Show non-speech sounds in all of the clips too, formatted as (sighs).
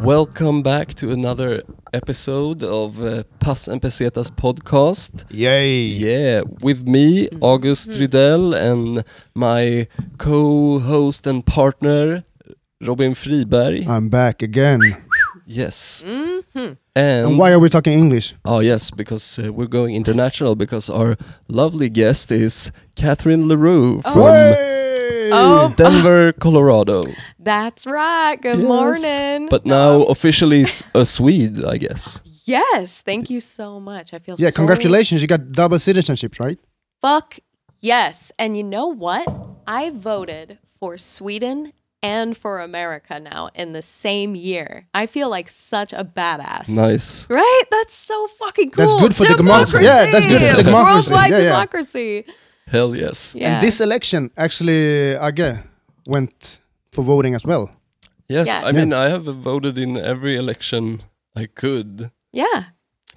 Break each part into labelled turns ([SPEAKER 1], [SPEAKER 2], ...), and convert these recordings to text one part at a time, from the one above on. [SPEAKER 1] Welcome back to another episode of uh, Pass and Pesetas podcast.
[SPEAKER 2] Yay!
[SPEAKER 1] Yeah, with me, August Rydell, and my co host and partner, Robin Friberg.
[SPEAKER 2] I'm back again.
[SPEAKER 1] Yes.
[SPEAKER 3] Mhm.
[SPEAKER 1] And,
[SPEAKER 2] And why are we talking English?
[SPEAKER 1] Oh, yes, because uh, we're going international because our lovely guest is Catherine LaRue
[SPEAKER 3] Oh.
[SPEAKER 1] from
[SPEAKER 2] Way!
[SPEAKER 3] Oh.
[SPEAKER 1] Denver, Colorado.
[SPEAKER 3] That's right. Good
[SPEAKER 1] Yes.
[SPEAKER 3] morning.
[SPEAKER 1] But now officially s- a Swede, I guess.
[SPEAKER 3] yes, thank you so much. I feel
[SPEAKER 2] Yeah,
[SPEAKER 3] so
[SPEAKER 2] congratulations. You got double citizenships, right?
[SPEAKER 3] Fuck yes. And you know what? I voted for Sweden and for America now in the same year. I feel like such a badass.
[SPEAKER 1] Nice.
[SPEAKER 3] Right? That's so fucking cool.
[SPEAKER 2] That's good for the democracy. Yeah, that's good for the democracy.
[SPEAKER 3] Worldwide
[SPEAKER 2] Yeah, yeah.
[SPEAKER 3] democracy.
[SPEAKER 1] Hell yes.
[SPEAKER 3] Yeah.
[SPEAKER 2] And this election, actually, Agge went for voting as well.
[SPEAKER 1] Yes,
[SPEAKER 3] Yeah.
[SPEAKER 1] I mean, I have voted in every election I could,
[SPEAKER 3] yeah.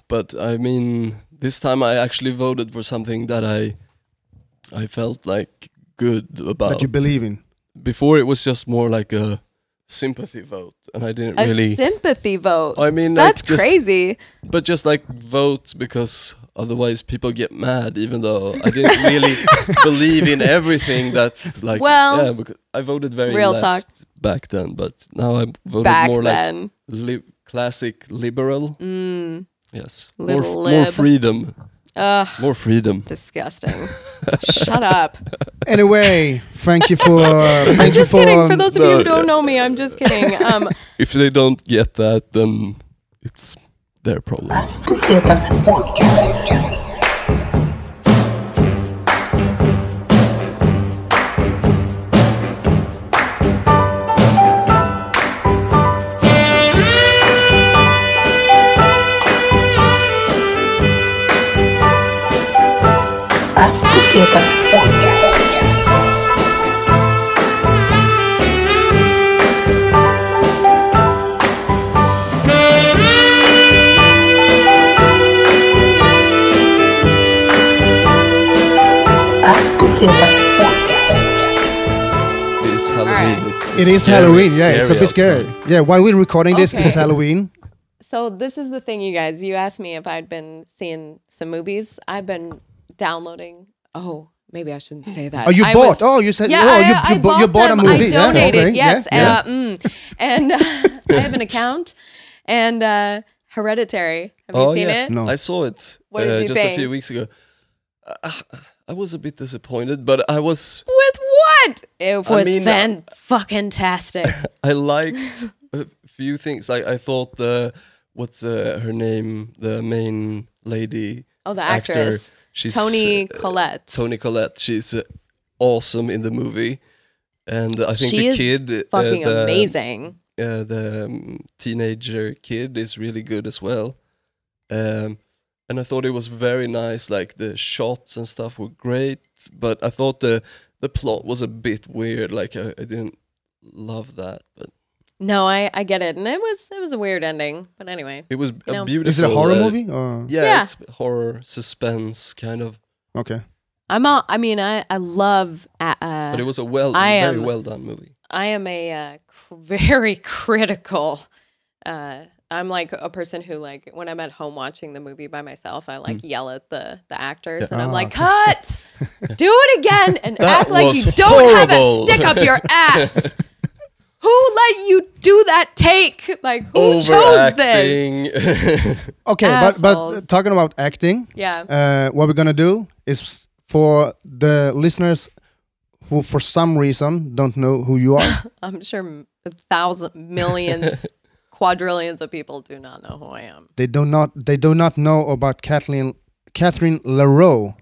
[SPEAKER 1] but I mean, this time I actually voted for something that I I felt like good about.
[SPEAKER 2] That you
[SPEAKER 3] Oh.
[SPEAKER 2] believe in.
[SPEAKER 1] Before it was just more like a sympathy vote, and I didn't
[SPEAKER 3] A
[SPEAKER 1] really.
[SPEAKER 3] sympathy vote.
[SPEAKER 1] I mean, like,
[SPEAKER 3] that's
[SPEAKER 1] just,
[SPEAKER 3] crazy.
[SPEAKER 1] But just like vote because otherwise people get mad. Even though I didn't
[SPEAKER 3] (laughs)
[SPEAKER 1] really believe in everything that like.
[SPEAKER 3] Well,
[SPEAKER 1] yeah, because I voted very
[SPEAKER 3] real
[SPEAKER 1] left
[SPEAKER 3] talk.
[SPEAKER 1] back then, but now I voted
[SPEAKER 3] Back
[SPEAKER 1] more like
[SPEAKER 3] then.
[SPEAKER 1] li- classic liberal.
[SPEAKER 3] Mm.
[SPEAKER 1] Yes, more,
[SPEAKER 3] Little
[SPEAKER 1] f- more
[SPEAKER 3] lib.
[SPEAKER 1] freedom,
[SPEAKER 3] Ugh.
[SPEAKER 1] more freedom.
[SPEAKER 3] Disgusting. (laughs) Shut up.
[SPEAKER 2] Anyway, thank you for. thank
[SPEAKER 3] (laughs) I'm
[SPEAKER 2] you
[SPEAKER 3] just
[SPEAKER 2] for, um,
[SPEAKER 3] kidding. For those of you
[SPEAKER 1] no,
[SPEAKER 3] who don't know me, I'm just kidding. Um, (laughs)
[SPEAKER 1] If they don't get that, then it's their problem.
[SPEAKER 4] Asquisitas Podcast. Asquisitas Podcast.
[SPEAKER 1] It is Halloween. It's,
[SPEAKER 2] It is
[SPEAKER 1] scary,
[SPEAKER 2] Halloween. Yeah, it's a
[SPEAKER 1] scary
[SPEAKER 2] bit scary.
[SPEAKER 1] outside.
[SPEAKER 2] Yeah, while we're recording this,
[SPEAKER 3] Okay.
[SPEAKER 2] it's Halloween.
[SPEAKER 3] so this is the thing, you guys. You asked me if I'd been seeing some movies. I've been downloading. Oh, maybe I shouldn't say that.
[SPEAKER 2] Oh, you
[SPEAKER 3] I
[SPEAKER 2] bought.
[SPEAKER 3] was-
[SPEAKER 2] oh, you said.
[SPEAKER 3] Yeah,
[SPEAKER 2] oh,
[SPEAKER 3] I,
[SPEAKER 2] you,
[SPEAKER 3] I
[SPEAKER 2] you, bought, you bought
[SPEAKER 3] them.
[SPEAKER 2] a movie.
[SPEAKER 3] I
[SPEAKER 2] yeah,
[SPEAKER 3] donated.
[SPEAKER 2] okay,
[SPEAKER 3] Yes,
[SPEAKER 2] yeah,
[SPEAKER 3] Uh, mm. and (laughs) uh, I have an account and uh, Hereditary. Have
[SPEAKER 1] Oh,
[SPEAKER 3] you seen
[SPEAKER 1] yeah.
[SPEAKER 3] it?
[SPEAKER 2] No.
[SPEAKER 1] I saw it
[SPEAKER 3] What did
[SPEAKER 1] uh,
[SPEAKER 3] you
[SPEAKER 1] just a
[SPEAKER 3] think?
[SPEAKER 1] few weeks ago. Uh, I was a bit disappointed, but I was
[SPEAKER 3] With what? It was
[SPEAKER 1] mean, uh,
[SPEAKER 3] fan fucking tastic.
[SPEAKER 1] I liked a few things. Like I thought the what's uh, her name, the main lady.
[SPEAKER 2] (laughs)
[SPEAKER 3] Oh, the
[SPEAKER 1] actor,
[SPEAKER 3] actress.
[SPEAKER 1] she's
[SPEAKER 3] Tony
[SPEAKER 1] uh,
[SPEAKER 3] Collette.
[SPEAKER 1] Tony Collette. She's uh, awesome in the movie, and I think
[SPEAKER 3] She
[SPEAKER 1] the
[SPEAKER 3] is
[SPEAKER 1] kid, uh,
[SPEAKER 3] fucking
[SPEAKER 1] the,
[SPEAKER 3] amazing.
[SPEAKER 1] Uh, the um, teenager kid, is really good as well. Um, and I thought it was very nice. Like the shots and stuff were great, but I thought the the plot was a bit weird. Like I, I didn't love that, but
[SPEAKER 3] No, I, I get it, and it was it was a weird ending, but anyway.
[SPEAKER 1] it was a
[SPEAKER 3] know.
[SPEAKER 1] beautiful.
[SPEAKER 2] Is it a horror
[SPEAKER 1] uh,
[SPEAKER 2] movie? Or?
[SPEAKER 1] Yeah,
[SPEAKER 3] Yeah.
[SPEAKER 1] it's horror suspense kind of,
[SPEAKER 2] Okay.
[SPEAKER 3] I'm all, I mean I I love uh, uh,
[SPEAKER 1] but it was a well,
[SPEAKER 3] I
[SPEAKER 1] very
[SPEAKER 3] am-
[SPEAKER 1] well done movie.
[SPEAKER 3] I am a uh, cr- very (laughs) critical. Uh, I'm like a person who like when I'm at home watching the movie by myself, I
[SPEAKER 1] Mm.
[SPEAKER 3] like yell at the the actors, and I'm
[SPEAKER 2] Ah,
[SPEAKER 3] like,
[SPEAKER 1] (laughs)
[SPEAKER 3] cut, do it again, and
[SPEAKER 1] That
[SPEAKER 3] act like you
[SPEAKER 1] was
[SPEAKER 3] don't
[SPEAKER 1] horrible."
[SPEAKER 3] have a stick up
[SPEAKER 1] (laughs)
[SPEAKER 3] your ass. who let you do that take? Like who chose this?
[SPEAKER 1] Overacting. (laughs)
[SPEAKER 2] Okay, but, but uh,
[SPEAKER 3] Assholes.
[SPEAKER 2] talking about acting,
[SPEAKER 3] Yeah.
[SPEAKER 2] uh, what we're gonna do is for the listeners who, for some reason, don't know who you
[SPEAKER 3] (coughs)
[SPEAKER 2] are.
[SPEAKER 3] I'm sure m- a thousand
[SPEAKER 2] (laughs)
[SPEAKER 3] millions, quadrillions of people do not know who I am.
[SPEAKER 2] they do not. They do not know about Kathleen Catherine Leroux.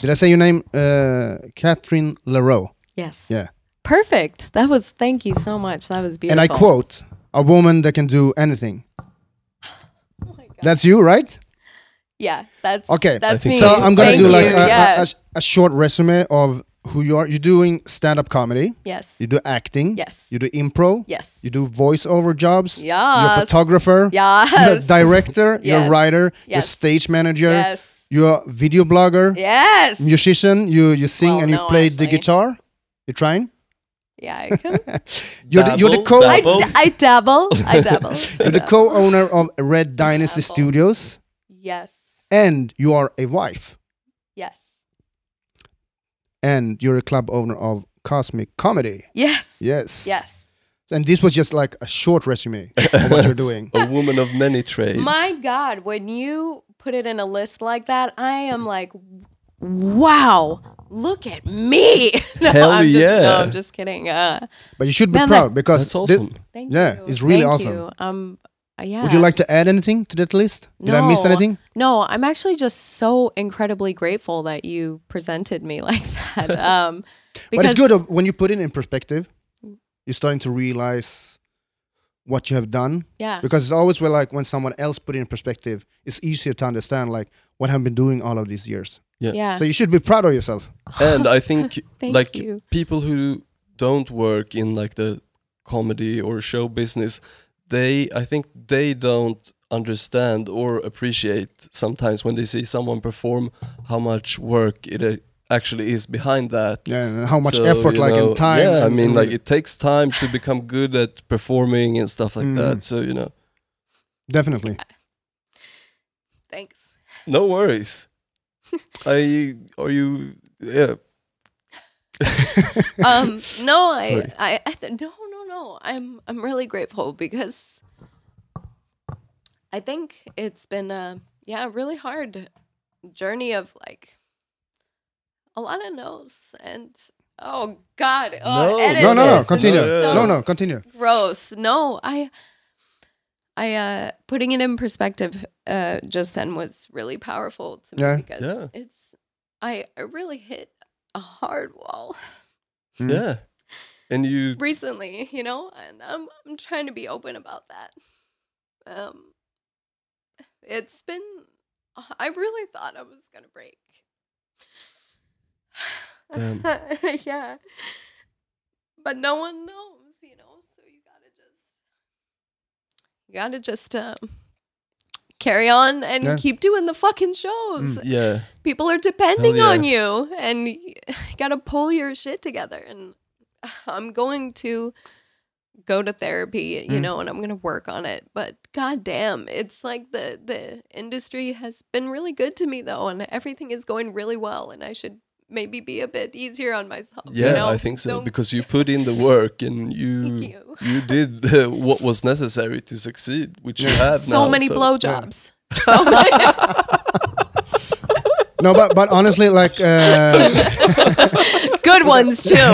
[SPEAKER 2] Did I say your name? Uh, Catherine Leroux.
[SPEAKER 3] Yes.
[SPEAKER 2] Yeah.
[SPEAKER 3] Perfect. That was. Thank you so much. That was beautiful.
[SPEAKER 2] And I quote: "A woman that can do anything."
[SPEAKER 3] Oh
[SPEAKER 2] That's you, right?
[SPEAKER 3] Yeah. That's
[SPEAKER 2] Okay.
[SPEAKER 3] That's
[SPEAKER 1] I think
[SPEAKER 3] me.
[SPEAKER 2] So I'm gonna
[SPEAKER 3] Thank
[SPEAKER 2] do like
[SPEAKER 3] you.
[SPEAKER 2] a, a-
[SPEAKER 3] yeah.
[SPEAKER 2] a sh- a short resume of who you are. You're doing stand-up comedy.
[SPEAKER 3] yes.
[SPEAKER 2] You do acting.
[SPEAKER 3] Yes.
[SPEAKER 2] You do improv.
[SPEAKER 3] Yes.
[SPEAKER 2] You do voiceover jobs. You're a
[SPEAKER 3] Yes.
[SPEAKER 2] photographer. You're a
[SPEAKER 3] Yes.
[SPEAKER 2] director. You're a
[SPEAKER 3] Yes.
[SPEAKER 2] writer. You're a
[SPEAKER 3] Yes.
[SPEAKER 2] stage manager.
[SPEAKER 3] Yes.
[SPEAKER 2] You're a video blogger.
[SPEAKER 3] Yes.
[SPEAKER 2] Musician. You you sing
[SPEAKER 3] Well,
[SPEAKER 2] and you
[SPEAKER 3] no,
[SPEAKER 2] play the
[SPEAKER 3] actually.
[SPEAKER 2] guitar. You're trying.
[SPEAKER 3] Yeah, I,
[SPEAKER 2] (laughs)
[SPEAKER 3] can.
[SPEAKER 2] You're the, you're the
[SPEAKER 1] Dabble,
[SPEAKER 2] co
[SPEAKER 3] I,
[SPEAKER 1] Dabble.
[SPEAKER 3] d- I dabble. I
[SPEAKER 2] (laughs)
[SPEAKER 3] dabble. I
[SPEAKER 2] you're the
[SPEAKER 3] dabble.
[SPEAKER 2] co-owner of Red Dynasty
[SPEAKER 3] Dabble.
[SPEAKER 2] Studios,
[SPEAKER 3] Yes.
[SPEAKER 2] and you are a wife,
[SPEAKER 3] Yes.
[SPEAKER 2] and you're a club owner of Cosmic Comedy.
[SPEAKER 3] Yes.
[SPEAKER 2] Yes.
[SPEAKER 3] Yes.
[SPEAKER 2] And this was just like a short resume of what you're
[SPEAKER 1] (laughs)
[SPEAKER 2] doing.
[SPEAKER 1] a woman of many trades.
[SPEAKER 3] My God, when you put it in a list like that, I
[SPEAKER 1] Mm.
[SPEAKER 3] am like, wow, look at me. (laughs) no,
[SPEAKER 1] Hell
[SPEAKER 3] I'm just,
[SPEAKER 1] yeah.
[SPEAKER 3] No, I'm just kidding. Uh,
[SPEAKER 2] But you should be
[SPEAKER 3] Man,
[SPEAKER 2] proud because
[SPEAKER 1] That's
[SPEAKER 2] thi-
[SPEAKER 1] awesome.
[SPEAKER 3] thank
[SPEAKER 2] Yeah,
[SPEAKER 3] you.
[SPEAKER 2] it's really
[SPEAKER 3] Thank
[SPEAKER 2] awesome.
[SPEAKER 3] you. Um, uh, yeah.
[SPEAKER 2] Would you like to add anything to that list? Did I miss
[SPEAKER 3] No.
[SPEAKER 2] anything?
[SPEAKER 3] No, I'm actually just so incredibly grateful that you presented me (laughs) like that.
[SPEAKER 2] (laughs)
[SPEAKER 3] Um,
[SPEAKER 2] But it's
[SPEAKER 3] because-
[SPEAKER 2] good of- when you put it in perspective. You're starting to realize what you have done
[SPEAKER 3] Yeah.
[SPEAKER 2] because it's always where like when someone else put it in perspective, it's easier to understand like what I've been doing all of these years.
[SPEAKER 3] Yeah.
[SPEAKER 2] So you should be proud of yourself.
[SPEAKER 1] and I think
[SPEAKER 3] (laughs) Thank
[SPEAKER 1] like
[SPEAKER 3] you.
[SPEAKER 1] people who don't work in like the comedy or show business, they I think they don't understand or appreciate sometimes when they see someone perform how much work it uh, actually is behind that.
[SPEAKER 2] Yeah, and how much
[SPEAKER 1] So,
[SPEAKER 2] effort,
[SPEAKER 1] you
[SPEAKER 2] like
[SPEAKER 1] know,
[SPEAKER 2] and time.
[SPEAKER 1] Yeah, I
[SPEAKER 2] and-
[SPEAKER 1] mean, like it takes time to become good at performing and stuff like
[SPEAKER 2] Mm.
[SPEAKER 1] that. So you know,
[SPEAKER 2] definitely.
[SPEAKER 3] Thanks.
[SPEAKER 1] no worries.
[SPEAKER 3] (laughs)
[SPEAKER 1] I are you? Yeah, (laughs)
[SPEAKER 3] um no i
[SPEAKER 1] Sorry.
[SPEAKER 3] i, I th- no no no i'm i'm really grateful because i think it's been a yeah a really hard journey of like a lot of no's and oh god oh,
[SPEAKER 1] No,
[SPEAKER 3] edit
[SPEAKER 2] No, no,
[SPEAKER 3] this.
[SPEAKER 2] no.
[SPEAKER 3] This
[SPEAKER 2] Continue.
[SPEAKER 3] is so
[SPEAKER 2] No, no. Continue.
[SPEAKER 3] gross no i i uh putting it in perspective uh just then was really powerful to me
[SPEAKER 2] Yeah.
[SPEAKER 3] because
[SPEAKER 1] Yeah.
[SPEAKER 3] it's i i really hit a hard wall
[SPEAKER 2] Mm.
[SPEAKER 1] yeah. And you
[SPEAKER 3] recently, you know, and I'm I'm trying to be open about that. Um, it's been I really thought I was gonna break.
[SPEAKER 1] Damn.
[SPEAKER 3] (laughs) yeah, but no one knows, you know. So you gotta just you gotta just um, carry on and
[SPEAKER 2] Yeah.
[SPEAKER 3] keep doing the fucking shows (laughs)
[SPEAKER 1] yeah.
[SPEAKER 3] people are depending
[SPEAKER 1] Hell yeah.
[SPEAKER 3] on you and you (laughs) gotta pull your shit together and (sighs) i'm going to go to therapy you
[SPEAKER 2] Mm.
[SPEAKER 3] know and i'm gonna work on it but goddamn it's like the the industry has been really good to me though and everything is going really well and i should maybe be a bit easier on myself you
[SPEAKER 1] Yeah,
[SPEAKER 3] know?
[SPEAKER 1] I think so
[SPEAKER 3] Don't-
[SPEAKER 1] because you put in the work
[SPEAKER 3] (laughs)
[SPEAKER 1] and you
[SPEAKER 3] Thank
[SPEAKER 1] you.
[SPEAKER 3] you.
[SPEAKER 1] did (laughs) uh, what was necessary to succeed, which you have
[SPEAKER 3] so
[SPEAKER 1] now,
[SPEAKER 3] many
[SPEAKER 1] so- (laughs)
[SPEAKER 3] blowjobs so many (laughs)
[SPEAKER 2] No, but but honestly, like uh, (laughs)
[SPEAKER 3] good ones too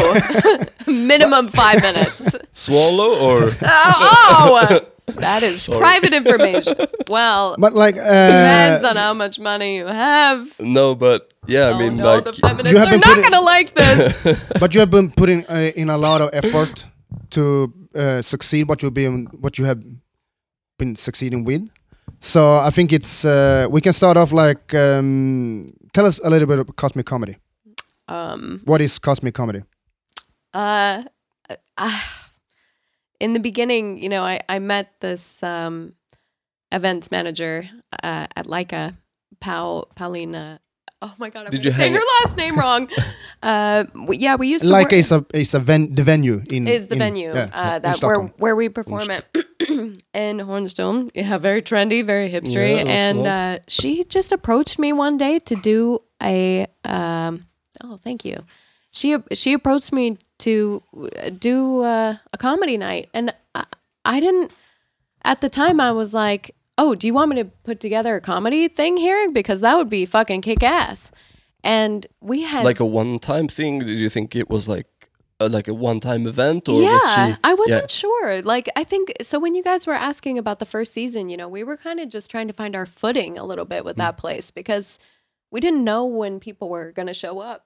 [SPEAKER 3] (laughs) minimum five
[SPEAKER 1] (laughs)
[SPEAKER 3] minutes
[SPEAKER 1] Swallow
[SPEAKER 3] (laughs)
[SPEAKER 1] or
[SPEAKER 3] oh, oh! (laughs) that is
[SPEAKER 1] Sorry.
[SPEAKER 3] private information
[SPEAKER 2] (laughs)
[SPEAKER 3] well
[SPEAKER 2] but like
[SPEAKER 3] Depends
[SPEAKER 2] uh,
[SPEAKER 3] on how much money you have.
[SPEAKER 1] no, but yeah, I
[SPEAKER 3] oh
[SPEAKER 1] mean
[SPEAKER 3] no,
[SPEAKER 1] like
[SPEAKER 3] the feminists
[SPEAKER 2] You have
[SPEAKER 3] are
[SPEAKER 2] been
[SPEAKER 3] not
[SPEAKER 2] putting-
[SPEAKER 3] gonna like
[SPEAKER 1] (laughs)
[SPEAKER 3] this.
[SPEAKER 2] but you have been putting uh, in a lot of effort to uh, succeed what you been what you have been succeeding with. So I think it's uh, we can start off like um, tell us a little bit of cosmic comedy.
[SPEAKER 3] um,
[SPEAKER 2] What is cosmic comedy?
[SPEAKER 3] uh, ah. in the beginning, you know, I I met this um, events manager uh, at Leica, Pau Paulina. Oh my god, I'm
[SPEAKER 1] Did
[SPEAKER 3] gonna
[SPEAKER 1] you
[SPEAKER 3] say
[SPEAKER 1] hang
[SPEAKER 3] her last name
[SPEAKER 1] (laughs)
[SPEAKER 3] wrong. Uh, we, yeah, we used to
[SPEAKER 2] like
[SPEAKER 3] work-
[SPEAKER 2] it's a it's a ven- the venue in
[SPEAKER 3] is the
[SPEAKER 2] in-
[SPEAKER 3] venue
[SPEAKER 2] yeah,
[SPEAKER 3] uh,
[SPEAKER 2] in
[SPEAKER 3] that where
[SPEAKER 2] Stockholm.
[SPEAKER 3] where we perform it (clears throat) in Hornsdom. Yeah, very trendy, very hipstery.
[SPEAKER 1] Yeah, that's
[SPEAKER 3] and
[SPEAKER 1] right.
[SPEAKER 3] uh, she just approached me one day to do a. Um, oh, thank you. She she approached me to uh, do uh, a comedy night, and I, I didn't. At the time, I was like, "Oh, do you want me to put together a comedy thing here? Because that would be fucking kick ass." And we had
[SPEAKER 1] like a one-time thing. Did you think it was like uh, like a one-time event or was she?
[SPEAKER 3] I wasn't sure. Like, I think so. When you guys were asking about the first season, you know, we were kind of just trying to find our footing a little bit with
[SPEAKER 1] Mm.
[SPEAKER 3] that place because we didn't know when people were going to show up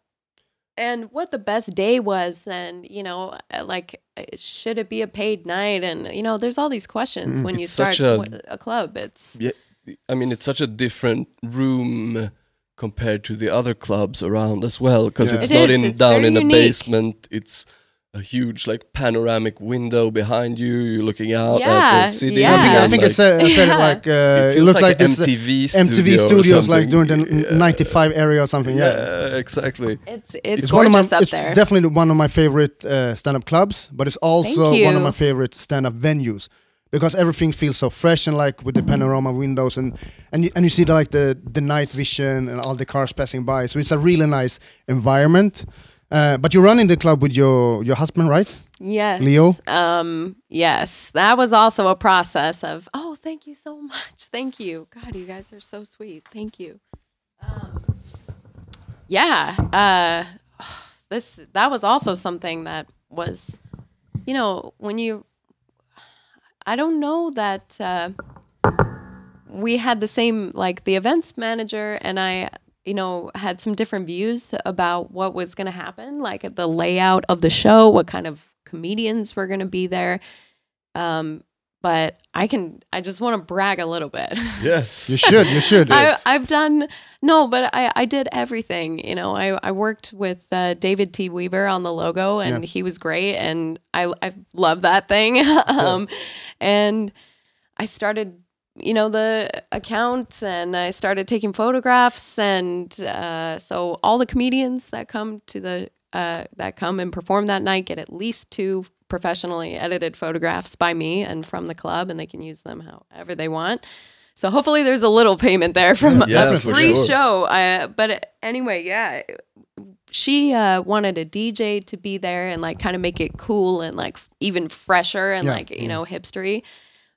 [SPEAKER 3] and what the best day was. And, you know, uh, like, uh, should it be a paid night? And, you know, there's all these questions when you
[SPEAKER 1] Mm, It's
[SPEAKER 3] start
[SPEAKER 1] such
[SPEAKER 3] w-
[SPEAKER 1] a-
[SPEAKER 3] a, club. It's,
[SPEAKER 1] Yeah, I mean it's such a different room compared to the other clubs around as well because
[SPEAKER 2] Yeah.
[SPEAKER 1] it's
[SPEAKER 3] It
[SPEAKER 1] not
[SPEAKER 3] is,
[SPEAKER 1] in
[SPEAKER 3] it's
[SPEAKER 1] down
[SPEAKER 3] very
[SPEAKER 1] in a
[SPEAKER 3] unique.
[SPEAKER 1] basement. It's a huge like panoramic window behind you. You're looking out at
[SPEAKER 3] Yeah,
[SPEAKER 1] the city.
[SPEAKER 3] yeah.
[SPEAKER 2] I think, I
[SPEAKER 1] and,
[SPEAKER 2] think
[SPEAKER 1] like,
[SPEAKER 2] I said, I said it
[SPEAKER 3] Yeah.
[SPEAKER 2] like uh, it,
[SPEAKER 1] feels
[SPEAKER 2] looks like,
[SPEAKER 1] a
[SPEAKER 2] this, uh,
[SPEAKER 1] MTV
[SPEAKER 2] MTV
[SPEAKER 1] studio or
[SPEAKER 2] studios like during
[SPEAKER 1] something.
[SPEAKER 2] the n-
[SPEAKER 1] Yeah.
[SPEAKER 2] 95 area or something. Yeah.
[SPEAKER 1] Yeah, exactly.
[SPEAKER 3] It's it's,
[SPEAKER 1] It's
[SPEAKER 2] one of
[SPEAKER 3] gorgeous
[SPEAKER 2] my,
[SPEAKER 3] up
[SPEAKER 2] it's
[SPEAKER 3] there.
[SPEAKER 2] definitely one of my favorite uh, stand-up clubs, but it's also
[SPEAKER 3] Thank
[SPEAKER 2] one of
[SPEAKER 3] you.
[SPEAKER 2] my favorite stand-up venues because everything feels so fresh and like with the panorama windows and and you, and you see the, like the the night vision and all the cars passing by. So it's a really nice environment. Uh, but you're running the club with your your husband, right?
[SPEAKER 3] yes.
[SPEAKER 2] Leo?
[SPEAKER 3] Um yes. That was also a process of, "Oh, thank you so (laughs) much. Thank you. God, you guys are so sweet. Thank you." Um, yeah. Uh (sighs) this that was also something that was you know, when you I don't know that uh we had the same like the events manager and I you know had some different views about what was going to happen like the layout of the show what kind of comedians were going to be there um but I can I just want to brag a little bit
[SPEAKER 1] Yes.
[SPEAKER 2] You
[SPEAKER 3] (laughs)
[SPEAKER 2] should. You should.
[SPEAKER 3] I, I've done no, but I, I did everything. You know, I, I worked with uh, David T. Weaver on the logo, and
[SPEAKER 2] Yeah.
[SPEAKER 3] he was great, and I I love that thing. (laughs) um, and I started, you know, the account, and I started taking photographs, and uh, so all the comedians that come to the uh, that come and perform that night get at least two professionally edited photographs by me and from the club, and they can use them however they want. So hopefully there's a little payment there from
[SPEAKER 1] (laughs) Yeah,
[SPEAKER 3] a
[SPEAKER 1] for
[SPEAKER 3] free
[SPEAKER 1] sure.
[SPEAKER 3] show. Uh, but anyway, yeah, she uh, wanted a DJ to be there and like kind of make it cool and like f- even fresher and
[SPEAKER 2] Yeah.
[SPEAKER 3] like you know hipstery.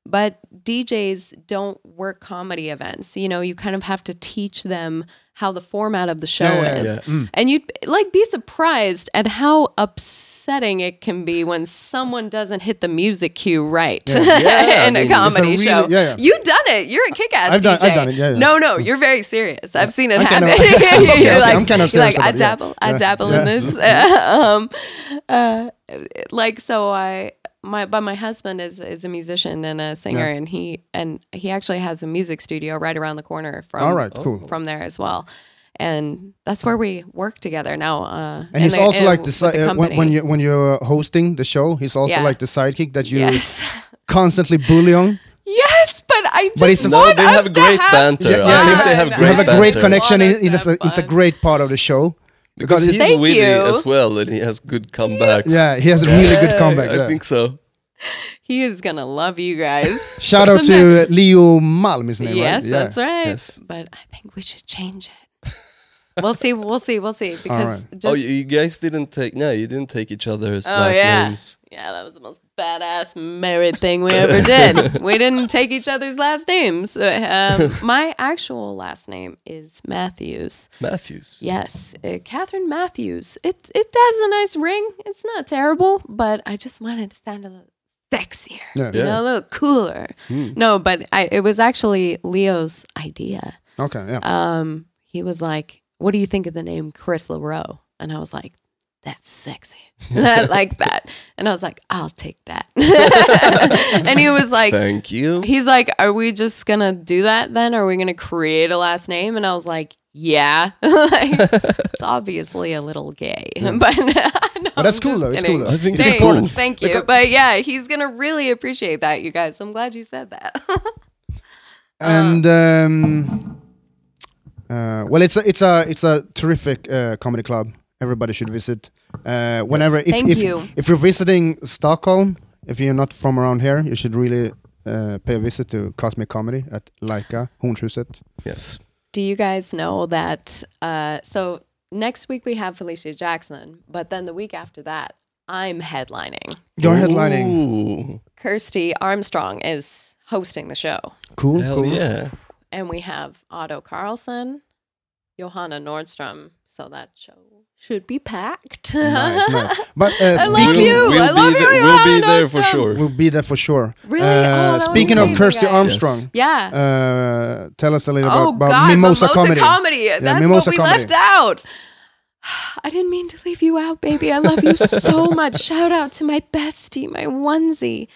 [SPEAKER 3] But DJs don't work comedy events. You know, you kind of have to teach them how the format of the show
[SPEAKER 2] Yeah, yeah,
[SPEAKER 3] is.
[SPEAKER 1] yeah.
[SPEAKER 3] And you'd like be surprised at how upsetting it can be when someone doesn't hit the music cue right
[SPEAKER 1] Yeah, I
[SPEAKER 3] (laughs) in
[SPEAKER 1] mean,
[SPEAKER 3] a
[SPEAKER 1] it's a
[SPEAKER 3] comedy
[SPEAKER 2] really-
[SPEAKER 3] show.
[SPEAKER 2] yeah, yeah.
[SPEAKER 3] You've done it. You're a kick-ass
[SPEAKER 2] I've done-
[SPEAKER 3] DJ.
[SPEAKER 2] I've done it, yeah, yeah.
[SPEAKER 3] No, no, you're very serious. I've seen it
[SPEAKER 2] I kind
[SPEAKER 3] happen.
[SPEAKER 2] of-
[SPEAKER 3] (laughs) You're
[SPEAKER 2] (laughs) Okay, okay,
[SPEAKER 3] like,
[SPEAKER 2] I'm kind of
[SPEAKER 3] you're
[SPEAKER 2] serious
[SPEAKER 3] like, I
[SPEAKER 2] about it, yeah.
[SPEAKER 3] dabble, I
[SPEAKER 2] Yeah.
[SPEAKER 3] dabble
[SPEAKER 2] Yeah.
[SPEAKER 3] in
[SPEAKER 2] (laughs)
[SPEAKER 3] this. (laughs) um, uh, like so, I my but my husband is is a musician and a singer,
[SPEAKER 2] Yeah.
[SPEAKER 3] and he and he actually has a music studio right around the corner from
[SPEAKER 2] all right. Cool.
[SPEAKER 3] from there as well. And that's where we work together now. Uh,
[SPEAKER 2] And he's
[SPEAKER 3] the-
[SPEAKER 2] also
[SPEAKER 3] in-
[SPEAKER 2] like the,
[SPEAKER 3] with
[SPEAKER 2] si- uh, when,
[SPEAKER 3] company.
[SPEAKER 2] when you when you're hosting the show, he's also
[SPEAKER 3] Yeah.
[SPEAKER 2] like the sidekick that you
[SPEAKER 3] yes, (laughs)
[SPEAKER 2] constantly bully on.
[SPEAKER 3] yes, but I just
[SPEAKER 2] But it's-
[SPEAKER 1] No,
[SPEAKER 3] want
[SPEAKER 1] they
[SPEAKER 3] us
[SPEAKER 1] have
[SPEAKER 3] to
[SPEAKER 1] great
[SPEAKER 3] have
[SPEAKER 1] banter. uh,
[SPEAKER 2] Yeah,
[SPEAKER 1] I
[SPEAKER 2] yeah,
[SPEAKER 1] think
[SPEAKER 2] you
[SPEAKER 1] they
[SPEAKER 3] have-
[SPEAKER 1] have
[SPEAKER 3] you
[SPEAKER 1] great
[SPEAKER 2] You have a great
[SPEAKER 1] banter.
[SPEAKER 2] connection.
[SPEAKER 3] Wanna
[SPEAKER 2] In, in, it's, a,
[SPEAKER 3] have
[SPEAKER 2] it's a
[SPEAKER 3] fun.
[SPEAKER 2] great part of the show.
[SPEAKER 1] because he's
[SPEAKER 3] Thank
[SPEAKER 1] witty
[SPEAKER 3] you.
[SPEAKER 1] as well, and he has good comebacks.
[SPEAKER 2] Yeah, he has a really good comeback.
[SPEAKER 1] I
[SPEAKER 2] yeah.
[SPEAKER 1] think so.
[SPEAKER 3] He is gonna love you guys.
[SPEAKER 2] Shout out to uh, Leo Malm, his name,
[SPEAKER 3] yes,
[SPEAKER 2] right?
[SPEAKER 3] that's right.
[SPEAKER 1] Yes.
[SPEAKER 3] But I think we should change it. we'll see. We'll see. We'll see. Because
[SPEAKER 2] right.
[SPEAKER 3] just,
[SPEAKER 1] oh, you, you guys didn't take no, you didn't take each other's
[SPEAKER 3] Oh,
[SPEAKER 1] last
[SPEAKER 3] yeah.
[SPEAKER 1] names.
[SPEAKER 3] yeah, that was the most badass married thing we ever
[SPEAKER 1] (laughs)
[SPEAKER 3] did. we didn't take each other's last names. Uh, Um, my actual last name is Matthews.
[SPEAKER 1] Matthews.
[SPEAKER 3] Yes, uh, Catherine Matthews. It it has a nice ring. It's not terrible, but I just wanted to sound a little sexier,
[SPEAKER 2] Yeah.
[SPEAKER 3] you know, a little cooler.
[SPEAKER 1] Hmm.
[SPEAKER 3] No, but I, it was actually Leo's idea.
[SPEAKER 2] Okay, yeah.
[SPEAKER 3] Um, he was like, "What do you think of the name Chris LaRoe?" And I was like, "That's sexy. (laughs)
[SPEAKER 2] (laughs)
[SPEAKER 3] I like that." And I was like, "I'll take that." (laughs) and he was like,
[SPEAKER 1] Thank you.
[SPEAKER 3] He's like, Are we just gonna do that then? Are we gonna create a last name? And I was like, Yeah.
[SPEAKER 2] (laughs)
[SPEAKER 3] (laughs) like, it's obviously a little gay. (laughs) but, no,
[SPEAKER 2] Hmm. but that's
[SPEAKER 3] I'm
[SPEAKER 2] cool
[SPEAKER 3] just
[SPEAKER 2] though. It's
[SPEAKER 3] kidding.
[SPEAKER 2] cool though.
[SPEAKER 1] I think
[SPEAKER 2] it's uh,
[SPEAKER 1] it's
[SPEAKER 3] Thank,
[SPEAKER 1] important.
[SPEAKER 3] thank you. but yeah, he's gonna really appreciate that, you guys. I'm glad you said that. Uh,
[SPEAKER 2] and um, uh, well, it's a, it's a it's a terrific uh, comedy club. Everybody should visit. Uh, whenever if
[SPEAKER 3] Thank
[SPEAKER 2] if,
[SPEAKER 3] you.
[SPEAKER 2] if you're visiting Stockholm, if you're not from around here, you should really uh, pay a visit to Cosmic Comedy at Laika Hornshuset.
[SPEAKER 1] Yes.
[SPEAKER 3] do you guys know that? Uh, so next week we have Felicia Jackson, but then the week after that, I'm headlining.
[SPEAKER 2] You're headlining.
[SPEAKER 1] Ooh,
[SPEAKER 3] Kirsty Armstrong is hosting the show.
[SPEAKER 2] Cool,
[SPEAKER 1] hell
[SPEAKER 2] cool.
[SPEAKER 1] yeah.
[SPEAKER 3] and we have Otto Carlson, Johanna Nordstrom. So that show should be packed. (laughs)
[SPEAKER 2] Nice, nice. But uh,
[SPEAKER 3] I
[SPEAKER 2] speaking,
[SPEAKER 3] love you. I
[SPEAKER 1] be
[SPEAKER 3] love
[SPEAKER 1] the-
[SPEAKER 3] you,
[SPEAKER 1] We'll be
[SPEAKER 3] Johanna
[SPEAKER 1] there for
[SPEAKER 3] Nordstrom.
[SPEAKER 1] sure.
[SPEAKER 2] we'll be there for sure.
[SPEAKER 3] Really? Oh,
[SPEAKER 2] Uh,
[SPEAKER 3] that would
[SPEAKER 2] speaking
[SPEAKER 3] be
[SPEAKER 2] of
[SPEAKER 3] amazing,
[SPEAKER 2] Kirsty
[SPEAKER 3] guys.
[SPEAKER 2] Armstrong,
[SPEAKER 3] yeah.
[SPEAKER 2] uh, tell us a little
[SPEAKER 3] oh
[SPEAKER 2] about, about
[SPEAKER 3] God,
[SPEAKER 2] Mimosa,
[SPEAKER 3] mimosa,
[SPEAKER 2] Comedy.
[SPEAKER 3] That's
[SPEAKER 2] Mimosa
[SPEAKER 3] what we
[SPEAKER 2] Comedy.
[SPEAKER 3] left out. (sighs) I didn't mean to leave you out, baby. I love you
[SPEAKER 2] (laughs)
[SPEAKER 3] so much. Shout out to my bestie, my onesie,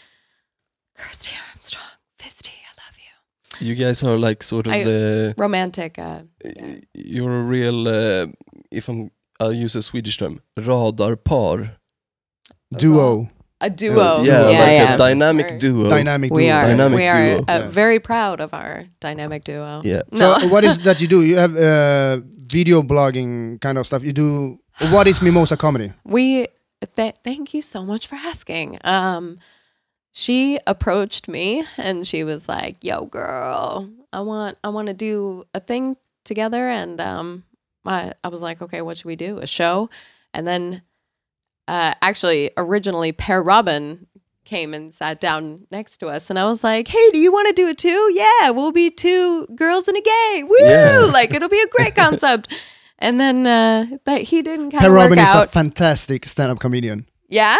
[SPEAKER 3] Kirsty Armstrong. Fisty, I love you.
[SPEAKER 1] You guys are like sort of
[SPEAKER 3] I-
[SPEAKER 1] the
[SPEAKER 3] Romantic. Uh,
[SPEAKER 1] you're a real uh, if I'm I'll use a Swedish term radarpar.
[SPEAKER 2] duo,
[SPEAKER 3] a duo.
[SPEAKER 1] yeah,
[SPEAKER 3] Oh, yeah,
[SPEAKER 1] like
[SPEAKER 3] yeah.
[SPEAKER 1] a dynamic
[SPEAKER 3] We're-
[SPEAKER 1] duo.
[SPEAKER 2] dynamic
[SPEAKER 3] Oh. We
[SPEAKER 2] duo.
[SPEAKER 3] are
[SPEAKER 1] Dynamic
[SPEAKER 3] we are
[SPEAKER 1] duo.
[SPEAKER 3] uh,
[SPEAKER 2] Yeah.
[SPEAKER 3] very proud of our dynamic duo.
[SPEAKER 1] Yeah.
[SPEAKER 3] No.
[SPEAKER 2] So what is that you do? You have uh, video blogging kind of stuff. You do. What is Mimosa Comedy?
[SPEAKER 3] We th- thank you so much for asking. Um, she approached me and she was like, "Yo, girl, I want I want to do a thing together." And um, I I was like, "Okay, what should we do? A show?" And then, uh, actually, originally Per Robin came and sat down next to us, and I was like, "Hey, do you want to do it too? Yeah, we'll be two girls and a gay. Woo!
[SPEAKER 1] Yeah.
[SPEAKER 3] Like it'll be a great
[SPEAKER 2] (laughs)
[SPEAKER 3] concept." And then uh, that he didn't kind
[SPEAKER 2] Per
[SPEAKER 3] of work
[SPEAKER 2] Robin is
[SPEAKER 3] out.
[SPEAKER 2] a fantastic stand-up comedian.
[SPEAKER 3] Yeah.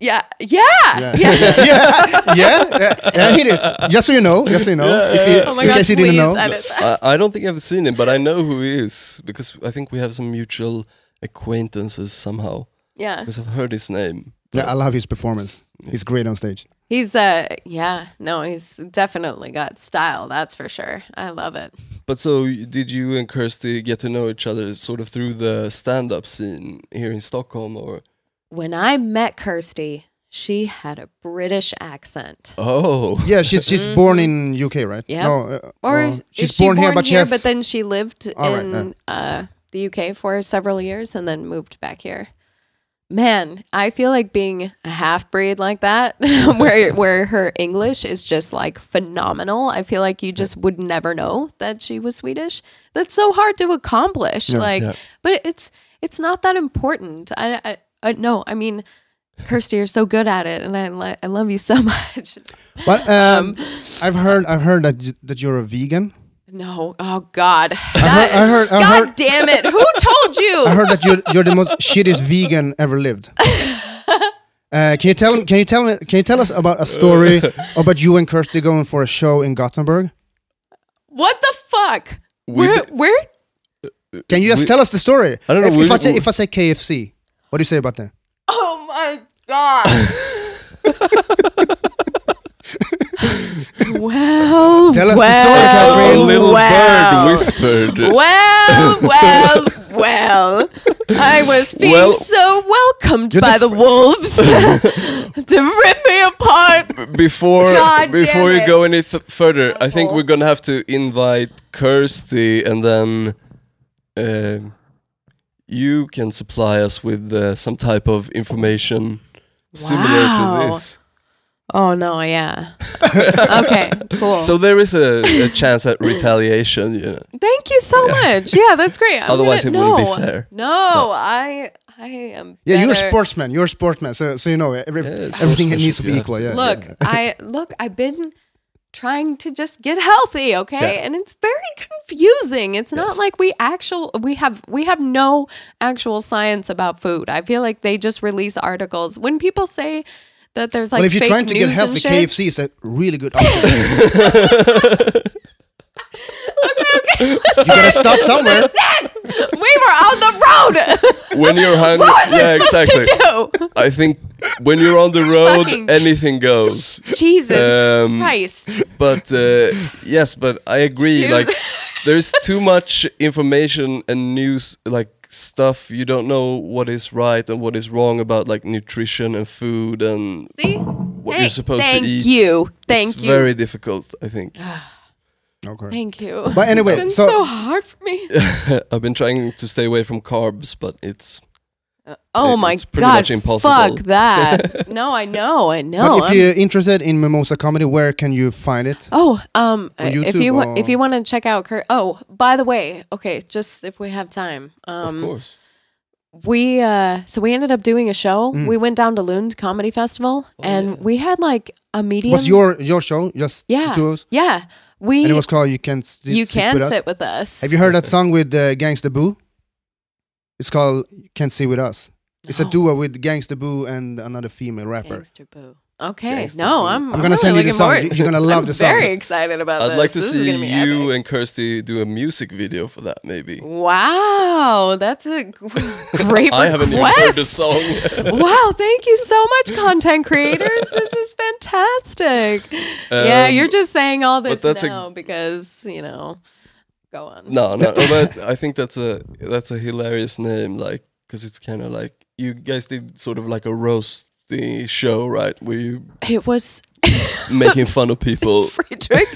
[SPEAKER 3] Yeah. Yeah. Uh,
[SPEAKER 2] (laughs)
[SPEAKER 3] Yeah.
[SPEAKER 2] yeah, yeah, yeah, he is. Just so you know, just so you know. if you,
[SPEAKER 3] Oh my
[SPEAKER 2] in
[SPEAKER 3] god,
[SPEAKER 2] case you
[SPEAKER 3] please
[SPEAKER 2] didn't know,
[SPEAKER 3] edit that.
[SPEAKER 1] I, I don't think I've seen him, but I know who he is because I think we have some mutual acquaintances somehow.
[SPEAKER 3] Yeah.
[SPEAKER 1] Because I've heard his name.
[SPEAKER 2] yeah, I love his performance. He's great on stage.
[SPEAKER 3] He's uh yeah, no, he's definitely got style, that's for sure. I love it.
[SPEAKER 1] But so, y- did you and Kirsty get to know each other sort of through the stand-up scene here in Stockholm, or?
[SPEAKER 3] When I met Kirsty, she had a British accent.
[SPEAKER 1] Oh,
[SPEAKER 2] Yeah, she's she's born in UK, right?
[SPEAKER 3] Yeah.
[SPEAKER 2] No, uh,
[SPEAKER 3] Or
[SPEAKER 2] well,
[SPEAKER 3] is
[SPEAKER 2] she's
[SPEAKER 3] she
[SPEAKER 2] born, here, but she has,
[SPEAKER 3] then she lived
[SPEAKER 2] All right,
[SPEAKER 3] in uh, the UK for several years and then moved back here. Man, I feel like being a half breed like that, (laughs) where where her English is just like phenomenal. I feel like you just would never know that she was Swedish. That's so hard to accomplish. like,
[SPEAKER 1] yeah.
[SPEAKER 3] but it's it's not that important. I, I, I no, I mean, Kirsty, you're so good at it, and I li- I love you so (laughs) much.
[SPEAKER 2] But um, I've heard I've heard that you, that you're a vegan.
[SPEAKER 3] No, oh God!
[SPEAKER 2] heard- I heard- I
[SPEAKER 3] God
[SPEAKER 2] heard-
[SPEAKER 3] damn it!
[SPEAKER 2] (laughs)
[SPEAKER 3] Who told you?
[SPEAKER 2] I heard that you're you're the most shittiest vegan ever lived. Uh, can you tell can you tell me can you tell us about a story about you and Kirsty going for a show in Gothenburg?
[SPEAKER 3] what the fuck?
[SPEAKER 1] We
[SPEAKER 3] Where?
[SPEAKER 1] d-
[SPEAKER 3] Where?
[SPEAKER 2] Can you just tell us the story?
[SPEAKER 1] I don't know,
[SPEAKER 2] If,
[SPEAKER 1] we-
[SPEAKER 2] if I say
[SPEAKER 1] we-
[SPEAKER 2] if I say KFC, what do you say about that?
[SPEAKER 3] Oh my God! well,
[SPEAKER 2] Tell us the story,
[SPEAKER 3] well,
[SPEAKER 2] Catherine.
[SPEAKER 1] a little
[SPEAKER 3] well.
[SPEAKER 1] bird whispered. (laughs)
[SPEAKER 3] Well, well, well. I was being
[SPEAKER 1] Well-
[SPEAKER 3] so welcomed
[SPEAKER 2] You're
[SPEAKER 3] by
[SPEAKER 2] the
[SPEAKER 3] the
[SPEAKER 1] (laughs)
[SPEAKER 3] wolves (laughs) to rip me apart.
[SPEAKER 1] before
[SPEAKER 3] God
[SPEAKER 1] before
[SPEAKER 3] damn
[SPEAKER 1] you
[SPEAKER 3] it.
[SPEAKER 1] go any th- further, I think
[SPEAKER 3] Apples.
[SPEAKER 1] we're gonna have to invite Kirsty, and then um you can supply us with uh, some type of information similar
[SPEAKER 3] Wow.
[SPEAKER 1] to this.
[SPEAKER 3] Oh no! Yeah. Okay. Cool.
[SPEAKER 1] So there is a, a chance at retaliation. You know.
[SPEAKER 3] Thank you so much. Yeah, that's great. I'm
[SPEAKER 1] Otherwise
[SPEAKER 3] gonna,
[SPEAKER 1] it wouldn't be
[SPEAKER 3] no.
[SPEAKER 1] fair.
[SPEAKER 3] No, I I am.
[SPEAKER 2] Yeah, you're a
[SPEAKER 3] better.
[SPEAKER 2] sportsman. You're a sportsman, so so you know every,
[SPEAKER 1] it's
[SPEAKER 2] everything
[SPEAKER 1] sportsmanship,
[SPEAKER 2] needs to be
[SPEAKER 1] you have
[SPEAKER 2] equal.
[SPEAKER 1] to-
[SPEAKER 2] Yeah.
[SPEAKER 3] Look, I look. I've been trying to just get healthy, okay?
[SPEAKER 1] Yeah.
[SPEAKER 3] And it's very confusing. It's not like we actual we have we have no actual science about food. I feel like they just release articles when people say that there's like
[SPEAKER 2] but if you're
[SPEAKER 3] fake
[SPEAKER 2] trying to get
[SPEAKER 3] news
[SPEAKER 2] healthy,
[SPEAKER 3] and shit. (laughs)
[SPEAKER 2] KFC is a really good option. you gotta start somewhere.
[SPEAKER 3] we were on the road. (laughs)
[SPEAKER 1] When you're hungry,
[SPEAKER 3] what was
[SPEAKER 1] yeah,
[SPEAKER 3] I supposed
[SPEAKER 1] exactly.
[SPEAKER 3] to do? (laughs)
[SPEAKER 1] I think when you're on the road,
[SPEAKER 3] Fucking-
[SPEAKER 1] anything goes.
[SPEAKER 3] Jesus
[SPEAKER 1] Um,
[SPEAKER 3] Christ.
[SPEAKER 1] but uh, yes, but I agree.
[SPEAKER 3] News.
[SPEAKER 1] Like, there's too much information and news, like stuff you don't know what is right and what is wrong about, like nutrition and food and
[SPEAKER 3] See?
[SPEAKER 1] what you're
[SPEAKER 3] Thank-
[SPEAKER 1] supposed
[SPEAKER 3] thank
[SPEAKER 1] to eat.
[SPEAKER 3] you. Thank
[SPEAKER 1] it's
[SPEAKER 3] you. Ah.
[SPEAKER 1] Very difficult, I think.
[SPEAKER 2] Okay.
[SPEAKER 3] Thank you.
[SPEAKER 2] But anyway,
[SPEAKER 3] it's been
[SPEAKER 2] so-
[SPEAKER 3] so, hard for me.
[SPEAKER 1] (laughs) I've been trying to stay away from carbs, but it's
[SPEAKER 3] Oh
[SPEAKER 1] It-
[SPEAKER 3] my
[SPEAKER 1] it's pretty
[SPEAKER 3] god!
[SPEAKER 1] much impossible.
[SPEAKER 3] Fuck
[SPEAKER 2] (laughs)
[SPEAKER 3] that. no, I know. I know.
[SPEAKER 2] but if
[SPEAKER 3] I'm-
[SPEAKER 2] you're interested in Mimosa Comedy, where can you find it?
[SPEAKER 3] Oh, um,
[SPEAKER 2] On
[SPEAKER 3] if
[SPEAKER 2] YouTube uh,
[SPEAKER 3] you wa-
[SPEAKER 2] or-
[SPEAKER 3] if you want to check out Kurt. Oh, by the way, okay, just if we have time,
[SPEAKER 1] of
[SPEAKER 3] um,
[SPEAKER 1] course.
[SPEAKER 3] we uh, so we ended up doing a show.
[SPEAKER 2] Mm.
[SPEAKER 3] We went down to Lund Comedy Festival, and we had like a medium.
[SPEAKER 2] Was Oh, your your show just the
[SPEAKER 3] yeah
[SPEAKER 2] two of us?
[SPEAKER 3] yeah we
[SPEAKER 2] And it was called "You Can't S-
[SPEAKER 3] you
[SPEAKER 2] Sit
[SPEAKER 3] can
[SPEAKER 2] with
[SPEAKER 3] sit
[SPEAKER 2] Us."
[SPEAKER 3] with us.
[SPEAKER 2] Have you heard that song with uh, Gangsta Boo? It's called "You "Can't Sit with Us." It's a
[SPEAKER 3] No.
[SPEAKER 2] duo with Gangsta Boo and another female rapper.
[SPEAKER 3] Gangster Boo? Okay, no, I'm.
[SPEAKER 2] I'm gonna
[SPEAKER 3] really
[SPEAKER 2] send you the
[SPEAKER 3] looking
[SPEAKER 2] song.
[SPEAKER 3] forward-
[SPEAKER 2] You- you're gonna love
[SPEAKER 3] (laughs) I'm
[SPEAKER 2] the song.
[SPEAKER 3] Very excited about oh, this.
[SPEAKER 1] I'd like to
[SPEAKER 3] This is
[SPEAKER 1] see
[SPEAKER 3] gonna be
[SPEAKER 1] you
[SPEAKER 3] epic.
[SPEAKER 1] and Kirsty do a music video for that, maybe.
[SPEAKER 3] Wow, that's a g- (laughs) great
[SPEAKER 1] I haven't even heard the
[SPEAKER 3] request.
[SPEAKER 1] song.
[SPEAKER 3] (laughs)
[SPEAKER 1] (laughs)
[SPEAKER 3] wow, thank you so much, content creators. This is fantastic. yeah,
[SPEAKER 1] Um,
[SPEAKER 3] you're just saying all this
[SPEAKER 1] that's a-
[SPEAKER 3] now because you know. Go on.
[SPEAKER 1] No, no, but I think that's a that's a hilarious name, like because it's kind of like you guys did sort of like a roasty the show, right? Were you
[SPEAKER 3] It was
[SPEAKER 1] making fun of
[SPEAKER 3] (laughs)
[SPEAKER 1] people? (laughs)
[SPEAKER 3] Friedrich.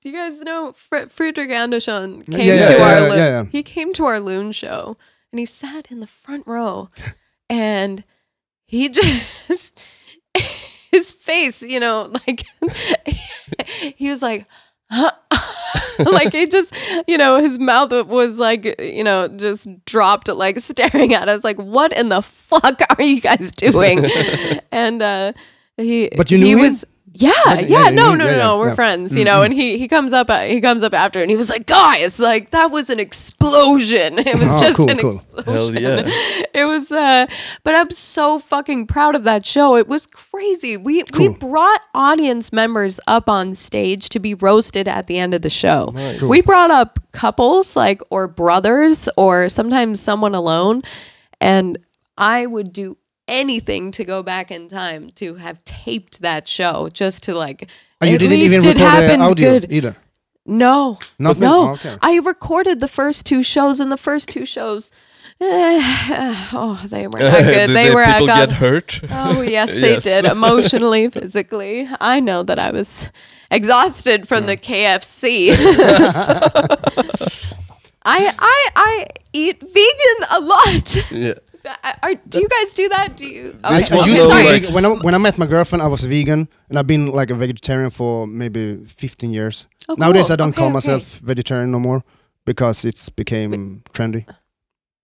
[SPEAKER 3] Do you guys know Fr- Friedrich Anderson came
[SPEAKER 2] yeah,
[SPEAKER 3] to
[SPEAKER 2] yeah,
[SPEAKER 3] our
[SPEAKER 2] yeah,
[SPEAKER 3] loon?
[SPEAKER 2] yeah, yeah.
[SPEAKER 3] He came to our loon show and he sat in the front
[SPEAKER 2] (laughs)
[SPEAKER 3] row and he just (laughs) his face, you know, like (laughs) he was like (laughs) huh? like it just, you know, his mouth was like, you know, just dropped, like staring at us, like, what in the fuck are you
[SPEAKER 2] (laughs)
[SPEAKER 3] guys doing? and uh, he,
[SPEAKER 2] But you
[SPEAKER 3] he
[SPEAKER 2] knew him?
[SPEAKER 3] was, yeah,
[SPEAKER 2] Yeah, (laughs)
[SPEAKER 3] yeah,
[SPEAKER 2] yeah,
[SPEAKER 3] no,
[SPEAKER 2] you-
[SPEAKER 3] no,
[SPEAKER 2] yeah,
[SPEAKER 3] no,
[SPEAKER 2] yeah,
[SPEAKER 3] no, we're
[SPEAKER 2] yeah. Mm-hmm.
[SPEAKER 3] friends, you know. And he he comes up uh, he comes up after, and he was like, "Guys, like that was an explosion. (laughs) It was
[SPEAKER 2] Oh,
[SPEAKER 3] just
[SPEAKER 2] cool,
[SPEAKER 3] an
[SPEAKER 2] cool.
[SPEAKER 3] (laughs)
[SPEAKER 1] Hell
[SPEAKER 3] explosion.
[SPEAKER 1] yeah.
[SPEAKER 3] It was." Uh, but I'm so fucking proud of that show. It was crazy. We we
[SPEAKER 2] Cool.
[SPEAKER 3] brought audience members up on stage to be roasted at the end of the show.
[SPEAKER 1] Nice.
[SPEAKER 3] We brought up couples like or brothers or sometimes someone alone, and I would do anything to go back in time to have taped that show just to like
[SPEAKER 2] And Oh, you
[SPEAKER 3] at
[SPEAKER 2] didn't
[SPEAKER 3] least
[SPEAKER 2] even
[SPEAKER 3] it
[SPEAKER 2] record
[SPEAKER 3] happened
[SPEAKER 2] the audio
[SPEAKER 3] good.
[SPEAKER 2] either.
[SPEAKER 3] No,
[SPEAKER 2] Nothing?
[SPEAKER 3] No,
[SPEAKER 2] Oh, okay.
[SPEAKER 3] I recorded the first two shows, and the first two shows, (sighs) eh, oh, they were not
[SPEAKER 1] Did
[SPEAKER 3] good. they
[SPEAKER 1] (laughs) the
[SPEAKER 3] were. uh, I
[SPEAKER 1] people
[SPEAKER 3] got
[SPEAKER 1] get
[SPEAKER 3] (laughs)
[SPEAKER 1] hurt? (laughs)
[SPEAKER 3] Oh yes, they
[SPEAKER 1] Yes.
[SPEAKER 3] did emotionally, physically. I know that I was exhausted from
[SPEAKER 1] (laughs)
[SPEAKER 3] the KFC. I I I eat vegan a lot. (laughs)
[SPEAKER 1] yeah. (laughs)
[SPEAKER 3] I- Are, do you guys do that? Do you? Okay,
[SPEAKER 1] This
[SPEAKER 2] I
[SPEAKER 1] was
[SPEAKER 3] okay,
[SPEAKER 2] used to be
[SPEAKER 1] no,
[SPEAKER 3] sorry.
[SPEAKER 1] like-
[SPEAKER 2] vegan- when I when I met my girlfriend, I was vegan, and I've been like a vegetarian for maybe 15 years.
[SPEAKER 3] Oh,
[SPEAKER 2] Nowadays,
[SPEAKER 3] cool.
[SPEAKER 2] I don't
[SPEAKER 3] Okay,
[SPEAKER 2] call
[SPEAKER 3] okay.
[SPEAKER 2] myself vegetarian no more because it's became trendy.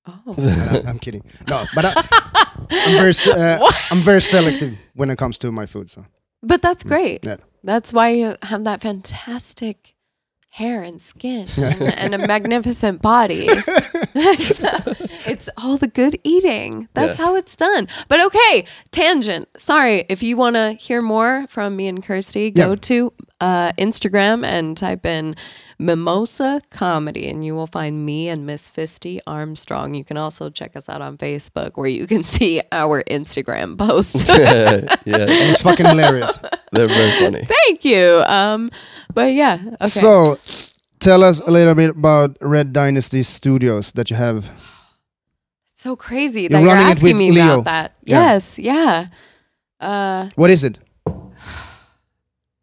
[SPEAKER 3] Oh.
[SPEAKER 2] I- (laughs) I'm kidding. No, but I, I'm very se-
[SPEAKER 3] (laughs)
[SPEAKER 2] uh, I'm very selective when it comes to my food. So
[SPEAKER 3] But that's great.
[SPEAKER 2] Mm. yeah.
[SPEAKER 3] That's why you have that fantastic hair and
[SPEAKER 2] (laughs)
[SPEAKER 3] skin and, and a magnificent body. (laughs) it's all the good eating. That's
[SPEAKER 1] Yeah.
[SPEAKER 3] how it's done. But okay, tangent. Sorry. If you want to hear more from me and Kirsty, go
[SPEAKER 2] Yeah.
[SPEAKER 3] to uh, Instagram and type in Mimosa Comedy and you will find me and Miss Fisty Armstrong. You can also check us out on Facebook where you can (laughs) see our Instagram posts.
[SPEAKER 1] yeah,
[SPEAKER 2] it's fucking hilarious.
[SPEAKER 1] they're very funny.
[SPEAKER 3] Thank you. Um, but yeah. (laughs) Okay.
[SPEAKER 2] So tell us a little bit about Red Dynasty Studios that you have.
[SPEAKER 3] so crazy
[SPEAKER 2] You're
[SPEAKER 3] that you're
[SPEAKER 2] running it
[SPEAKER 3] asking
[SPEAKER 2] with
[SPEAKER 3] me
[SPEAKER 2] Leo.
[SPEAKER 3] about that.
[SPEAKER 2] Yeah.
[SPEAKER 3] Yes. Yeah. Uh,
[SPEAKER 2] What is it?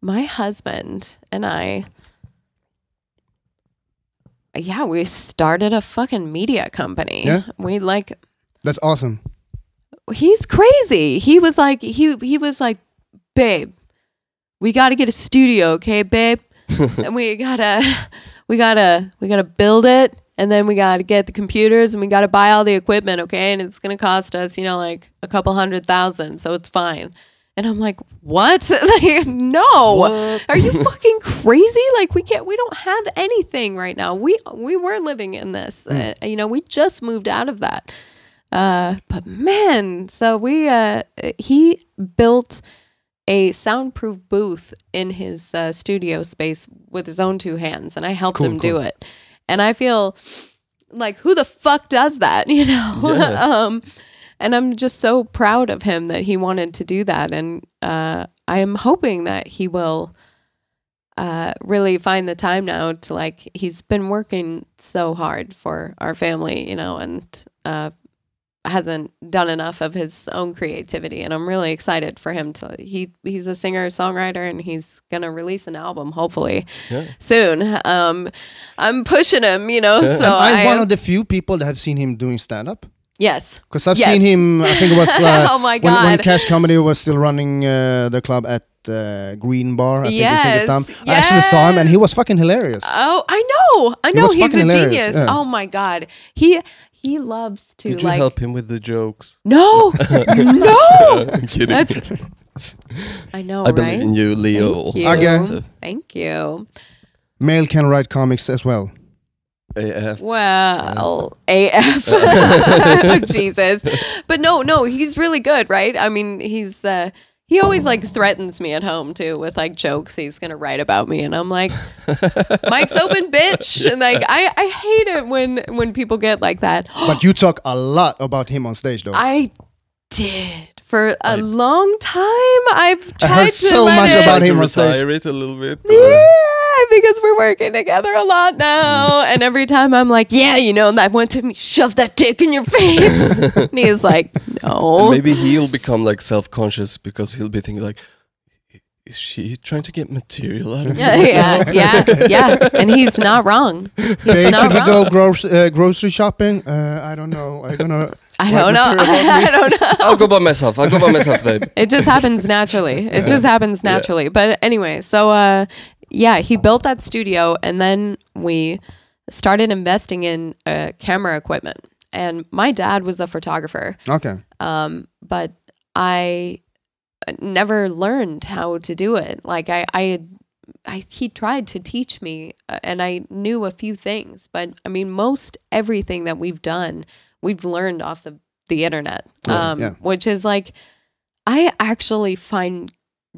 [SPEAKER 3] my husband and I. Yeah, we started a fucking media company.
[SPEAKER 2] Yeah.
[SPEAKER 3] We like
[SPEAKER 2] That's awesome.
[SPEAKER 3] he's crazy. He was like he he was like, babe, we got to get a studio, okay, babe, and we gotta we gotta we gotta build it, and then we gotta get the computers, and we gotta buy all the equipment, okay, and it's gonna cost us, you know, like a couple hundred thousand, so it's fine. And I'm like, what? (laughs) like, no, are you fucking crazy? Like, we can't, we don't have anything right now. We we were living in this, uh, you know, we just moved out of that. Uh, but man, so we uh, he built a soundproof booth in his uh, studio space with his own two hands, and I helped
[SPEAKER 2] Cool,
[SPEAKER 3] him do
[SPEAKER 2] cool.
[SPEAKER 3] it. And I feel like who the fuck does that, (laughs) you know?
[SPEAKER 1] Yeah.
[SPEAKER 3] um, and I'm just so proud of him that he wanted to do that, and uh, I am hoping that he will uh, really find the time now to like he's been working so hard for our family, you know, and uh, hasn't done enough of his own creativity and I'm really excited for him to he he's a singer songwriter and he's going to release an album hopefully
[SPEAKER 1] Yeah.
[SPEAKER 3] soon um I'm pushing him you know so
[SPEAKER 2] I'm
[SPEAKER 3] Oh, I
[SPEAKER 2] one of the few people that have seen him doing stand up.
[SPEAKER 3] yes
[SPEAKER 2] Because I've
[SPEAKER 3] Yes.
[SPEAKER 2] seen him, I think it was
[SPEAKER 3] (laughs)
[SPEAKER 2] uh,
[SPEAKER 3] Oh my
[SPEAKER 2] when, when
[SPEAKER 3] God.
[SPEAKER 2] Cash Comedy was still running uh, the club at uh, Green Bar, I think
[SPEAKER 3] Yes,
[SPEAKER 2] it's in this time. I actually saw him and he
[SPEAKER 3] yes.
[SPEAKER 2] was fucking hilarious.
[SPEAKER 3] oh I know I know
[SPEAKER 2] was
[SPEAKER 3] he's a
[SPEAKER 2] fucking hilarious,
[SPEAKER 3] genius
[SPEAKER 2] yeah.
[SPEAKER 3] oh my god he he loves to
[SPEAKER 1] Did you
[SPEAKER 3] like
[SPEAKER 1] help him with the (laughs) jokes?
[SPEAKER 3] no no
[SPEAKER 1] I'm kidding.
[SPEAKER 3] that's I know
[SPEAKER 1] (laughs) I
[SPEAKER 3] right
[SPEAKER 1] believe in you, Leo. also.
[SPEAKER 3] Thank you.
[SPEAKER 2] Okay.
[SPEAKER 1] So,
[SPEAKER 3] thank you
[SPEAKER 2] Male can write comics as
[SPEAKER 3] (gasps)
[SPEAKER 2] well.
[SPEAKER 1] AF.
[SPEAKER 3] Well,
[SPEAKER 2] (laughs)
[SPEAKER 3] AF. Jesus. But no, no, he's really good, right? I mean, he's uh he always like threatens me at home too with like jokes he's gonna write about me, and I'm like, "Mike's
[SPEAKER 2] (laughs)
[SPEAKER 3] open, bitch!" And like, I, I hate it when when people get like that. (gasps)
[SPEAKER 2] But you talk a lot about him on stage, though.
[SPEAKER 3] I did for a long time. I've tried
[SPEAKER 2] heard
[SPEAKER 3] to
[SPEAKER 2] so
[SPEAKER 3] let
[SPEAKER 2] much
[SPEAKER 3] it-
[SPEAKER 2] about
[SPEAKER 1] Try to
[SPEAKER 2] him on stage.
[SPEAKER 1] retire it a little bit.
[SPEAKER 3] yeah, because we're working together a lot now. And every time I'm like, yeah, you know, and I want to shove that dick in your face. and he's like, No.
[SPEAKER 1] Maybe he'll become like self-conscious because he'll be thinking like, is she trying to get material out of me?
[SPEAKER 3] Yeah, yeah, yeah, yeah. And he's not wrong.
[SPEAKER 2] Babe,
[SPEAKER 3] not
[SPEAKER 2] should we
[SPEAKER 3] wrong.
[SPEAKER 2] go groc- uh, grocery shopping? Uh, I don't know. I'm gonna.
[SPEAKER 3] (laughs) I
[SPEAKER 2] What
[SPEAKER 3] don't know. (laughs)
[SPEAKER 2] material
[SPEAKER 3] I don't know.
[SPEAKER 1] I'll go by myself. I'll go by myself,
[SPEAKER 3] (laughs)
[SPEAKER 1] babe.
[SPEAKER 3] It just happens naturally. It just happens naturally. But anyway, so uh, yeah, he built that studio, and then we started investing in uh, camera equipment. And my dad was a photographer,
[SPEAKER 2] Okay.
[SPEAKER 3] um, but I uh, never learned how to do it. Like I, I, had- I he tried to teach me, uh, and I knew a few things, but I mean, most everything that we've done, we've learned off the the internet,
[SPEAKER 2] Yeah,
[SPEAKER 3] um,
[SPEAKER 2] yeah.
[SPEAKER 3] which is like, I actually find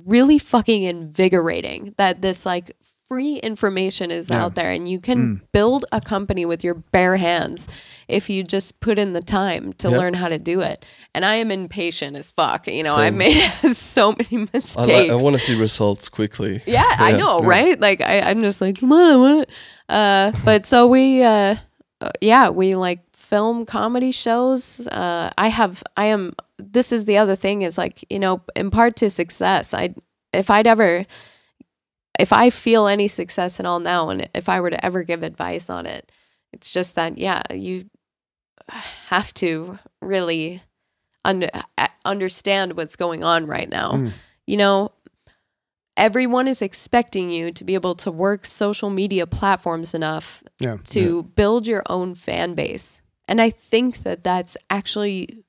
[SPEAKER 3] really fucking invigorating that this like free information is
[SPEAKER 2] Yeah.
[SPEAKER 3] out there and you
[SPEAKER 1] Mm.
[SPEAKER 3] can build a company with your bare hands if you just put in the time to
[SPEAKER 1] Yeah.
[SPEAKER 3] learn how to do it and i am impatient as fuck you know i
[SPEAKER 1] Same.
[SPEAKER 3] made (laughs) so many mistakes
[SPEAKER 1] I, like, I want to see results quickly.
[SPEAKER 3] yeah, I
[SPEAKER 1] Yeah,
[SPEAKER 3] know, right? Like I, I'm just like, come on, I want it. Uh, but so we, uh, uh, yeah, we like film comedy shows. Uh, I have, I am. This is the other thing is like, you know, in part to success. I, if I'd ever, if I feel any success at all now, and if I were to ever give advice on it, it's just that, yeah, you (sighs) have to really under, uh, understand what's going on right now.
[SPEAKER 2] Mm.
[SPEAKER 3] You know, everyone is expecting you to be able to work social media platforms enough
[SPEAKER 2] Yeah.
[SPEAKER 3] to build your own fan base. And I think that that's actually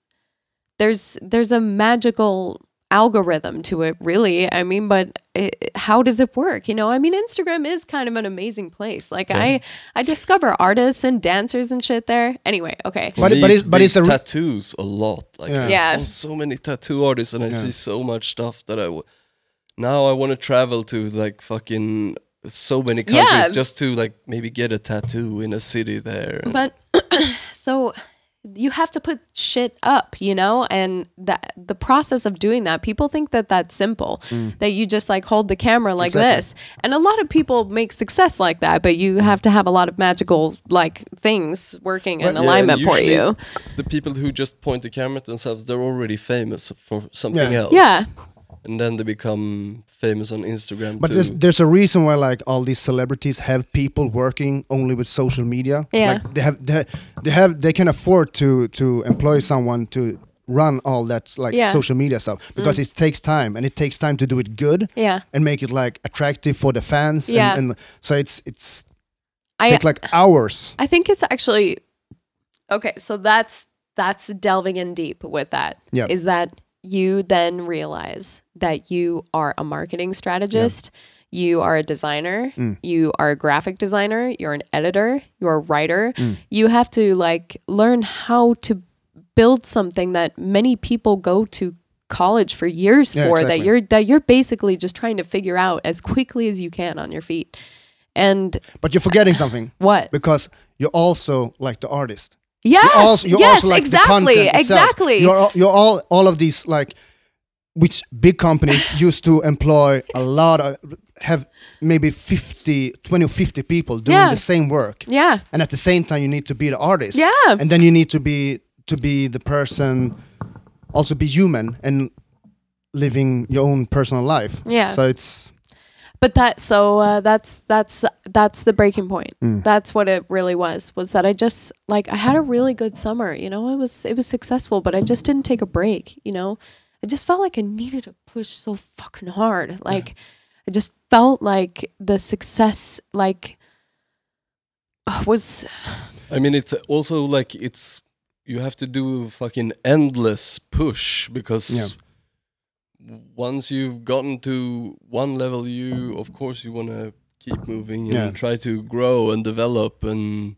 [SPEAKER 3] there's there's a magical algorithm to it really. I mean, but it, how does it work? You know, I mean Instagram is kind of an amazing place. Like I I discover artists and dancers and shit there. Anyway, okay.
[SPEAKER 1] For
[SPEAKER 2] But-
[SPEAKER 1] me,
[SPEAKER 2] but it's- but
[SPEAKER 1] big
[SPEAKER 2] it's a re-
[SPEAKER 1] tattoos a lot. Like
[SPEAKER 2] Yeah.
[SPEAKER 1] I
[SPEAKER 3] Yeah.
[SPEAKER 1] follow so many tattoo artists, and I
[SPEAKER 2] Yeah.
[SPEAKER 1] see so much stuff that I. W- now I want to travel to like fucking so many countries
[SPEAKER 3] Yeah.
[SPEAKER 1] just to like maybe get a tattoo in a city there. and-
[SPEAKER 3] But (clears throat) so you have to put shit up, you know, and that the process of doing that, people think that that's simple, that you just like hold the camera like
[SPEAKER 2] Exactly.
[SPEAKER 3] this. And a lot of people make success like that, but you have to have a lot of magical like things working in
[SPEAKER 1] Yeah, and
[SPEAKER 3] alignment for
[SPEAKER 1] usually
[SPEAKER 3] you.
[SPEAKER 1] The people who just point the camera at themselves, they're already famous for something
[SPEAKER 2] Yeah.
[SPEAKER 1] else.
[SPEAKER 3] Yeah.
[SPEAKER 1] And then they become famous on Instagram
[SPEAKER 2] But
[SPEAKER 1] too.
[SPEAKER 2] there's, there's a reason why like all these celebrities have people working only with social media.
[SPEAKER 3] Yeah.
[SPEAKER 2] Like they have they, they have they can afford to to employ someone to run all that like
[SPEAKER 3] Yeah. Mm.
[SPEAKER 2] social media stuff because it takes time and it takes time to do it good
[SPEAKER 3] Yeah.
[SPEAKER 2] and make it like attractive for the fans and-
[SPEAKER 3] Yeah.
[SPEAKER 2] and, so it's it's
[SPEAKER 3] I
[SPEAKER 2] takes like hours.
[SPEAKER 3] I think it's actually okay. So that's that's delving in deep with that. Is
[SPEAKER 2] Yeah.
[SPEAKER 3] that you then realize that you are a marketing strategist, you are a designer,
[SPEAKER 2] Mm.
[SPEAKER 3] you are a graphic designer, you're an editor, you're a writer.
[SPEAKER 2] Mm.
[SPEAKER 3] You have to like learn how to build something that many people go to college for years
[SPEAKER 2] Yeah,
[SPEAKER 3] for that
[SPEAKER 2] exactly.
[SPEAKER 3] you're that you're basically just trying to figure out as quickly as you can on your feet. And
[SPEAKER 2] But you're forgetting something
[SPEAKER 3] what?
[SPEAKER 2] because you're also like the artist.
[SPEAKER 3] Yes.
[SPEAKER 2] You're also, you're
[SPEAKER 3] yes.
[SPEAKER 2] also, like, the
[SPEAKER 3] exactly.
[SPEAKER 2] content itself.
[SPEAKER 3] exactly.
[SPEAKER 2] You're all, you're all all of these like which big
[SPEAKER 3] (laughs)
[SPEAKER 2] companies used to employ a lot of have maybe 50 20 or 50 people doing
[SPEAKER 3] Yeah.
[SPEAKER 2] the same work
[SPEAKER 3] yeah.
[SPEAKER 2] and at the same time you need to be the artist
[SPEAKER 3] Yeah.
[SPEAKER 2] and then you need to be to be the person also be human and living your own personal life
[SPEAKER 3] Yeah.
[SPEAKER 2] so it's
[SPEAKER 3] But that so uh, that's that's that's the breaking point.
[SPEAKER 2] Mm.
[SPEAKER 3] That's what it really was. Was that I just like I had a really good summer. You know, it was it was successful, but I just didn't take a break. You know, I just felt like I needed to push so fucking hard. Like I just felt like the success like was
[SPEAKER 1] I mean, it's also like it's you have to do a fucking endless push because once you've gotten to one level, you of course you want to keep moving and
[SPEAKER 2] Yeah.
[SPEAKER 1] try to grow and develop and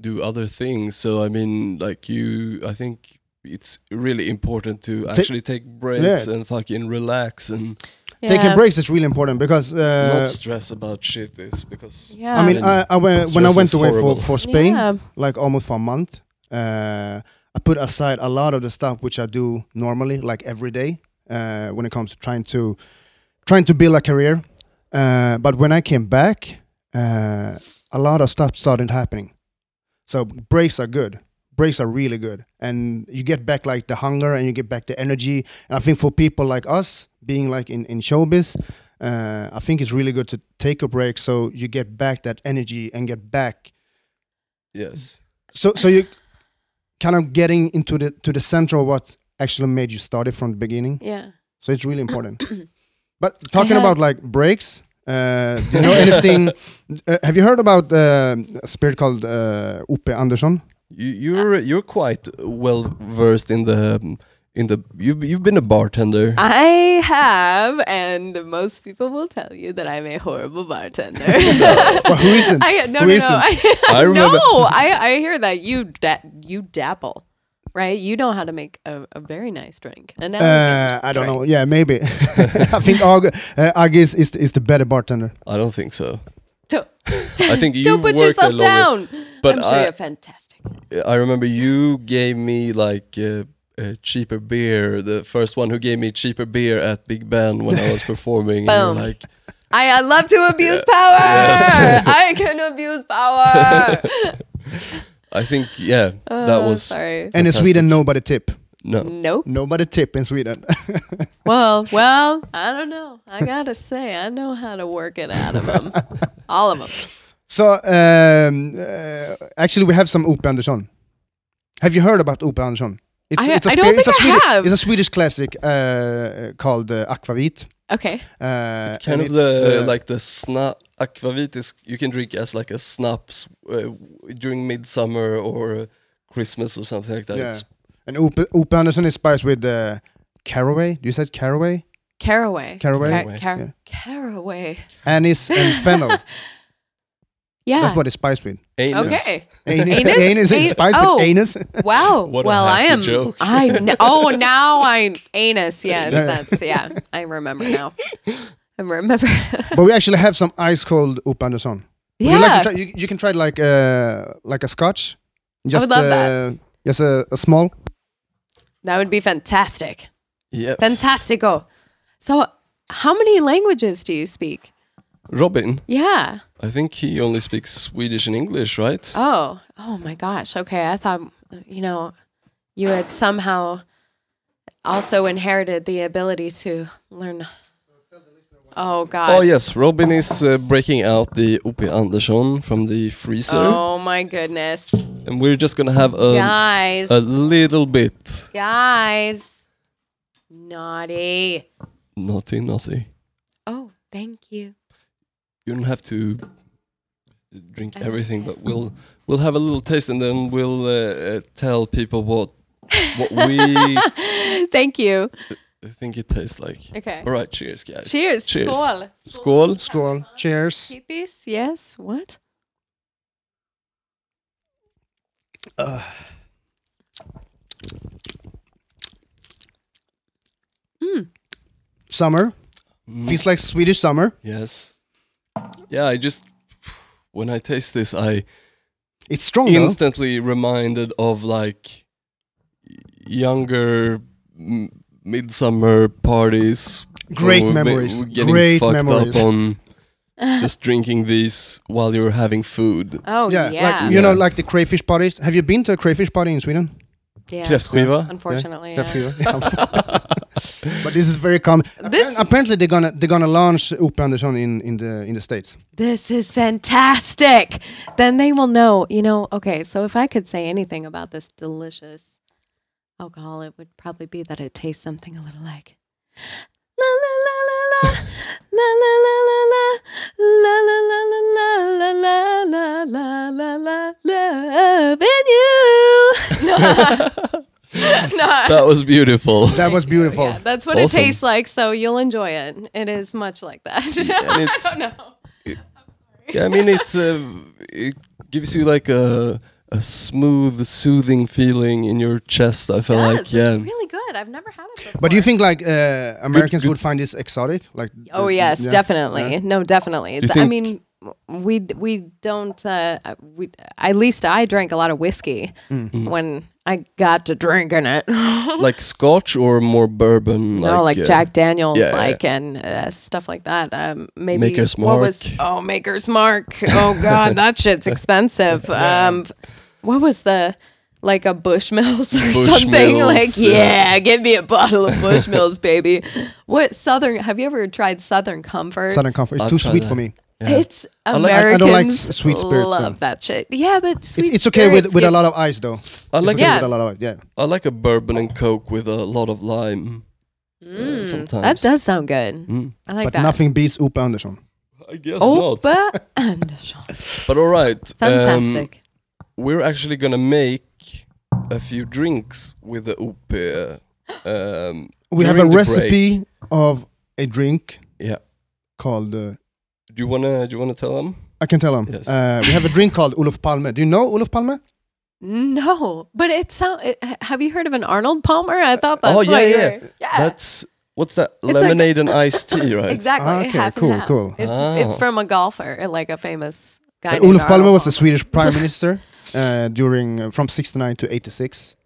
[SPEAKER 1] do other things. So I mean, like you, I think it's really important to actually take breaks
[SPEAKER 2] Yeah.
[SPEAKER 1] and fucking relax and
[SPEAKER 2] taking
[SPEAKER 3] Yeah.
[SPEAKER 2] breaks is really important because uh,
[SPEAKER 1] not stress about shit. Is because
[SPEAKER 3] Yeah.
[SPEAKER 2] I mean,
[SPEAKER 1] And
[SPEAKER 2] I, I went, when I
[SPEAKER 1] stress
[SPEAKER 2] went
[SPEAKER 1] is
[SPEAKER 2] away for,
[SPEAKER 1] horrible.
[SPEAKER 2] for Spain,
[SPEAKER 3] Yeah.
[SPEAKER 2] like almost for a month, uh, I put aside a lot of the stuff which I do normally, like every day, uh, when it comes to trying to trying to build a career. Uh, but when I came back, uh, a lot of stuff started happening. So breaks are good. breaks are really good, and you get back like the hunger and you get back the energy. And I think for people like us, being like in in showbiz, uh, I think it's really good to take a break so you get back that energy and get back.
[SPEAKER 1] Yes.
[SPEAKER 2] So so you kind of getting into the to the center of what actually made you start it from the beginning.
[SPEAKER 3] Yeah.
[SPEAKER 2] So it's really important. but talking
[SPEAKER 3] had-
[SPEAKER 2] about like breaks, uh, do you know anything? uh, have you heard about uh, a spirit called uh, Uppe Andersson?
[SPEAKER 1] You, you're you're quite well versed in the um, in the you've you've been a bartender.
[SPEAKER 3] I have, and most people will tell you that I'm a horrible bartender.
[SPEAKER 2] Well, who isn't?
[SPEAKER 3] I, no,
[SPEAKER 2] Who
[SPEAKER 3] no, no, (laughs)
[SPEAKER 2] isn't?
[SPEAKER 1] I
[SPEAKER 3] I,
[SPEAKER 1] remember-
[SPEAKER 3] no, I, I hear that you da- you dabble, right? You know how to make a, a very nice drink. An
[SPEAKER 2] Uh,
[SPEAKER 3] elegant
[SPEAKER 2] I don't know.
[SPEAKER 3] drink.
[SPEAKER 2] Yeah, maybe. (laughs) I think Aug uh, Aug is, is is the better bartender.
[SPEAKER 1] I don't think
[SPEAKER 3] (laughs)
[SPEAKER 1] so.
[SPEAKER 3] Don't,
[SPEAKER 1] I think you
[SPEAKER 3] don't put
[SPEAKER 1] worked a
[SPEAKER 3] yourself
[SPEAKER 1] longer-
[SPEAKER 3] down.
[SPEAKER 1] But
[SPEAKER 3] I'm sure
[SPEAKER 1] I-
[SPEAKER 3] you're fantastic.
[SPEAKER 1] I remember you gave me like uh, uh, cheaper beer. The first one who gave me cheaper beer at Big Ben when
[SPEAKER 3] (laughs)
[SPEAKER 1] I was performing. and
[SPEAKER 3] Boom.
[SPEAKER 1] you're like,
[SPEAKER 3] I, I love to abuse power. I can abuse power.
[SPEAKER 1] I think yeah, that
[SPEAKER 3] Oh,
[SPEAKER 1] was
[SPEAKER 3] sorry.
[SPEAKER 2] And in
[SPEAKER 1] Fantastic.
[SPEAKER 2] Sweden, nobody tip.
[SPEAKER 1] no.
[SPEAKER 3] Nope.
[SPEAKER 2] Nobody tip in Sweden.
[SPEAKER 3] (laughs) Well, well, I don't know. I gotta say, I know how to work it out of (laughs) them, all of them.
[SPEAKER 2] so um, uh, actually, we have some Uppe Andersson. Have you heard about Uppe Andersson? It's,
[SPEAKER 3] I-
[SPEAKER 2] it's a
[SPEAKER 3] I don't
[SPEAKER 2] spirit- it's a
[SPEAKER 3] think I
[SPEAKER 2] Swedish,
[SPEAKER 3] have.
[SPEAKER 2] It's a Swedish classic uh, called uh, Aquavit.
[SPEAKER 3] Okay.
[SPEAKER 2] Uh,
[SPEAKER 1] It's kind
[SPEAKER 2] and
[SPEAKER 1] of the
[SPEAKER 2] uh,
[SPEAKER 1] like the snap aquavit is you can drink as like a snaps uh, during midsummer or uh, Christmas or something like that.
[SPEAKER 2] yeah.
[SPEAKER 1] It's-
[SPEAKER 2] And Uppe, Uppe Andersson is spiced with uh, caraway. Do you say caraway?
[SPEAKER 3] Caraway.
[SPEAKER 2] Caraway?
[SPEAKER 3] Ca- car-
[SPEAKER 2] Yeah.
[SPEAKER 3] Caraway.
[SPEAKER 2] Anise and fennel.
[SPEAKER 3] Yeah.
[SPEAKER 2] That's what it's spiced
[SPEAKER 3] (laughs)
[SPEAKER 2] with.
[SPEAKER 1] anus.
[SPEAKER 3] Okay.
[SPEAKER 2] Anus,
[SPEAKER 3] Anus?
[SPEAKER 2] anus is
[SPEAKER 3] An-
[SPEAKER 2] spiced
[SPEAKER 3] oh.
[SPEAKER 2] with anus.
[SPEAKER 3] Wow.
[SPEAKER 1] What a
[SPEAKER 3] well, I
[SPEAKER 1] hacky
[SPEAKER 3] am.
[SPEAKER 1] joke.
[SPEAKER 3] I kn- oh now I anus. Yes, that's yeah. I remember now. I remember.
[SPEAKER 2] (laughs)
[SPEAKER 3] (laughs)
[SPEAKER 2] but we actually have some ice cold Up Anderson. Would
[SPEAKER 3] yeah.
[SPEAKER 2] You, like to try, you, you can try it like uh, like a scotch. Just,
[SPEAKER 3] love
[SPEAKER 2] uh,
[SPEAKER 3] that.
[SPEAKER 2] Just a, a small.
[SPEAKER 3] that would be fantastic.
[SPEAKER 1] Yes.
[SPEAKER 3] Fantastico. So, how many languages do you speak?
[SPEAKER 1] Robin,
[SPEAKER 3] Yeah.
[SPEAKER 1] I think he only speaks Swedish and English, right?
[SPEAKER 3] Oh, oh my gosh. Okay. I thought, you know, you had somehow also inherited the ability to learn. Oh, God.
[SPEAKER 1] Oh yes, Robin is uh, breaking out the Upi Andersson from the freezer,
[SPEAKER 3] Oh, my goodness.
[SPEAKER 1] and we're just gonna have a,
[SPEAKER 3] guys.
[SPEAKER 1] a little bit
[SPEAKER 3] guys. Naughty.
[SPEAKER 1] naughty, naughty.
[SPEAKER 3] Oh, thank you.
[SPEAKER 1] You don't have to drink everything, but we'll we'll have a little taste, and then we'll uh, uh, tell people what what
[SPEAKER 3] (laughs)
[SPEAKER 1] we
[SPEAKER 3] Thank you.
[SPEAKER 1] think it tastes like.
[SPEAKER 3] Okay.
[SPEAKER 1] All right, cheers, guys.
[SPEAKER 3] Cheers.
[SPEAKER 1] Cheers.
[SPEAKER 3] Skål.
[SPEAKER 1] Skål.
[SPEAKER 2] Skål. Cheers.
[SPEAKER 3] Hippies. Yes. What?
[SPEAKER 2] Summer.
[SPEAKER 1] Mm-hmm.
[SPEAKER 2] Feels like Swedish summer.
[SPEAKER 1] Yes. Yeah, I just when I taste this, I
[SPEAKER 2] It's strong. though.
[SPEAKER 1] instantly reminded of like younger m- midsummer parties.
[SPEAKER 2] Great
[SPEAKER 1] We're-
[SPEAKER 2] memories.
[SPEAKER 1] We're getting
[SPEAKER 2] Great
[SPEAKER 1] fucked
[SPEAKER 2] memories.
[SPEAKER 1] up on
[SPEAKER 3] (laughs)
[SPEAKER 1] just drinking these while you're having food.
[SPEAKER 3] Oh,
[SPEAKER 2] Yeah,
[SPEAKER 3] yeah. Yeah.
[SPEAKER 2] like you know,
[SPEAKER 1] Yeah.
[SPEAKER 2] like the crayfish parties. Have you been to a crayfish party in Sweden?
[SPEAKER 1] Kräftskiva.
[SPEAKER 3] Unfortunately.
[SPEAKER 2] Yeah,
[SPEAKER 3] yeah.
[SPEAKER 2] definitely. (laughs) but this is very common.
[SPEAKER 3] (laughs) This-
[SPEAKER 2] apparently they're gonna they're gonna launch Uppe Andersson in in the in the
[SPEAKER 3] (laughs)
[SPEAKER 2] states.
[SPEAKER 3] this is fantastic. Then they will know, you know, okay, so if I could say anything about this delicious alcohol, it would probably be that it tastes something a little like. La la la la la. La la la la la. La la la la la la la la la la la. Love in you. No. no.
[SPEAKER 1] That was
[SPEAKER 3] (laughs)
[SPEAKER 1] beautiful.
[SPEAKER 2] That was beautiful.
[SPEAKER 3] Yeah, that's what
[SPEAKER 1] Awesome.
[SPEAKER 3] it tastes like, so you'll enjoy it. It is much like that.
[SPEAKER 1] and
[SPEAKER 3] I
[SPEAKER 1] it's-
[SPEAKER 3] don't know.
[SPEAKER 1] Yeah, I mean it's uh, it gives you like a a smooth, soothing feeling in your chest. I feel
[SPEAKER 3] does.
[SPEAKER 1] like yeah,
[SPEAKER 3] It's really good. I've never had it before.
[SPEAKER 2] But do you think like uh, Americans
[SPEAKER 1] good-
[SPEAKER 2] would find this exotic? Like
[SPEAKER 3] Oh
[SPEAKER 2] uh,
[SPEAKER 3] yes,
[SPEAKER 2] yeah,
[SPEAKER 3] definitely.
[SPEAKER 2] yeah.
[SPEAKER 3] No, definitely.
[SPEAKER 1] You
[SPEAKER 3] Th- I
[SPEAKER 1] think-
[SPEAKER 3] mean, we d- we don't. Uh, we at least I drank a lot of whiskey
[SPEAKER 2] Mm.
[SPEAKER 3] when I got to drinking it. (laughs) no,
[SPEAKER 1] like Scotch or more bourbon.
[SPEAKER 3] like
[SPEAKER 1] uh,
[SPEAKER 3] Jack Daniels,
[SPEAKER 1] yeah, yeah.
[SPEAKER 3] like and uh, stuff like that. Um, maybe
[SPEAKER 1] Maker's
[SPEAKER 3] what was oh Maker's Mark? Oh God, that shit's expensive. Um, what was the like a Bushmills or
[SPEAKER 1] Bushmills,
[SPEAKER 3] something. (laughs) Like,
[SPEAKER 1] yeah.
[SPEAKER 3] yeah, give me a bottle of Bushmills, baby. What Southern? Have you ever tried Southern Comfort?
[SPEAKER 2] Southern comfort. It's
[SPEAKER 1] I'll
[SPEAKER 2] too
[SPEAKER 1] try
[SPEAKER 2] sweet
[SPEAKER 1] that.
[SPEAKER 2] for me.
[SPEAKER 1] Yeah.
[SPEAKER 3] It's
[SPEAKER 1] like-
[SPEAKER 3] Americans
[SPEAKER 1] I-
[SPEAKER 2] I don't like s- sweet spirits,
[SPEAKER 3] Love
[SPEAKER 2] so.
[SPEAKER 3] that shit. Yeah, but sweet
[SPEAKER 2] It's, it's okay with,
[SPEAKER 3] spirits
[SPEAKER 2] with a
[SPEAKER 3] give-
[SPEAKER 2] lot of ice though.
[SPEAKER 1] I like
[SPEAKER 2] it's okay
[SPEAKER 3] Yeah.
[SPEAKER 2] with a lot of ice. Yeah.
[SPEAKER 1] I like a bourbon and coke with a lot of lime. uh,
[SPEAKER 3] Mm,
[SPEAKER 1] sometimes
[SPEAKER 3] That does sound good.
[SPEAKER 1] Mm.
[SPEAKER 3] I like
[SPEAKER 2] but
[SPEAKER 3] that.
[SPEAKER 2] nothing beats Upa Anderson.
[SPEAKER 1] I guess
[SPEAKER 3] Oh,
[SPEAKER 1] not.
[SPEAKER 3] Opa Andersson.
[SPEAKER 1] But all right. um,
[SPEAKER 3] Fantastic.
[SPEAKER 1] we're actually gonna make a few drinks with the UP.
[SPEAKER 3] (gasps)
[SPEAKER 1] Um,
[SPEAKER 2] We have a
[SPEAKER 1] during the
[SPEAKER 2] recipe
[SPEAKER 1] break.
[SPEAKER 2] of a drink
[SPEAKER 1] Yeah.
[SPEAKER 2] called. Uh,
[SPEAKER 1] Do you wanna do you wanna tell them?
[SPEAKER 2] I can tell them.
[SPEAKER 1] Yes.
[SPEAKER 2] Uh, we have a drink called Olof Palme. Do you know Olof Palme?
[SPEAKER 3] no, but it sound. It, ha- have you heard of an Arnold Palmer? I thought that's
[SPEAKER 1] Oh, yeah,
[SPEAKER 3] what you
[SPEAKER 1] yeah.
[SPEAKER 3] were- yeah.
[SPEAKER 1] That's what's that?
[SPEAKER 3] like-
[SPEAKER 1] Lemonade and iced
[SPEAKER 3] (laughs)
[SPEAKER 1] tea, right?
[SPEAKER 3] exactly.
[SPEAKER 2] Ah, okay,
[SPEAKER 3] half and
[SPEAKER 2] cool,
[SPEAKER 3] half.
[SPEAKER 2] cool.
[SPEAKER 3] It's,
[SPEAKER 1] Oh.
[SPEAKER 3] it's from a golfer, like a famous guy.
[SPEAKER 2] Uh,
[SPEAKER 3] named
[SPEAKER 2] Olof Palme
[SPEAKER 3] Arnold
[SPEAKER 2] was the Swedish prime minister uh, during uh, from 69 to 86.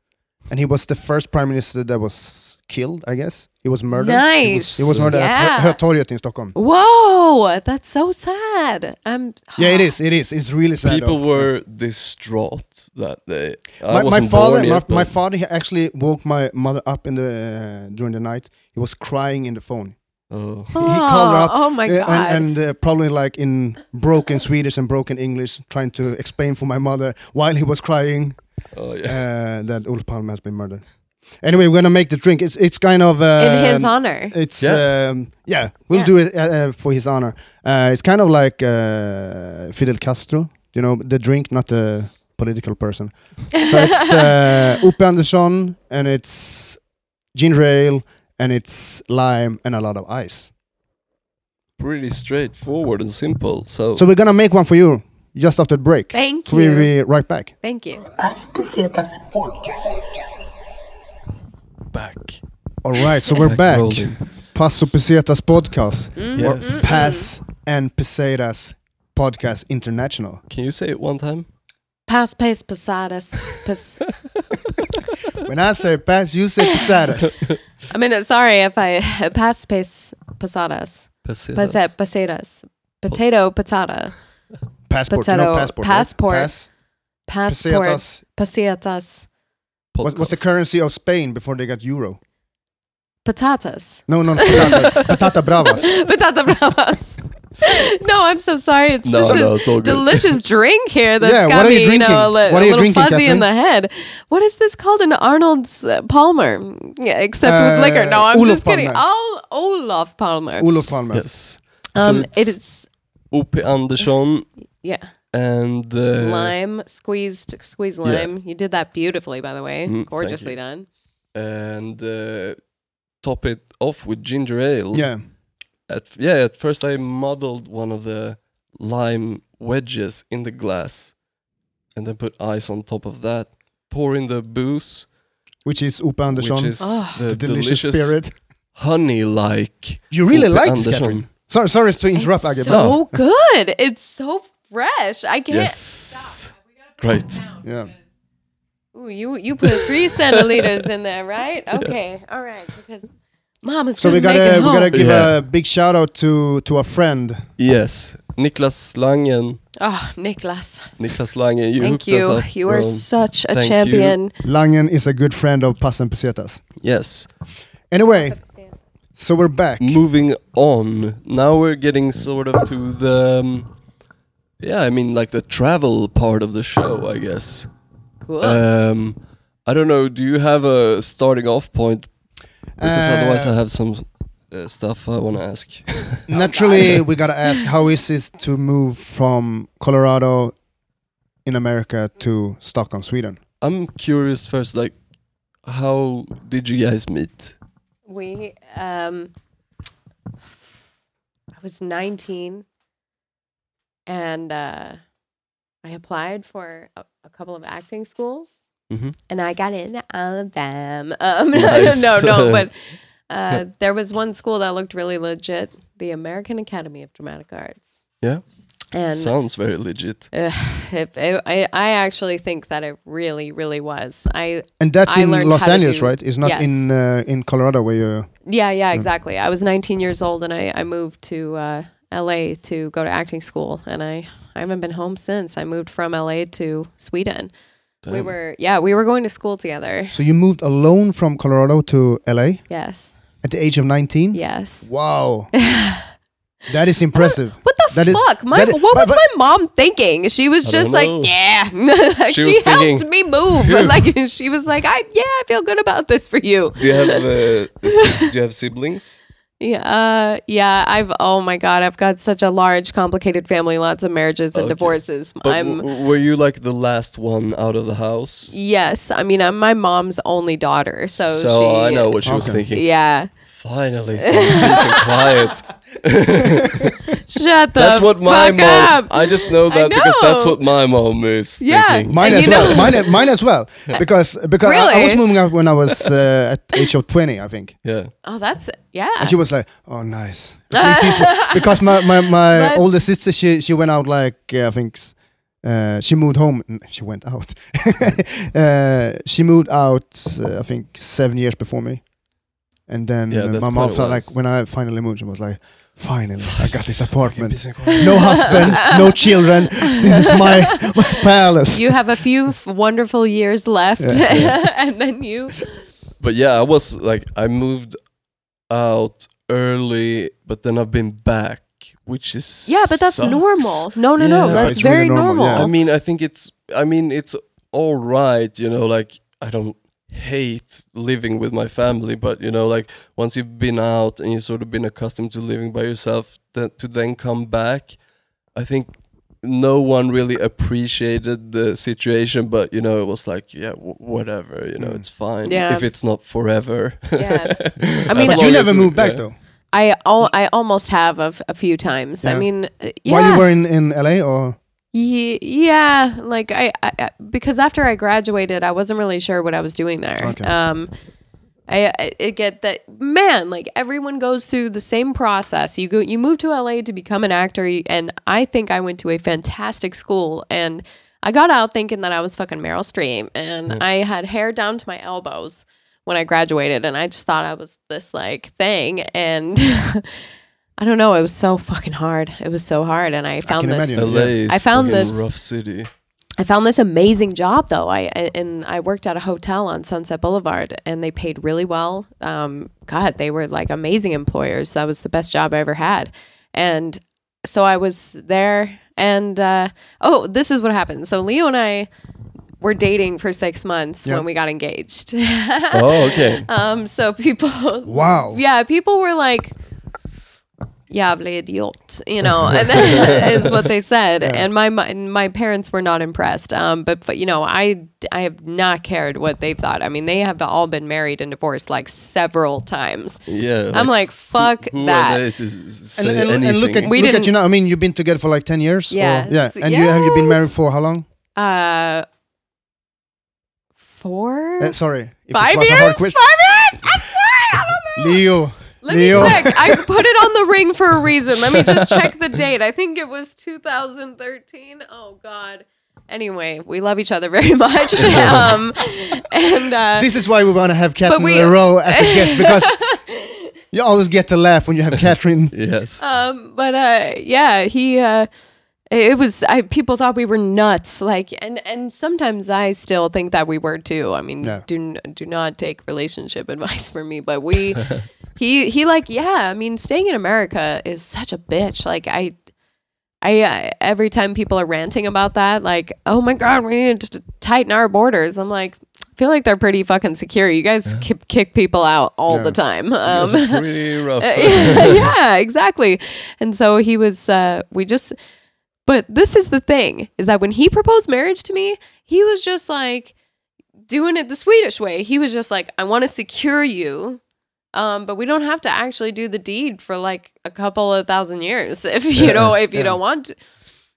[SPEAKER 2] And he was the first prime minister that was killed, I guess. He was murdered. He was,
[SPEAKER 3] Nice.
[SPEAKER 2] he was murdered
[SPEAKER 3] Yeah.
[SPEAKER 2] at Hö- Hötorget in Stockholm.
[SPEAKER 3] Whoa, that's so sad. I'm.
[SPEAKER 2] Yeah, it is. It is. It's really sad.
[SPEAKER 1] People
[SPEAKER 2] though.
[SPEAKER 1] were distraught that day. I
[SPEAKER 2] My, my
[SPEAKER 1] wasn't
[SPEAKER 2] father,
[SPEAKER 1] born
[SPEAKER 2] my,
[SPEAKER 1] yet,
[SPEAKER 2] my
[SPEAKER 1] but-
[SPEAKER 2] father, he actually woke my mother up in the uh, during the night. He was crying in the phone.
[SPEAKER 1] Oh.
[SPEAKER 2] He, he called her
[SPEAKER 3] Oh,
[SPEAKER 2] up.
[SPEAKER 3] oh my
[SPEAKER 2] uh,
[SPEAKER 3] God.
[SPEAKER 2] And, and uh, probably like in broken Swedish and broken English, trying to explain for my mother while he
[SPEAKER 1] (laughs)
[SPEAKER 2] was crying
[SPEAKER 1] Oh yeah.
[SPEAKER 2] uh, that Ulf Palme has been murdered. Anyway, we're gonna make the drink. It's it's kind of uh,
[SPEAKER 3] in his honor.
[SPEAKER 2] It's
[SPEAKER 1] Yeah.
[SPEAKER 2] yeah, um, yeah we'll
[SPEAKER 3] Yeah.
[SPEAKER 2] do it uh, uh, for his honor. Uh, it's kind of like uh, Fidel Castro, you know, the drink, not the political person.
[SPEAKER 3] (laughs)
[SPEAKER 2] So it's uh, Uppe Andersson, and it's ginger ale, and it's lime, and a lot of ice.
[SPEAKER 1] Pretty straightforward and simple. So,
[SPEAKER 2] So we're gonna make one for you just after the break.
[SPEAKER 3] Thank
[SPEAKER 2] So we'll
[SPEAKER 3] you.
[SPEAKER 2] be right back.
[SPEAKER 3] Thank you.
[SPEAKER 4] As Pesetas Podcast.
[SPEAKER 1] back.
[SPEAKER 2] All right,
[SPEAKER 3] (laughs)
[SPEAKER 2] so we're back.
[SPEAKER 1] rolling.
[SPEAKER 2] Paso Pesetas podcast,
[SPEAKER 3] Mm-hmm.
[SPEAKER 1] Yes.
[SPEAKER 2] or Pass and Pesetas podcast international.
[SPEAKER 1] Can you say it one time?
[SPEAKER 3] Pass, pace, posadas. Pas-
[SPEAKER 2] (laughs) When I say pass, you say pesada.
[SPEAKER 3] I mean, uh, sorry if I (laughs) pass, pace, posadas.
[SPEAKER 1] Pesetas.
[SPEAKER 3] Pasa- Posadas. Potato, patata.
[SPEAKER 2] passport,
[SPEAKER 3] Potato,
[SPEAKER 2] no passport.
[SPEAKER 3] passport.
[SPEAKER 2] Right? Pass.
[SPEAKER 3] Passport.
[SPEAKER 2] Pesetas.
[SPEAKER 3] Pesetas.
[SPEAKER 2] What, what's the
[SPEAKER 1] Podcast.
[SPEAKER 2] currency of Spain before they got euro?
[SPEAKER 3] Patatas.
[SPEAKER 2] No, no, (laughs) patata, patata
[SPEAKER 3] (laughs)
[SPEAKER 2] bravas.
[SPEAKER 3] Patata bravas. (laughs) no, I'm so sorry. It's
[SPEAKER 1] No,
[SPEAKER 3] just
[SPEAKER 1] no,
[SPEAKER 3] this
[SPEAKER 1] it's all good.
[SPEAKER 2] (laughs)
[SPEAKER 3] delicious drink here that's
[SPEAKER 2] Yeah, what
[SPEAKER 3] got
[SPEAKER 2] are you
[SPEAKER 3] me, you
[SPEAKER 2] drinking?
[SPEAKER 3] know, a, li-
[SPEAKER 2] What are
[SPEAKER 3] a
[SPEAKER 2] you
[SPEAKER 3] little
[SPEAKER 2] drinking,
[SPEAKER 3] fuzzy
[SPEAKER 2] Catherine?
[SPEAKER 3] in the head. What is this called in Arnold's uh, Palmer? Yeah, except with
[SPEAKER 2] Uh,
[SPEAKER 3] liquor. No, I'm
[SPEAKER 2] Olof
[SPEAKER 3] just kidding.
[SPEAKER 2] Palme.
[SPEAKER 3] All Olaf Palmer.
[SPEAKER 2] Olof Palme.
[SPEAKER 1] Yes.
[SPEAKER 3] um,
[SPEAKER 1] so
[SPEAKER 3] it
[SPEAKER 1] it's
[SPEAKER 3] is,
[SPEAKER 1] Ope Andersson
[SPEAKER 3] yeah,
[SPEAKER 1] and uh,
[SPEAKER 3] lime squeezed, squeeze
[SPEAKER 1] yeah.
[SPEAKER 3] lime. You did that beautifully, by the way.
[SPEAKER 1] Mm,
[SPEAKER 2] Mm-hmm.
[SPEAKER 1] thank
[SPEAKER 3] Gorgeously
[SPEAKER 1] you.
[SPEAKER 3] done.
[SPEAKER 1] and uh, top it off with ginger ale.
[SPEAKER 2] Yeah.
[SPEAKER 1] At, yeah, at first I muddled one of the lime wedges in the glass and then put ice on top of that. Pour in the booze,
[SPEAKER 2] Which is Upa Andersson.
[SPEAKER 1] which is
[SPEAKER 3] Ah.
[SPEAKER 1] the,
[SPEAKER 2] the delicious,
[SPEAKER 1] delicious,
[SPEAKER 2] spirit.
[SPEAKER 1] honey like.
[SPEAKER 2] You really like this, Catherine. Sorry, sorry to interrupt, Agge.
[SPEAKER 3] It's
[SPEAKER 2] but-
[SPEAKER 3] so good. It's so fresh. I can't.
[SPEAKER 1] Yes. Great.
[SPEAKER 2] Yeah.
[SPEAKER 3] Ooh, you you put three centiliters in there, right? Okay, all right, because Mama's
[SPEAKER 2] So
[SPEAKER 3] gonna
[SPEAKER 2] we
[SPEAKER 3] make
[SPEAKER 2] gotta
[SPEAKER 3] it
[SPEAKER 2] we gotta
[SPEAKER 3] home.
[SPEAKER 2] give
[SPEAKER 1] Yeah.
[SPEAKER 2] a big shout out to to a friend.
[SPEAKER 1] Yes. Niklas Langen.
[SPEAKER 3] Oh, Niklas,
[SPEAKER 1] Niklas Langen, you
[SPEAKER 3] thank
[SPEAKER 1] hooked us
[SPEAKER 3] you.
[SPEAKER 1] up.
[SPEAKER 3] You are
[SPEAKER 1] Well,
[SPEAKER 3] such a
[SPEAKER 1] thank you.
[SPEAKER 3] champion.
[SPEAKER 2] Langen is a good friend of Pass and Pesetas.
[SPEAKER 1] Yes.
[SPEAKER 2] Anyway, so we're back.
[SPEAKER 1] moving on now we're getting sort of to the um, yeah i mean like the travel part of the show i guess
[SPEAKER 3] Cool.
[SPEAKER 1] um i don't know do you have a starting off point because otherwise
[SPEAKER 2] Uh,
[SPEAKER 1] i have some uh, stuff i want to ask
[SPEAKER 2] Naturally, we gotta ask how is it to move from Colorado in America to Stockholm, Sweden?
[SPEAKER 1] i'm curious first like how did you guys meet
[SPEAKER 3] we um, I was nineteen, and uh, I applied for a, a couple of acting schools.
[SPEAKER 1] mm-hmm.
[SPEAKER 3] and I got into all of them. (laughs) Um,
[SPEAKER 1] Nice.
[SPEAKER 3] no,
[SPEAKER 1] (laughs)
[SPEAKER 3] no, but uh, there was one school that looked really legit, the American Academy of Dramatic Arts.
[SPEAKER 1] Yeah.
[SPEAKER 3] And
[SPEAKER 1] sounds very legit
[SPEAKER 3] uh, if, I, I- I actually think that it really, really was. I
[SPEAKER 2] And that's
[SPEAKER 3] I
[SPEAKER 2] in
[SPEAKER 3] learned
[SPEAKER 2] Los
[SPEAKER 3] how to
[SPEAKER 2] Angeles,
[SPEAKER 3] do-
[SPEAKER 2] right? It's not
[SPEAKER 3] yes.
[SPEAKER 2] in uh, in Colorado where you.
[SPEAKER 3] yeah, yeah,
[SPEAKER 1] Mm-hmm.
[SPEAKER 3] exactly. I was 19 years old, and I I moved to uh, L.A. to go to acting school, and I I haven't been home since. I moved from L.A. to Sweden. We
[SPEAKER 1] Damn.
[SPEAKER 3] were yeah, we were going to school together.
[SPEAKER 2] So you moved alone from Colorado to LA
[SPEAKER 3] Yes.
[SPEAKER 2] at the age of 19?
[SPEAKER 3] Yes. (laughs)
[SPEAKER 2] Wow. that is impressive.
[SPEAKER 3] What the
[SPEAKER 2] That is-
[SPEAKER 3] fuck? my
[SPEAKER 2] that is-
[SPEAKER 3] what
[SPEAKER 2] but-
[SPEAKER 3] was
[SPEAKER 2] but-
[SPEAKER 3] my mom thinking? She was
[SPEAKER 1] I
[SPEAKER 3] just
[SPEAKER 1] don't
[SPEAKER 3] like,
[SPEAKER 1] know.
[SPEAKER 3] yeah. (laughs) she
[SPEAKER 1] was
[SPEAKER 3] helped
[SPEAKER 1] thinking,
[SPEAKER 3] me
[SPEAKER 1] (laughs)
[SPEAKER 3] move. like she was like, I yeah, I feel good about this for you.
[SPEAKER 1] Do you have uh, (laughs) si- do you have siblings?
[SPEAKER 3] Yeah, uh, yeah. I've oh my god, I've got such a large, complicated family. Lots of marriages and
[SPEAKER 1] Okay.
[SPEAKER 3] divorces.
[SPEAKER 1] But
[SPEAKER 3] I'm
[SPEAKER 1] w- w- were you like the last one out of the house?
[SPEAKER 3] yes. I mean, I'm my mom's only daughter, so, she,
[SPEAKER 1] I know what she was
[SPEAKER 2] Okay.
[SPEAKER 1] thinking.
[SPEAKER 3] Yeah, (laughs)
[SPEAKER 1] Finally, some peace and quiet.
[SPEAKER 3] shut the.
[SPEAKER 1] That's what my
[SPEAKER 3] fuck
[SPEAKER 1] mom.
[SPEAKER 3] Up.
[SPEAKER 1] I just know
[SPEAKER 3] I
[SPEAKER 1] that because that's
[SPEAKER 3] know.
[SPEAKER 1] what my mom is.
[SPEAKER 3] Yeah.
[SPEAKER 1] thinking.
[SPEAKER 2] Mine
[SPEAKER 3] And
[SPEAKER 2] as
[SPEAKER 3] you
[SPEAKER 2] well.
[SPEAKER 3] know-
[SPEAKER 2] Mine, mine as
[SPEAKER 3] (laughs)
[SPEAKER 2] well. Because because I- I, was
[SPEAKER 3] Really?
[SPEAKER 2] moving out when I was uh, at the age of 20, I think.
[SPEAKER 1] Yeah.
[SPEAKER 3] oh, that's yeah.
[SPEAKER 2] And she was like, "Oh,
[SPEAKER 3] (laughs)
[SPEAKER 2] nice." At least this- because my my, my
[SPEAKER 3] But-
[SPEAKER 2] older sister, she she went out like uh, I think, s- uh, she moved home. N- She went out. (laughs) uh, she moved out. Uh, I think seven years before me. And then
[SPEAKER 1] Yeah,
[SPEAKER 2] uh,
[SPEAKER 1] that's
[SPEAKER 2] my mom
[SPEAKER 1] quite a
[SPEAKER 2] felt
[SPEAKER 1] while.
[SPEAKER 2] like when I finally moved, I was like, "Finally, I got this apartment. (laughs)
[SPEAKER 1] Peace and quiet.
[SPEAKER 2] No husband,
[SPEAKER 3] (laughs)
[SPEAKER 2] no children. This is my my palace."
[SPEAKER 3] you have a few f- wonderful years left,
[SPEAKER 2] Yeah,
[SPEAKER 3] (laughs) and then you.
[SPEAKER 1] But yeah, I was like, I moved out early, but then I've been back, which is
[SPEAKER 3] Yeah, but that's
[SPEAKER 1] sucks.
[SPEAKER 3] normal. No, no, no.
[SPEAKER 1] Yeah,
[SPEAKER 3] That's
[SPEAKER 1] it's
[SPEAKER 2] really
[SPEAKER 3] very
[SPEAKER 2] normal,
[SPEAKER 3] normal.
[SPEAKER 2] yeah.
[SPEAKER 1] I mean, I think it's. I mean, it's all right. You know, like I don't hate living with my family, but you know, like once you've been out and you've sort of been accustomed to living by yourself, that to then come back, I think no one really appreciated the situation. But you know, it was like, yeah, w- whatever. You know,
[SPEAKER 2] Hmm.
[SPEAKER 1] it's fine
[SPEAKER 3] Yeah.
[SPEAKER 1] if it's not forever. (laughs)
[SPEAKER 3] Yeah. I
[SPEAKER 1] As
[SPEAKER 3] mean,
[SPEAKER 2] But
[SPEAKER 1] long
[SPEAKER 2] you
[SPEAKER 1] as
[SPEAKER 2] never
[SPEAKER 1] we-
[SPEAKER 2] moved back
[SPEAKER 1] yeah.
[SPEAKER 2] though.
[SPEAKER 3] I al- I almost have a, f- a few times. I
[SPEAKER 2] Yeah.
[SPEAKER 3] mean, uh, yeah.
[SPEAKER 2] While you were in in LA, or
[SPEAKER 3] Ye- yeah like I, I I- because after i graduated i wasn't really sure what i was doing there
[SPEAKER 2] Okay.
[SPEAKER 3] um I, I I get that man like everyone goes through the same process you go you move to la to become an actor you- and i think i went to a fantastic school and i got out thinking that i was fucking meryl streep and i had hair down to my elbows when i graduated and i just thought i was this like thing and (laughs) i don't know it was so fucking hard it was so hard and i found
[SPEAKER 2] can
[SPEAKER 3] this
[SPEAKER 2] imagine.
[SPEAKER 1] LA is
[SPEAKER 3] I found
[SPEAKER 1] fucking
[SPEAKER 3] this-
[SPEAKER 1] rough
[SPEAKER 3] (laughs)
[SPEAKER 1] city.
[SPEAKER 3] I found this amazing job though. I I- and I worked at a hotel on Sunset Boulevard, and they paid really well. Um, God, they were like amazing employers. That was the best job I ever had. And so I was there, and uh, oh, this is what happened. So Leo and I were dating for six months
[SPEAKER 2] Yeah.
[SPEAKER 3] when we got engaged. (laughs)
[SPEAKER 1] Oh, okay.
[SPEAKER 3] um, so people
[SPEAKER 2] wow,
[SPEAKER 3] yeah, people were like, "Jävla idiot," you know, and that (laughs) is what they said. And my, my my parents were not impressed. Um, but, but you know, I I have not cared what they thought. I mean, they have all been married and divorced like several times.
[SPEAKER 1] Yeah.
[SPEAKER 3] I'm like, fuck
[SPEAKER 1] who
[SPEAKER 3] that.
[SPEAKER 1] are they to s-
[SPEAKER 2] and,
[SPEAKER 1] say
[SPEAKER 2] and, and look at
[SPEAKER 1] anything?
[SPEAKER 3] We
[SPEAKER 2] look at
[SPEAKER 3] didn't-
[SPEAKER 2] you now. I mean, you've been together for like ten years. or-
[SPEAKER 3] Yes,
[SPEAKER 2] yeah. And you have you been
[SPEAKER 3] yes.
[SPEAKER 2] married for how long?
[SPEAKER 3] Uh, four,
[SPEAKER 2] Uh, sorry, if
[SPEAKER 3] five
[SPEAKER 2] was
[SPEAKER 3] years,
[SPEAKER 2] a hard
[SPEAKER 3] five years.
[SPEAKER 2] question.
[SPEAKER 3] I'm sorry, I don't know.
[SPEAKER 2] Leo,
[SPEAKER 3] Let
[SPEAKER 2] Leo,
[SPEAKER 3] me check. I put it on the ring for a reason. Let me just check the date. I think it was 2013. Oh God. Anyway, we love each other very (laughs) much. Um, and uh,
[SPEAKER 2] (laughs) this is why we want to have Catherine
[SPEAKER 3] we-
[SPEAKER 2] Leroux as a guest
[SPEAKER 3] (laughs)
[SPEAKER 2] because you always get to laugh when you have Catherine.
[SPEAKER 1] Yes.
[SPEAKER 3] um, but uh, yeah, he. Uh, it was I, people thought we were nuts like and and sometimes i still think that we were too i mean
[SPEAKER 2] No.
[SPEAKER 3] do n- do not take relationship (laughs) advice from me but we (laughs) he he like yeah i mean staying in america is such a bitch like i I, I every time people are ranting about that like oh my god we need to tighten our borders i'm like I feel like they're pretty fucking secure you guys ki- kick people out all
[SPEAKER 2] Yeah.
[SPEAKER 3] the time
[SPEAKER 1] It
[SPEAKER 3] um (laughs)
[SPEAKER 1] was pretty rough.
[SPEAKER 3] Uh,
[SPEAKER 2] (laughs)
[SPEAKER 3] yeah, exactly. And so he was, uh, we just, but this is the thing is that when he proposed marriage to me, he was just like doing it the Swedish way. He was just like, I want to secure you. Um, but we don't have to actually do the deed for like a couple of thousand years if (laughs) you know if you don't want to.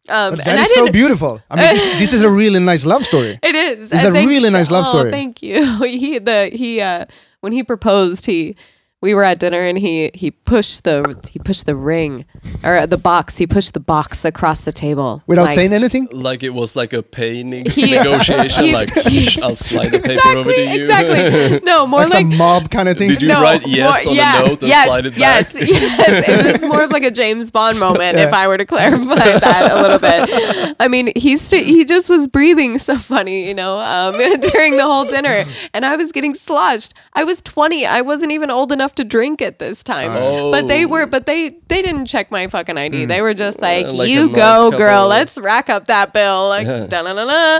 [SPEAKER 3] Um,
[SPEAKER 2] But
[SPEAKER 3] and
[SPEAKER 2] that
[SPEAKER 3] I
[SPEAKER 2] is so
[SPEAKER 3] didn't-
[SPEAKER 2] beautiful. I mean, this, this is a really nice love story.
[SPEAKER 3] it is.
[SPEAKER 2] It's
[SPEAKER 3] I
[SPEAKER 2] a really nice love
[SPEAKER 3] oh, (laughs)
[SPEAKER 2] story.
[SPEAKER 3] Thank you. He the he uh when he proposed, he we were at dinner and he he pushed the he pushed the ring or the box. He pushed the box across the table
[SPEAKER 2] without
[SPEAKER 3] Like-
[SPEAKER 2] saying anything.
[SPEAKER 1] Like it was like a
[SPEAKER 3] (laughs)
[SPEAKER 1] painting
[SPEAKER 3] He-
[SPEAKER 1] negotiation.
[SPEAKER 3] he- (laughs)
[SPEAKER 1] like "Shh, I'll slide the paper over to you.
[SPEAKER 3] Exactly. No, more
[SPEAKER 2] Like,
[SPEAKER 3] like,
[SPEAKER 2] some mob kind of thing.
[SPEAKER 3] (laughs)
[SPEAKER 1] Did you-
[SPEAKER 3] no,
[SPEAKER 1] write yes
[SPEAKER 3] more,
[SPEAKER 1] on the
[SPEAKER 3] yeah,
[SPEAKER 1] note and
[SPEAKER 3] yes,
[SPEAKER 1] slide it back?
[SPEAKER 3] yes, (laughs) Yes, It was more of like a James
[SPEAKER 1] (laughs)
[SPEAKER 3] Bond moment, if I were to clarify that a little bit. I mean, he st- he just was breathing so funny, you know, um, (laughs) during the whole dinner, and I was getting sloshed. I was twenty. I wasn't even old enough to drink at this time.
[SPEAKER 1] Oh.
[SPEAKER 3] But they were. But they they didn't check my fucking ID. They were just like,
[SPEAKER 1] Uh, like a
[SPEAKER 3] "You
[SPEAKER 1] nice
[SPEAKER 3] go, girl.
[SPEAKER 1] couple."
[SPEAKER 3] Let's rack up that bill." Like, da-na-na-na.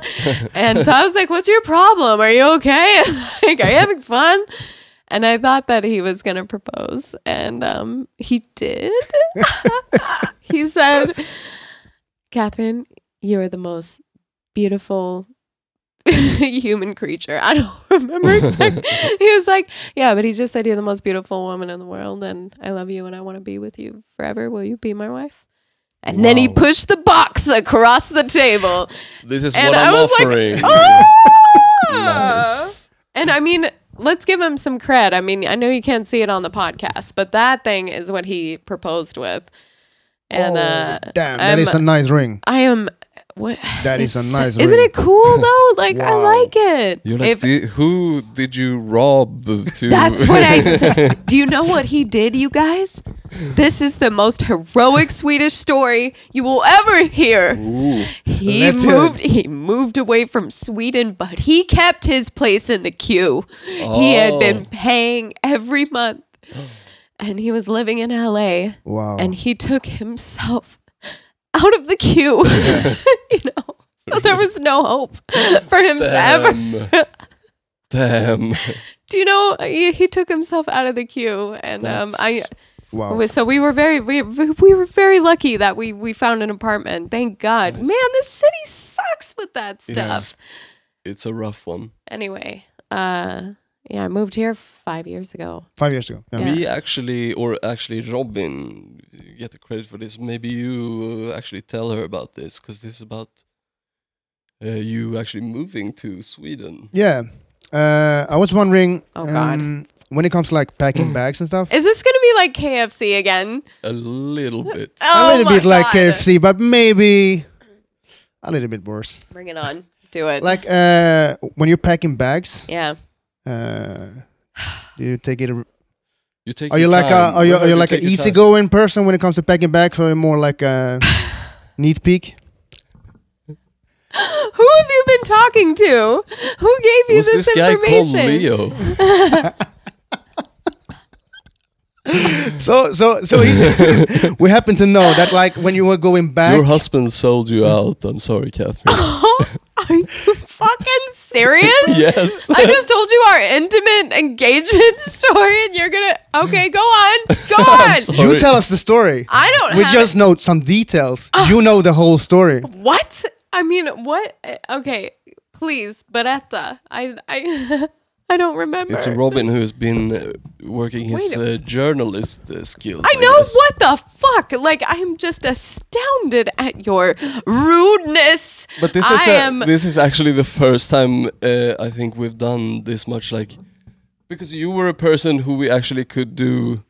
[SPEAKER 3] and so I was like, "What's your problem? Are you okay? (laughs) like, are you having fun?" And I thought that he was gonna propose, and um, he did. (laughs) he said, "Catherine, you are the most beautiful." (laughs) human creature. I don't (laughs) remember
[SPEAKER 2] (laughs)
[SPEAKER 3] exactly. he was like, yeah, but he just said you're the most beautiful woman in the world, and I love you, and I want to be with you forever. Will you be my wife? And then he
[SPEAKER 2] Wow.
[SPEAKER 3] pushed the box across the table,
[SPEAKER 1] (laughs) This is
[SPEAKER 3] and
[SPEAKER 1] what
[SPEAKER 3] I
[SPEAKER 1] I'm
[SPEAKER 3] was
[SPEAKER 1] offering.
[SPEAKER 3] (laughs) like, "Ah!"
[SPEAKER 1] Nice.
[SPEAKER 3] And I mean, let's give him some cred. I mean, I know you can't see it on the podcast, but that thing is what he proposed with, and
[SPEAKER 2] Oh,
[SPEAKER 3] uh,
[SPEAKER 2] damn, that
[SPEAKER 3] I'm-
[SPEAKER 2] is a nice ring.
[SPEAKER 3] I am. What,
[SPEAKER 2] That is a
[SPEAKER 3] it's-
[SPEAKER 2] nice
[SPEAKER 3] Isn't
[SPEAKER 2] ring. (laughs)
[SPEAKER 3] it cool though? Like I
[SPEAKER 2] Wow.
[SPEAKER 3] like it.
[SPEAKER 1] You're like,
[SPEAKER 3] If-
[SPEAKER 1] "Di- who did you rob to?
[SPEAKER 3] (laughs) That's what I said. Do you know what he did, you guys? This is the most heroic Swedish story you will ever hear. He
[SPEAKER 2] Let's hear
[SPEAKER 3] moved he moved away from Sweden, but he kept his place in the queue. He had been paying every month. And he was living in LA
[SPEAKER 2] Wow.
[SPEAKER 3] and he took himself (laughs) out of the queue. (laughs) you know. So there was no hope (laughs) for him to ever
[SPEAKER 1] (laughs) Damn. Damn.
[SPEAKER 3] do you know he, he took himself out of the queue and um i
[SPEAKER 2] wow.
[SPEAKER 3] was- so we were very we, we were very lucky that we we found an apartment thank god man this city sucks with that stuff
[SPEAKER 1] Yes. It's a rough one.
[SPEAKER 3] anyway uh yeah i moved here five years ago
[SPEAKER 2] Five years ago. Yeah.
[SPEAKER 3] Yeah.
[SPEAKER 1] We actually, or actually, Robin, you get the credit for this. Maybe you uh, actually tell her about this because this is about uh, you actually moving to Sweden.
[SPEAKER 2] Yeah. Uh, I was wondering.
[SPEAKER 3] Oh, God.
[SPEAKER 2] um, When it comes to like packing bags and stuff,
[SPEAKER 3] is this gonna be like kfc again
[SPEAKER 1] A little bit.
[SPEAKER 2] a little
[SPEAKER 3] Oh, my
[SPEAKER 2] bit like
[SPEAKER 3] God.
[SPEAKER 2] KFC, but maybe a little bit worse.
[SPEAKER 3] bring it on do it
[SPEAKER 2] Like uh, when you're packing bags,
[SPEAKER 3] yeah
[SPEAKER 2] uh, do you take it?
[SPEAKER 1] You take.
[SPEAKER 2] Are you
[SPEAKER 1] your
[SPEAKER 2] like a
[SPEAKER 1] time.
[SPEAKER 2] are you,
[SPEAKER 1] Remember
[SPEAKER 2] are you
[SPEAKER 1] to
[SPEAKER 2] like an
[SPEAKER 1] take your time.
[SPEAKER 2] easygoing person when it comes to packing bags, or are you more like a neat peek?
[SPEAKER 3] who have you been talking to who gave you
[SPEAKER 1] Was
[SPEAKER 3] this,
[SPEAKER 1] this guy called
[SPEAKER 3] information
[SPEAKER 1] Leo?
[SPEAKER 2] So so so he- (laughs) we happen to know that like when you were going back,
[SPEAKER 1] Your husband sold you out. I'm sorry, Catherine.
[SPEAKER 3] (laughs) are you fucking serious
[SPEAKER 1] (laughs) yes.
[SPEAKER 3] I just told you our intimate engagement (laughs) story, and you're gonna okay. Go on,
[SPEAKER 1] (laughs)
[SPEAKER 3] go on.
[SPEAKER 2] you tell us the story.
[SPEAKER 3] I don't.
[SPEAKER 2] We
[SPEAKER 3] have Oh.
[SPEAKER 2] just know some details. You know the whole story.
[SPEAKER 3] what? I mean, what? eh, Okay, please, Beretta. I I (laughs) I don't remember.
[SPEAKER 1] It's Robin who has been uh, working his
[SPEAKER 3] Wait
[SPEAKER 1] uh, journalist uh, skills.
[SPEAKER 3] I know
[SPEAKER 1] guess.
[SPEAKER 3] what the fuck. Like I am just astounded at your rudeness.
[SPEAKER 1] But this is
[SPEAKER 3] I
[SPEAKER 1] the-
[SPEAKER 3] am.
[SPEAKER 1] this is actually the first time uh, I think we've done this much like because you were a person who we actually could do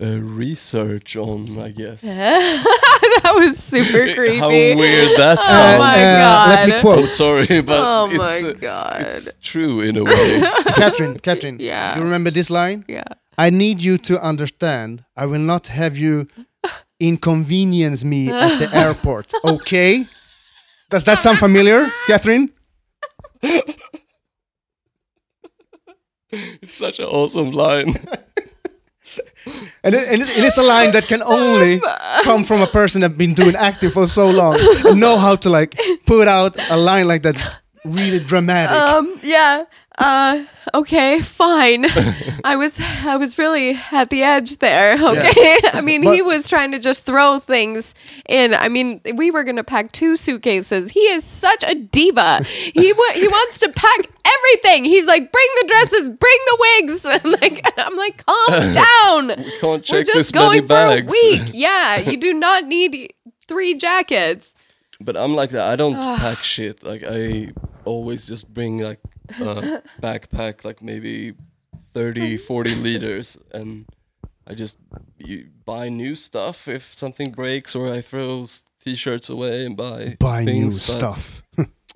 [SPEAKER 1] uh, research on, I guess.
[SPEAKER 3] (laughs) that was super
[SPEAKER 1] (laughs)
[SPEAKER 3] creepy.
[SPEAKER 1] How weird that
[SPEAKER 3] Oh
[SPEAKER 1] sounds.
[SPEAKER 3] my
[SPEAKER 2] uh, Let me
[SPEAKER 3] God.
[SPEAKER 2] quote
[SPEAKER 1] I'm sorry, but
[SPEAKER 3] Oh
[SPEAKER 1] it's,
[SPEAKER 3] my
[SPEAKER 1] uh,
[SPEAKER 3] God.
[SPEAKER 1] it's true in a
[SPEAKER 3] (laughs)
[SPEAKER 1] way.
[SPEAKER 2] Catherine. Catherine.
[SPEAKER 3] Yeah.
[SPEAKER 2] Do you remember this line?
[SPEAKER 3] yeah.
[SPEAKER 2] I need you to understand. I will not have
[SPEAKER 3] (laughs)
[SPEAKER 2] you inconvenience me at the airport. Okay? Does that sound familiar, Catherine?
[SPEAKER 1] it's such an awesome line.
[SPEAKER 2] And it, and it- it is a line that
[SPEAKER 3] Oh
[SPEAKER 2] can only come from a person that's been doing acting for so long and know how to like put out a line like that really dramatic.
[SPEAKER 3] Um. Yeah. Uh.
[SPEAKER 1] (laughs)
[SPEAKER 3] Okay. Fine. I was. I was really at the edge there. Okay. (laughs) I mean, he
[SPEAKER 2] But-
[SPEAKER 3] was trying to just throw things in. I mean, we were gonna pack two suitcases. He is such a diva. He
[SPEAKER 1] (laughs)
[SPEAKER 3] wa- he wants to pack everything. He's like, bring the dresses, bring the wigs. (laughs) And like, and I'm like,
[SPEAKER 1] (laughs)
[SPEAKER 3] calm down.
[SPEAKER 1] We can't
[SPEAKER 3] We're
[SPEAKER 1] check
[SPEAKER 3] just
[SPEAKER 1] this many
[SPEAKER 3] going for a
[SPEAKER 1] bags. (laughs)
[SPEAKER 3] week. Yeah. You do not need three jackets.
[SPEAKER 1] But I'm like that. I don't pack shit. Like I always just bring like a backpack, like maybe 30, 40 liters, and I just you buy new stuff if something breaks, or I throw s- t-shirts away and buy
[SPEAKER 2] Buy new
[SPEAKER 1] things, but-
[SPEAKER 2] stuff.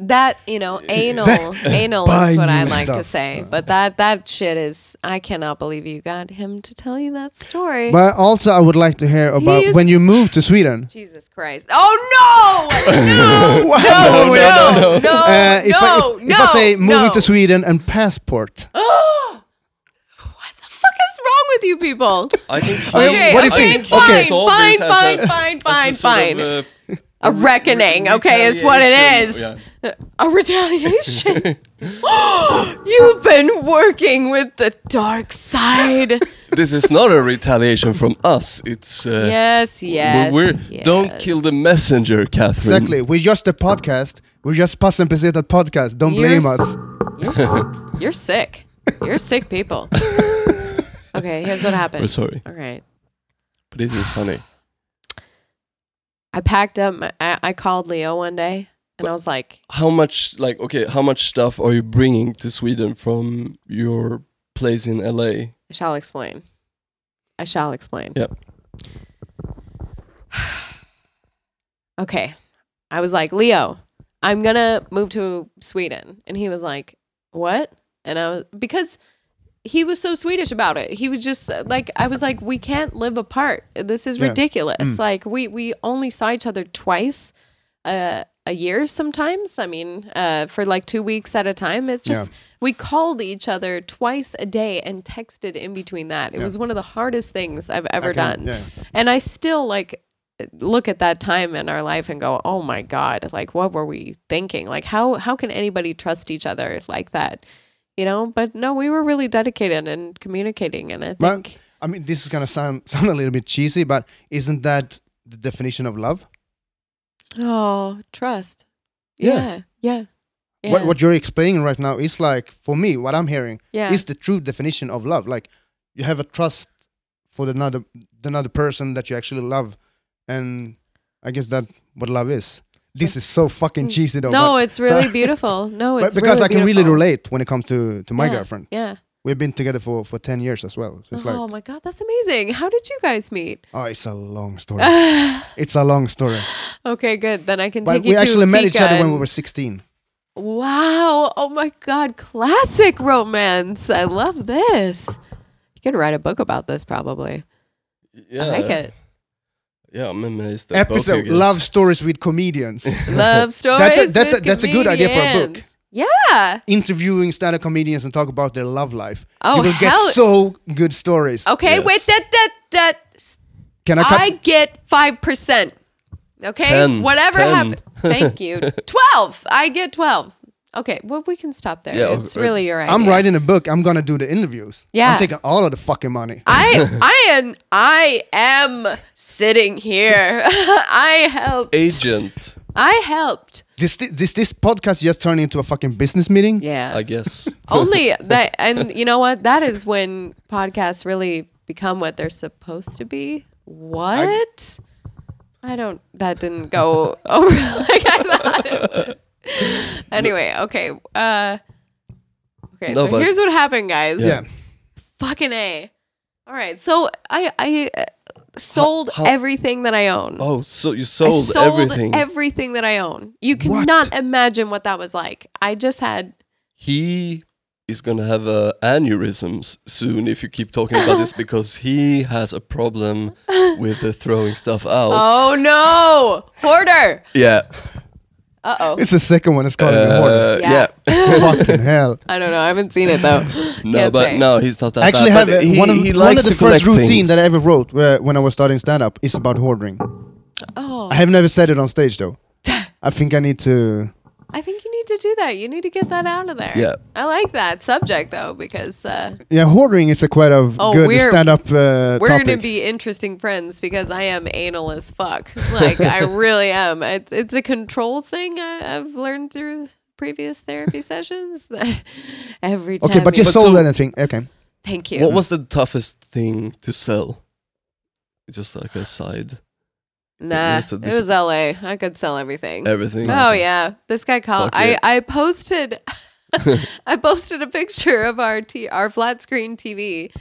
[SPEAKER 3] That
[SPEAKER 2] (laughs)
[SPEAKER 3] you know, anal, anal
[SPEAKER 2] Buy
[SPEAKER 3] is what I
[SPEAKER 2] new
[SPEAKER 3] like to
[SPEAKER 2] stuff.
[SPEAKER 3] say. But that that shit is. I cannot believe you got him to tell you that story.
[SPEAKER 2] But also, I would like to hear about
[SPEAKER 3] used-
[SPEAKER 2] when you moved to Sweden.
[SPEAKER 3] Jesus Christ! Oh no!
[SPEAKER 2] (laughs)
[SPEAKER 3] No!
[SPEAKER 2] What?
[SPEAKER 3] no! No! No! No! No!
[SPEAKER 2] Uh, if, I,
[SPEAKER 3] no,
[SPEAKER 2] if, if I say moving
[SPEAKER 3] no.
[SPEAKER 2] to Sweden and passport,
[SPEAKER 3] (gasps) what the fuck is wrong with you people?
[SPEAKER 1] I
[SPEAKER 3] (laughs)
[SPEAKER 1] think
[SPEAKER 2] Okay,
[SPEAKER 1] he-
[SPEAKER 2] what do
[SPEAKER 1] I
[SPEAKER 2] you think?
[SPEAKER 1] he
[SPEAKER 2] Okay.
[SPEAKER 1] saw
[SPEAKER 3] Fine,
[SPEAKER 1] this as
[SPEAKER 3] fine,
[SPEAKER 1] a-
[SPEAKER 3] fine,
[SPEAKER 1] as a
[SPEAKER 3] fine,
[SPEAKER 1] sort of, uh,
[SPEAKER 3] fine. A reckoning, okay, is what it is.
[SPEAKER 1] retaliation,
[SPEAKER 3] A retaliation. (gasps) You've been working with the dark
[SPEAKER 1] (laughs)
[SPEAKER 3] side.
[SPEAKER 1] this is not a retaliation from us. It's uh,
[SPEAKER 3] yes, yes.
[SPEAKER 1] We're,
[SPEAKER 3] yes.
[SPEAKER 1] Don't kill the messenger, Catherine.
[SPEAKER 2] exactly. We're just a podcast. We're just Passen Peseta podcast. Don't
[SPEAKER 3] You're
[SPEAKER 2] blame
[SPEAKER 3] s-
[SPEAKER 2] us.
[SPEAKER 3] You're, s-
[SPEAKER 1] (laughs)
[SPEAKER 3] you're sick. You're sick people. Okay, here's what happened.
[SPEAKER 1] We're sorry,
[SPEAKER 3] All right.
[SPEAKER 1] but it is funny.
[SPEAKER 3] I packed up. My, I, I called Leo one day, and I was like,
[SPEAKER 1] How much, like, okay, how much stuff are you bringing to Sweden from your place in LA?
[SPEAKER 3] "I shall explain. I shall explain."
[SPEAKER 1] Yep.
[SPEAKER 3] okay. I was like, Leo, I'm gonna move to Sweden, and he was like, What? And I was because he was so Swedish about it. He was just uh, like, I was like, We can't live apart. This is
[SPEAKER 2] Yeah.
[SPEAKER 3] ridiculous. Like we we only saw each other twice uh, a year sometimes. I mean, uh, for like two weeks at a time. It just we called each other twice a day and texted in between that. It was one of the hardest things I've ever
[SPEAKER 2] Okay,
[SPEAKER 3] done.
[SPEAKER 2] yeah.
[SPEAKER 3] And I still like look at that time in our life and go, "Oh my god, like what were we thinking? Like how how can anybody trust each other like that?" You know, but no, we were really dedicated and communicating and I
[SPEAKER 2] But-
[SPEAKER 3] think
[SPEAKER 2] I mean, this is gonna sound (laughs) sound a little bit cheesy, but isn't that the definition of love?
[SPEAKER 3] oh, trust. Yeah.
[SPEAKER 2] Yeah.
[SPEAKER 3] Yeah. Yeah.
[SPEAKER 2] What what you're explaining right now is like for me, what I'm hearing
[SPEAKER 3] yeah.
[SPEAKER 2] is the true definition of love. Like you have a trust for the another the another person that you actually love, and I guess that what love is. This is so fucking cheesy though.
[SPEAKER 3] Mm. no,
[SPEAKER 2] but-
[SPEAKER 3] it's
[SPEAKER 2] (laughs)
[SPEAKER 3] really
[SPEAKER 2] so-
[SPEAKER 3] beautiful. No,
[SPEAKER 2] but
[SPEAKER 3] it's
[SPEAKER 2] because
[SPEAKER 3] really
[SPEAKER 2] I can
[SPEAKER 3] beautiful.
[SPEAKER 2] really relate when it comes to to my
[SPEAKER 3] Yeah,
[SPEAKER 2] girlfriend.
[SPEAKER 3] Yeah.
[SPEAKER 2] We've been together for for ten years as well. So it's
[SPEAKER 3] oh
[SPEAKER 2] like
[SPEAKER 3] my god, that's amazing. How did you guys meet?
[SPEAKER 2] oh, it's a long
[SPEAKER 3] (laughs)
[SPEAKER 2] story. it's a long story.
[SPEAKER 3] Okay, good. Then I can
[SPEAKER 2] But
[SPEAKER 3] take
[SPEAKER 2] we
[SPEAKER 3] you to
[SPEAKER 2] actually met each
[SPEAKER 3] Fika
[SPEAKER 2] other when we
[SPEAKER 3] and-
[SPEAKER 2] were sixteen.
[SPEAKER 3] Wow. Oh my god, classic romance. I love this. You could write a book about this probably.
[SPEAKER 1] Yeah,
[SPEAKER 2] Uh,
[SPEAKER 3] I like
[SPEAKER 2] (laughs)
[SPEAKER 3] it.
[SPEAKER 1] Yeah, I'm amazed. That both of
[SPEAKER 2] Episode
[SPEAKER 1] you guys-
[SPEAKER 2] love stories with comedians. (laughs)
[SPEAKER 3] Love stories.
[SPEAKER 2] That's a- that's a-
[SPEAKER 3] with
[SPEAKER 2] that's a good idea for a book.
[SPEAKER 3] comedians. Yeah.
[SPEAKER 2] interviewing stand-up comedians and talk about their love life.
[SPEAKER 3] Oh,
[SPEAKER 2] you will get
[SPEAKER 3] hell-
[SPEAKER 2] so good stories.
[SPEAKER 3] Okay,
[SPEAKER 1] Yes.
[SPEAKER 3] wait. That that that
[SPEAKER 2] Can I? Cut?
[SPEAKER 3] I get five percent. Okay,
[SPEAKER 1] Ten.
[SPEAKER 3] whatever
[SPEAKER 1] Ten.
[SPEAKER 2] (laughs)
[SPEAKER 3] happened. Thank you. Twelve. I get twelve. Okay, well we can stop there.
[SPEAKER 1] Yeah, o-
[SPEAKER 3] it's
[SPEAKER 1] o-
[SPEAKER 3] really your idea.
[SPEAKER 2] uh, I'm writing a book. I'm gonna do the interviews.
[SPEAKER 3] Yeah. Uh,
[SPEAKER 2] I'm taking all of the fucking money. (laughs)
[SPEAKER 3] I I am I am sitting here. (laughs) I helped.
[SPEAKER 1] agent,
[SPEAKER 3] I helped.
[SPEAKER 2] This this this podcast just turned into a fucking business meeting.
[SPEAKER 3] Yeah.
[SPEAKER 1] (laughs) I
[SPEAKER 3] (laughs)
[SPEAKER 1] guess.
[SPEAKER 3] Only that, and you know what? That is when podcasts really become what they're supposed to be. What? I, don't. That didn't go (laughs) over like I thought. It would. Anyway, okay. Uh, okay.
[SPEAKER 1] No,
[SPEAKER 3] so
[SPEAKER 1] but-
[SPEAKER 3] here's what happened, guys.
[SPEAKER 2] Yeah.
[SPEAKER 3] Fucking a. All right. So I I uh, sold
[SPEAKER 1] how-
[SPEAKER 3] everything that I own.
[SPEAKER 1] Oh, so you
[SPEAKER 3] I
[SPEAKER 1] sold,
[SPEAKER 3] sold
[SPEAKER 1] everything.
[SPEAKER 3] everything that I own. You cannot imagine what that was like. I just had
[SPEAKER 1] he is gonna have uh, aneurysms soon if you keep talking about
[SPEAKER 3] (laughs)
[SPEAKER 1] this because he has a problem with the throwing stuff out.
[SPEAKER 3] (laughs) Oh no, hoarder.
[SPEAKER 1] Yeah,
[SPEAKER 3] Uh oh.
[SPEAKER 2] It's the second one. It's called the
[SPEAKER 1] uh, (laughs)
[SPEAKER 3] Yeah.
[SPEAKER 1] yeah.
[SPEAKER 2] Fucking hell.
[SPEAKER 3] I don't know. I haven't seen it though.
[SPEAKER 1] (gasps) No,
[SPEAKER 3] Can't
[SPEAKER 1] but
[SPEAKER 3] say.
[SPEAKER 1] no, he's not that
[SPEAKER 2] I actually
[SPEAKER 1] bad.
[SPEAKER 2] have
[SPEAKER 1] but
[SPEAKER 2] uh,
[SPEAKER 1] he,
[SPEAKER 2] one of
[SPEAKER 1] he
[SPEAKER 2] the, one
[SPEAKER 1] likes
[SPEAKER 2] of the
[SPEAKER 1] to
[SPEAKER 2] first
[SPEAKER 1] collect
[SPEAKER 2] routine
[SPEAKER 1] things.
[SPEAKER 2] that I ever wrote uh, when I was starting stand-up is about hoarding.
[SPEAKER 3] Oh,
[SPEAKER 2] I have never said it on stage
[SPEAKER 3] (laughs)
[SPEAKER 2] though. I think I need to.
[SPEAKER 3] I think you need to do that. You need to get that out of there.
[SPEAKER 1] Yeah.
[SPEAKER 3] I like that subject though because uh,
[SPEAKER 2] Yeah, hoarding is a quite of
[SPEAKER 3] Oh,
[SPEAKER 2] good
[SPEAKER 3] we're-
[SPEAKER 2] stand-up uh,
[SPEAKER 3] we're
[SPEAKER 2] topic.
[SPEAKER 3] gonna be interesting friends because I am anal as fuck. Like
[SPEAKER 1] (laughs)
[SPEAKER 3] I really am. It's it's a control thing I, I've learned through previous therapy sessions. that (laughs) Every time.
[SPEAKER 2] okay, but you
[SPEAKER 3] you-
[SPEAKER 1] But
[SPEAKER 2] sold
[SPEAKER 1] so-
[SPEAKER 2] anything? Okay.
[SPEAKER 3] Thank you.
[SPEAKER 1] What was the toughest thing to sell? Just like a side,
[SPEAKER 3] Nah,
[SPEAKER 1] That's a
[SPEAKER 3] it was LA. I could sell everything.
[SPEAKER 1] everything.
[SPEAKER 3] Oh yeah, this Oh, guy called.
[SPEAKER 1] Fuck
[SPEAKER 3] I
[SPEAKER 1] it.
[SPEAKER 2] (laughs)
[SPEAKER 3] I posted. I posted a picture of our t- our flat screen TV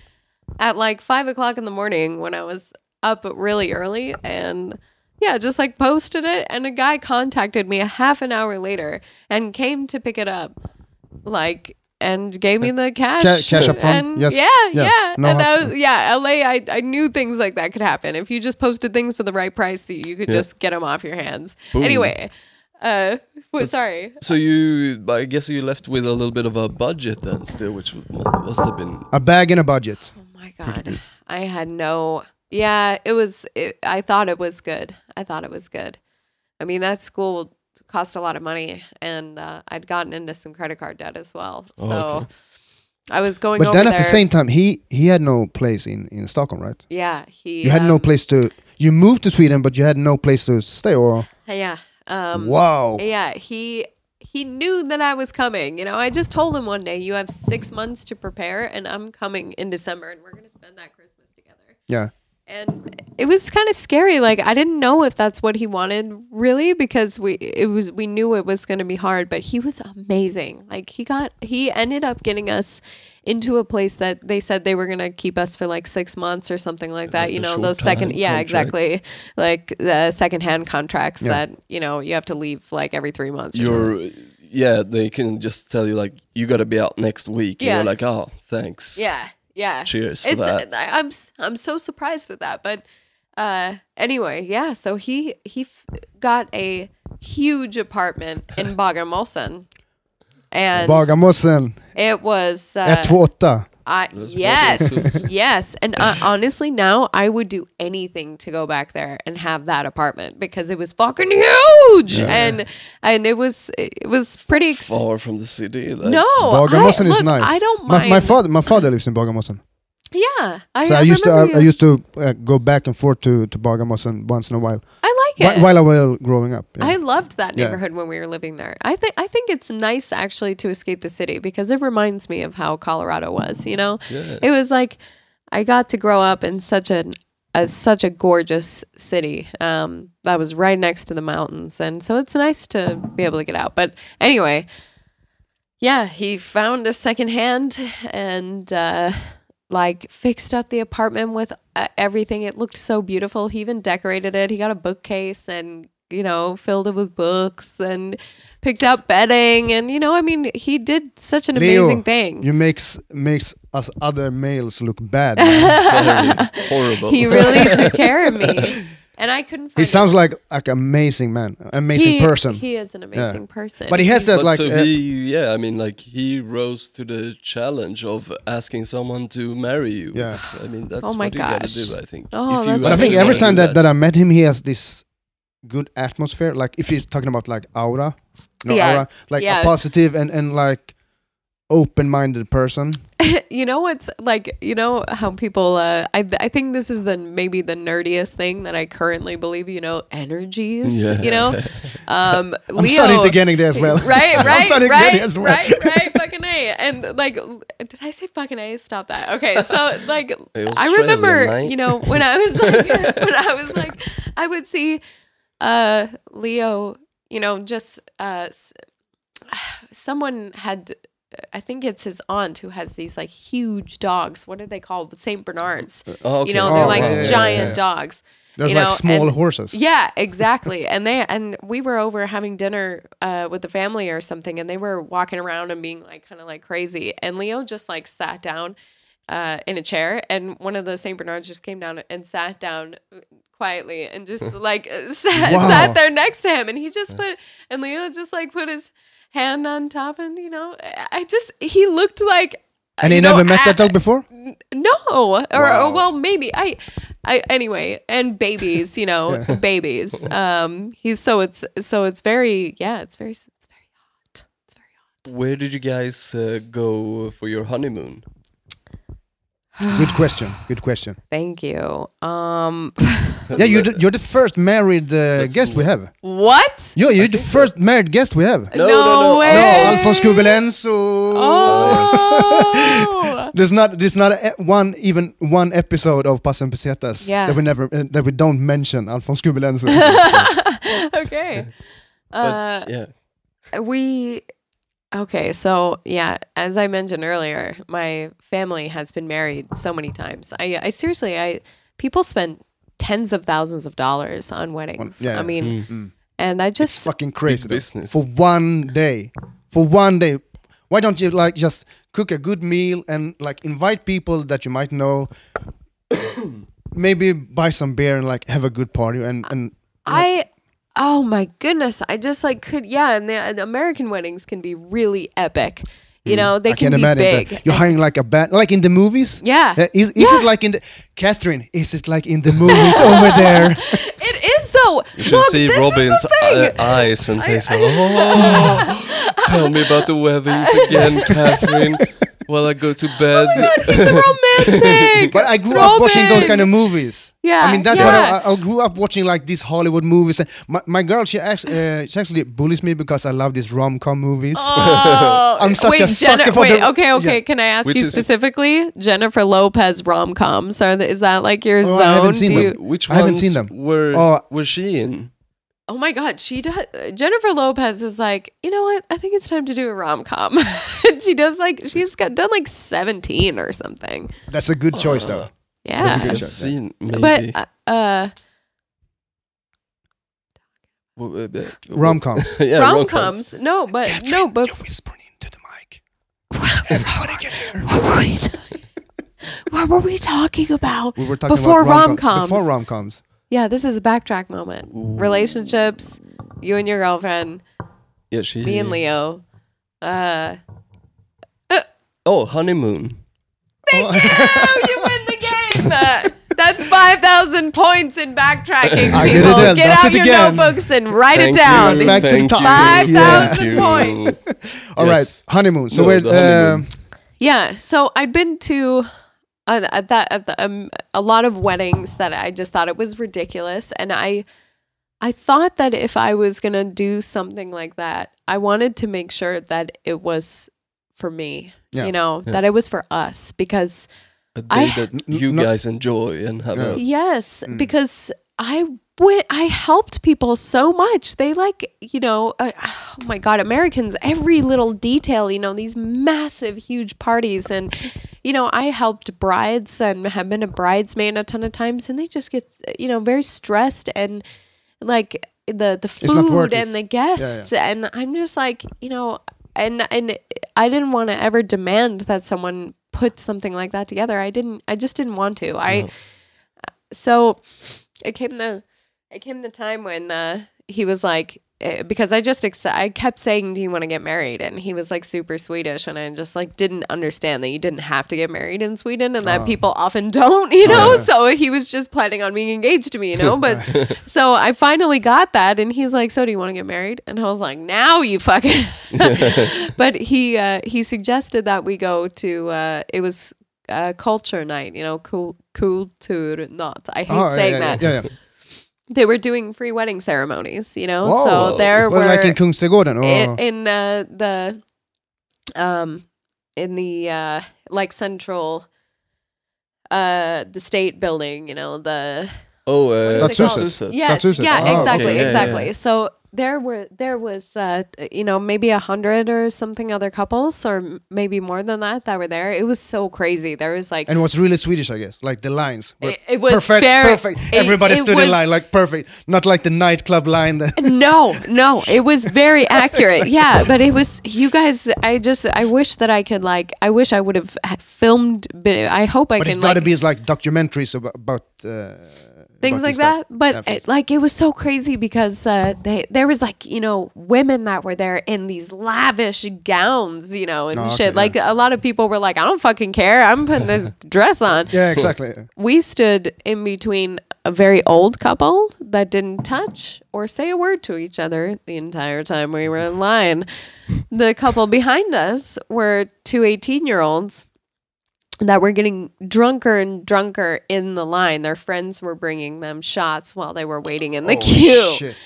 [SPEAKER 3] at like five o'clock in the morning when I was up really early, and yeah, just like posted it, and a guy contacted me a half an hour later and came to pick it up, like. And gave me the cash.
[SPEAKER 2] Uh, Ca- cash up front,
[SPEAKER 3] and-
[SPEAKER 2] yes,
[SPEAKER 3] Yeah,
[SPEAKER 2] yeah,
[SPEAKER 3] yeah.
[SPEAKER 2] no
[SPEAKER 3] and I
[SPEAKER 2] hassle.
[SPEAKER 3] was, yeah, LA, I, I knew things like that could happen. If you just posted things for the right price, that you could
[SPEAKER 1] Yeah.
[SPEAKER 3] just get them off your hands.
[SPEAKER 1] Boom.
[SPEAKER 3] Anyway, uh, well, sorry.
[SPEAKER 1] So you, I guess you left with a little bit of a budget then, still, which w- must have been.
[SPEAKER 2] A bag and a budget.
[SPEAKER 3] Oh my god, I had no. Yeah, it was. It, I thought it was good. I thought it was good. I mean, that school cost a lot of money, and uh, I'd gotten into some credit card debt as well. So
[SPEAKER 1] Oh, okay.
[SPEAKER 3] I was going.
[SPEAKER 2] But
[SPEAKER 3] over
[SPEAKER 2] then at the
[SPEAKER 3] there-
[SPEAKER 2] same time, he he had no place in in Stockholm, right?
[SPEAKER 3] Yeah, he.
[SPEAKER 2] You had no
[SPEAKER 3] um,
[SPEAKER 2] place to. You moved to Sweden, but you had no place to stay. Or
[SPEAKER 3] Yeah. Um,
[SPEAKER 2] wow,
[SPEAKER 3] Yeah, he he knew that I was coming. You know, I just told him one day, "You have six months to prepare, and I'm coming in December, and we're gonna spend that Christmas together."
[SPEAKER 2] yeah.
[SPEAKER 3] and it was kind of scary like i didn't know if that's what he wanted really because we it was we knew it was going to be hard but he was amazing like he got he ended up getting us into a place that they said they were going to keep us for like six months or something like that
[SPEAKER 1] Like
[SPEAKER 3] you
[SPEAKER 1] the
[SPEAKER 3] know those
[SPEAKER 1] short-time
[SPEAKER 3] second yeah
[SPEAKER 1] contracts.
[SPEAKER 3] exactly like the second hand contracts
[SPEAKER 2] Yeah.
[SPEAKER 3] that you know you have to leave like every three months or
[SPEAKER 1] You're,
[SPEAKER 3] something.
[SPEAKER 1] yeah, they can just tell you like you got to be out next week. And
[SPEAKER 3] Yeah.
[SPEAKER 1] you're like, oh, thanks.
[SPEAKER 3] yeah yeah
[SPEAKER 1] Cheers for that.
[SPEAKER 3] I, I'm s- I'm so surprised at that, but uh, anyway, yeah. So he he f- got a huge apartment
[SPEAKER 1] (laughs)
[SPEAKER 3] in Bogamosen, and
[SPEAKER 2] Bagarmossen,
[SPEAKER 3] it was uh,
[SPEAKER 2] ett två åtta.
[SPEAKER 3] I,
[SPEAKER 1] Those (laughs)
[SPEAKER 3] yes
[SPEAKER 1] Bogamossens.
[SPEAKER 3] yes, and uh, honestly, now I would do anything to go back there and have that apartment because it was fucking huge, and and it was it was pretty. Ex-
[SPEAKER 1] Far from the city. Like,
[SPEAKER 3] no,
[SPEAKER 2] Bagarmossen
[SPEAKER 3] oh, I,
[SPEAKER 2] is
[SPEAKER 3] look,
[SPEAKER 2] nice.
[SPEAKER 3] I don't
[SPEAKER 2] My,
[SPEAKER 3] mind. Oh,
[SPEAKER 2] my father, my father lives in Bagarmossen.
[SPEAKER 3] yeah, I,
[SPEAKER 2] So I,
[SPEAKER 3] I
[SPEAKER 2] used to, I,
[SPEAKER 3] remember
[SPEAKER 2] I
[SPEAKER 3] you-
[SPEAKER 2] used to uh, go back and forth to to Bagarmossen once in a while,
[SPEAKER 3] I like it.
[SPEAKER 2] Whi- while I was growing up. yeah.
[SPEAKER 3] I loved that
[SPEAKER 2] Yeah.
[SPEAKER 3] neighborhood when we were living there. I think I think it's nice actually to escape the city because it reminds me of how Colorado was. You know,
[SPEAKER 1] Yeah.
[SPEAKER 3] it was like I got to grow up in such an a, such a gorgeous city um, that was right next to the mountains, and so it's nice to be able to get out. But anyway, yeah, he found a second hand and uh, like fixed up the apartment with uh, everything. It looked so beautiful. He even decorated it. He got a bookcase and you know filled it with books and picked out bedding and you know I mean he did such an
[SPEAKER 2] Leo,
[SPEAKER 3] amazing thing.
[SPEAKER 2] You makes makes us other males look
[SPEAKER 3] (laughs)
[SPEAKER 2] bad. man.
[SPEAKER 1] Very horrible.
[SPEAKER 3] He really took care of
[SPEAKER 2] (laughs)
[SPEAKER 3] me, and I couldn't. Find
[SPEAKER 2] he sounds like like amazing man, amazing
[SPEAKER 3] He-
[SPEAKER 2] person.
[SPEAKER 3] He is an amazing person,
[SPEAKER 2] but he has that
[SPEAKER 1] But
[SPEAKER 2] like
[SPEAKER 1] so
[SPEAKER 2] uh,
[SPEAKER 1] he, yeah, I mean, like he rose to the challenge of asking someone to marry you.
[SPEAKER 2] Yeah.
[SPEAKER 1] So, I mean, that's
[SPEAKER 3] Oh my
[SPEAKER 1] what you
[SPEAKER 3] gosh.
[SPEAKER 1] gotta do. I think.
[SPEAKER 3] Oh,
[SPEAKER 1] If you
[SPEAKER 2] But
[SPEAKER 3] that's
[SPEAKER 2] I think
[SPEAKER 1] actually
[SPEAKER 2] every
[SPEAKER 1] wanna
[SPEAKER 2] time
[SPEAKER 1] do
[SPEAKER 2] that, that I met him, he has this good atmosphere. Like if he's talking about like aura, no
[SPEAKER 3] Yeah.
[SPEAKER 2] aura, like
[SPEAKER 3] Yeah.
[SPEAKER 2] a positive and and like open-minded person.
[SPEAKER 3] you know what's like you know how people uh I, I think this is the maybe the nerdiest thing that i currently believe you know energies
[SPEAKER 1] Yeah.
[SPEAKER 3] you
[SPEAKER 2] (laughs)
[SPEAKER 3] know um
[SPEAKER 2] I'm starting to getting there as well.
[SPEAKER 3] (laughs) right
[SPEAKER 2] (laughs) I'm
[SPEAKER 3] right
[SPEAKER 2] starting to get
[SPEAKER 3] right,
[SPEAKER 2] it as well.
[SPEAKER 3] right right fucking a and like did i say fucking a stop that okay
[SPEAKER 2] (laughs)
[SPEAKER 3] so like
[SPEAKER 1] Hey,
[SPEAKER 3] i remember
[SPEAKER 1] Australia, mate.
[SPEAKER 3] you know when i was like (laughs) when i was like i would see uh leo you know just uh s- someone had I think it's his aunt who has these like huge dogs. What are they called? Saint Bernards.
[SPEAKER 1] Oh,
[SPEAKER 3] You
[SPEAKER 1] okay.
[SPEAKER 3] know, they're
[SPEAKER 2] Oh,
[SPEAKER 3] like
[SPEAKER 2] wow. Yeah, yeah,
[SPEAKER 3] giant
[SPEAKER 2] yeah, yeah.
[SPEAKER 3] dogs.
[SPEAKER 2] (laughs) There's
[SPEAKER 3] you
[SPEAKER 2] like
[SPEAKER 3] know,
[SPEAKER 2] small
[SPEAKER 3] and-
[SPEAKER 2] horses.
[SPEAKER 3] Yeah, exactly. (laughs) and they and we were over having dinner uh, with the family or something, and they were walking around and being like kind of like crazy. And Leo just like sat down uh, in a chair, and one of the Saint Bernards just came down and sat down uh, quietly
[SPEAKER 2] (laughs)
[SPEAKER 3] and just like (laughs) sat,
[SPEAKER 2] Wow.
[SPEAKER 3] sat there next to him, and he just put and Leo just like put his hand on top, and you know, I I just he looked like.
[SPEAKER 2] and he
[SPEAKER 3] you know,
[SPEAKER 2] never met
[SPEAKER 3] a-
[SPEAKER 2] that dog before.
[SPEAKER 3] no, or,
[SPEAKER 2] Wow.
[SPEAKER 3] or well, maybe I, I anyway, and babies, you
[SPEAKER 1] (laughs)
[SPEAKER 3] know, babies. Um, he's so it's so it's very yeah, it's very it's very hot. It's very hot.
[SPEAKER 1] Where did you guys uh, go for your honeymoon?
[SPEAKER 2] Good question. Good
[SPEAKER 1] (sighs)
[SPEAKER 2] question.
[SPEAKER 3] Thank you. Um,
[SPEAKER 2] Yeah, you're the, you're the first married uh, guest we have.
[SPEAKER 3] what?
[SPEAKER 2] Yeah, you're the first married guest we have.
[SPEAKER 1] No, no, no.
[SPEAKER 3] way.
[SPEAKER 2] No, Alphonse Kubelenso.
[SPEAKER 3] Oh.
[SPEAKER 2] There's not there's not a, one even one episode of Passen Pesetas
[SPEAKER 3] Yeah.
[SPEAKER 2] that we never uh, that we don't mention Alphonse Kubelenso.
[SPEAKER 3] (laughs) okay.
[SPEAKER 1] But,
[SPEAKER 3] Uh,
[SPEAKER 1] yeah.
[SPEAKER 3] we Okay, so yeah, as I mentioned earlier, my family has been married so many times. I, I seriously, I people spend tens of thousands of dollars on weddings.
[SPEAKER 2] yeah. Mm.
[SPEAKER 3] I mean,
[SPEAKER 1] Mm.
[SPEAKER 3] and I just
[SPEAKER 2] fucking crazy though.
[SPEAKER 1] business.
[SPEAKER 2] for one day for one day why don't you like just cook a good meal and like invite people that you might know (coughs) maybe buy some beer and like have a good party and and
[SPEAKER 3] I oh my goodness, I just like could yeah, and the, and American weddings can be really epic.
[SPEAKER 1] Mm.
[SPEAKER 3] You know, they
[SPEAKER 2] I
[SPEAKER 3] can
[SPEAKER 2] can't
[SPEAKER 3] be
[SPEAKER 2] imagine
[SPEAKER 3] big.
[SPEAKER 2] that. you're hiring like a band like in the movies
[SPEAKER 3] Yeah.
[SPEAKER 2] Uh, is, is it
[SPEAKER 3] Yeah.
[SPEAKER 2] like in the Catherine is it like in the movies (laughs) over
[SPEAKER 3] (laughs)
[SPEAKER 2] there
[SPEAKER 3] It is though.
[SPEAKER 1] You should
[SPEAKER 3] Look,
[SPEAKER 1] see
[SPEAKER 3] this is the
[SPEAKER 1] Robin's
[SPEAKER 3] thing.
[SPEAKER 1] uh, eyes and face. oh,
[SPEAKER 3] (laughs)
[SPEAKER 1] tell me about the weddings again, Catherine. While I go to bed.
[SPEAKER 3] Oh God, he's a
[SPEAKER 1] (laughs)
[SPEAKER 3] romantic.
[SPEAKER 2] But I grew up watching those kind of movies.
[SPEAKER 3] Yeah,
[SPEAKER 2] I mean that's
[SPEAKER 3] yeah.
[SPEAKER 2] what I, I grew up watching like these Hollywood movies. And my, my girl, she actually, uh, she actually bullies me because I love these rom com movies.
[SPEAKER 3] Oh,
[SPEAKER 2] I'm such
[SPEAKER 3] wait,
[SPEAKER 2] a sucker
[SPEAKER 3] Jenna-
[SPEAKER 2] for
[SPEAKER 3] wait,
[SPEAKER 2] the-
[SPEAKER 3] okay, okay.
[SPEAKER 2] yeah.
[SPEAKER 3] Can I ask
[SPEAKER 1] Which
[SPEAKER 3] you
[SPEAKER 1] is-
[SPEAKER 3] specifically Jennifer Lopez rom coms? Are the, is that like your
[SPEAKER 2] Oh,
[SPEAKER 3] zone?
[SPEAKER 2] I haven't seen
[SPEAKER 3] Do
[SPEAKER 2] them.
[SPEAKER 3] you,
[SPEAKER 1] Which
[SPEAKER 2] I haven't
[SPEAKER 1] ones
[SPEAKER 2] seen them.
[SPEAKER 1] were
[SPEAKER 2] Oh.
[SPEAKER 1] was she in?
[SPEAKER 3] Oh my God, she does. Jennifer Lopez is like, you know what? I think it's time to do a rom com. and (laughs) she does like she's got done like seventeen or something.
[SPEAKER 2] That's a good choice though.
[SPEAKER 3] Yeah,
[SPEAKER 2] That's a good
[SPEAKER 1] I've
[SPEAKER 2] show, yeah.
[SPEAKER 1] seen maybe.
[SPEAKER 3] but uh, uh,
[SPEAKER 1] W- w- w-
[SPEAKER 2] (laughs) Rom
[SPEAKER 3] (laughs)
[SPEAKER 2] coms.
[SPEAKER 1] uh, (laughs) yeah,
[SPEAKER 3] rom coms. uh, No, but no, but
[SPEAKER 2] whispering into the mic.
[SPEAKER 3] what were we talking? what were we talking about?
[SPEAKER 2] We were talking
[SPEAKER 3] Before
[SPEAKER 2] about
[SPEAKER 3] rom-coms.
[SPEAKER 2] Before rom
[SPEAKER 3] (laughs)
[SPEAKER 2] coms.
[SPEAKER 3] Yeah, this is a backtrack moment. Relationships, you and your girlfriend,
[SPEAKER 1] Yeah, she.
[SPEAKER 3] me and Leo. Uh,
[SPEAKER 1] Oh, honeymoon.
[SPEAKER 3] oh, you win the game. Uh, That's 5,000 points in backtracking,
[SPEAKER 2] I get it
[SPEAKER 3] people.
[SPEAKER 2] then.
[SPEAKER 3] Get,
[SPEAKER 2] That's
[SPEAKER 3] out
[SPEAKER 2] it
[SPEAKER 3] your
[SPEAKER 2] again.
[SPEAKER 3] notebooks and write
[SPEAKER 1] Thank
[SPEAKER 3] it down.
[SPEAKER 1] you,
[SPEAKER 2] Back to the
[SPEAKER 1] thank
[SPEAKER 2] top.
[SPEAKER 1] you,
[SPEAKER 3] Five
[SPEAKER 1] thank
[SPEAKER 3] thousand
[SPEAKER 1] you.
[SPEAKER 3] points.
[SPEAKER 2] All right,
[SPEAKER 1] Yes.
[SPEAKER 2] honeymoon. So
[SPEAKER 1] No,
[SPEAKER 2] we're
[SPEAKER 1] the
[SPEAKER 2] uh,
[SPEAKER 1] honeymoon.
[SPEAKER 3] Yeah, so I'd been to uh, at that at the, um, a lot of weddings that I just thought it was ridiculous, and I I thought that if I was gonna do something like that, I wanted to make sure that it was for me,
[SPEAKER 2] Yeah,
[SPEAKER 3] you know, that it was for us because
[SPEAKER 1] A day
[SPEAKER 3] I-
[SPEAKER 1] that
[SPEAKER 2] N-
[SPEAKER 1] you
[SPEAKER 2] no-
[SPEAKER 1] guys enjoy and have a.
[SPEAKER 3] Yes, because I went, I helped people so much. They like, you know, uh, oh my God, Americans, every little detail, you know, these massive, huge parties. And, you know, I helped brides and have been a bridesmaid a ton of times, and they just get, you know, very stressed and like the, the
[SPEAKER 2] not worth
[SPEAKER 3] food
[SPEAKER 2] it.
[SPEAKER 3] and the guests. And I'm just like, you know, and and I didn't want to ever demand that someone put something like that together. I didn't. I just didn't want to. I so it came the it came the time when uh, he was like eh, because I just ex- I kept saying do you want to get married and he was like super Swedish and I just like didn't understand that you didn't have to get married in Sweden and that people often don't (laughs) you know so he was just planning on being engaged to me you know but so I finally got that and he's like so do you want to get married and I was like now
[SPEAKER 2] (laughs)
[SPEAKER 3] you fucking (laughs) but he uh, he suggested that we go to uh, it was uh, culture night, you know, cool culture not. I hate
[SPEAKER 2] oh,
[SPEAKER 3] saying
[SPEAKER 2] yeah, yeah,
[SPEAKER 3] that.
[SPEAKER 2] Yeah, yeah.
[SPEAKER 3] They were doing free wedding ceremonies, you know.
[SPEAKER 1] Whoa.
[SPEAKER 3] So there
[SPEAKER 2] Well,
[SPEAKER 3] were
[SPEAKER 2] like in Oh. Kungsträdgården. Or,
[SPEAKER 3] in, in uh, the um in the uh like central uh the state building, you know, the
[SPEAKER 1] Oh, uh,
[SPEAKER 2] That's
[SPEAKER 3] What is it
[SPEAKER 2] Susan.
[SPEAKER 1] Susan.
[SPEAKER 3] Yes,
[SPEAKER 2] Susan.
[SPEAKER 3] yeah,
[SPEAKER 2] Oh, okay.
[SPEAKER 3] exactly,
[SPEAKER 1] Yeah, yeah,
[SPEAKER 3] exactly.
[SPEAKER 1] yeah.
[SPEAKER 3] So there were there was uh, you know maybe a hundred or something other couples or m- maybe more than that that were there. It was so crazy. There was like
[SPEAKER 2] and it was really Swedish, I guess. Like the lines. were
[SPEAKER 3] It- it was
[SPEAKER 2] perfect.
[SPEAKER 3] very-
[SPEAKER 2] perfect.
[SPEAKER 3] it-
[SPEAKER 2] Everybody
[SPEAKER 3] it
[SPEAKER 2] stood
[SPEAKER 3] was-
[SPEAKER 2] in line, like perfect. Not like the nightclub line.
[SPEAKER 3] (laughs)
[SPEAKER 2] That
[SPEAKER 3] no,
[SPEAKER 2] (laughs)
[SPEAKER 3] no, it was very accurate. Yeah, but it was you guys. I just I wish that I could like I wish I would have ha- filmed. But I hope I
[SPEAKER 2] but
[SPEAKER 3] can
[SPEAKER 2] it's gotta
[SPEAKER 3] like
[SPEAKER 2] be like documentaries about, about uh,
[SPEAKER 3] things
[SPEAKER 2] about this
[SPEAKER 3] like
[SPEAKER 2] stuff.
[SPEAKER 3] that. But
[SPEAKER 2] Yeah, for
[SPEAKER 3] it, like it was so crazy because uh, they there was like you know women that were there in these lavish gowns, you know, and
[SPEAKER 2] Oh, okay,
[SPEAKER 3] shit. Like a lot of people were like, I don't fucking care. I'm putting
[SPEAKER 2] (laughs)
[SPEAKER 3] this dress on.
[SPEAKER 2] Yeah, exactly.
[SPEAKER 3] We stood in between a very old couple that didn't touch or say a word to each other the entire time we were in line. the couple behind us were two 18 year olds that were getting drunker and drunker in the line. Their friends were bringing them shots while they were waiting in the queue.
[SPEAKER 2] Shit.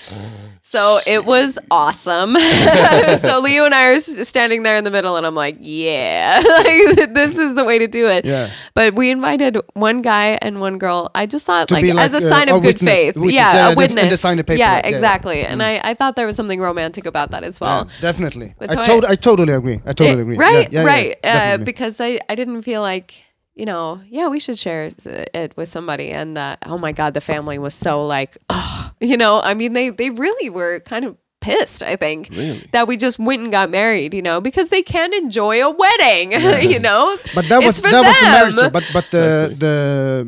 [SPEAKER 3] So it was awesome. (laughs) so Leo and I are s- standing there in the middle, and I'm like, yeah, (laughs) like, this is the way to do it.
[SPEAKER 2] Yeah.
[SPEAKER 3] But we invited one guy and one girl. I just thought,
[SPEAKER 2] To
[SPEAKER 3] like,
[SPEAKER 2] be like,
[SPEAKER 3] as a
[SPEAKER 2] uh,
[SPEAKER 3] sign
[SPEAKER 2] a
[SPEAKER 3] of good
[SPEAKER 2] witness-
[SPEAKER 3] faith.
[SPEAKER 2] witness, yeah,
[SPEAKER 3] Yeah, a
[SPEAKER 2] that's- and
[SPEAKER 3] witness.
[SPEAKER 2] they sign the paper,
[SPEAKER 3] Yeah,
[SPEAKER 2] yeah, yeah.
[SPEAKER 3] exactly. And I, I thought there was something romantic about that as well.
[SPEAKER 2] Yeah, definitely.
[SPEAKER 3] But so
[SPEAKER 2] I,
[SPEAKER 3] I-
[SPEAKER 2] tot- I totally agree. I totally
[SPEAKER 3] It-
[SPEAKER 2] agree.
[SPEAKER 3] Right,
[SPEAKER 2] Yeah, yeah, yeah,
[SPEAKER 3] right. uh,
[SPEAKER 2] definitely.
[SPEAKER 3] because I, I didn't feel like, you know, yeah, we should share s- it with somebody. And uh, oh my God, the family was so like, oh, you know, I mean, they, they really were kind of pissed, I think,
[SPEAKER 1] Really?
[SPEAKER 3] that we just went and got married, you know, because they can enjoy a wedding, (laughs) you know.
[SPEAKER 2] but that was
[SPEAKER 3] It's for
[SPEAKER 2] that was the marriage.
[SPEAKER 3] them.
[SPEAKER 2] though. But but the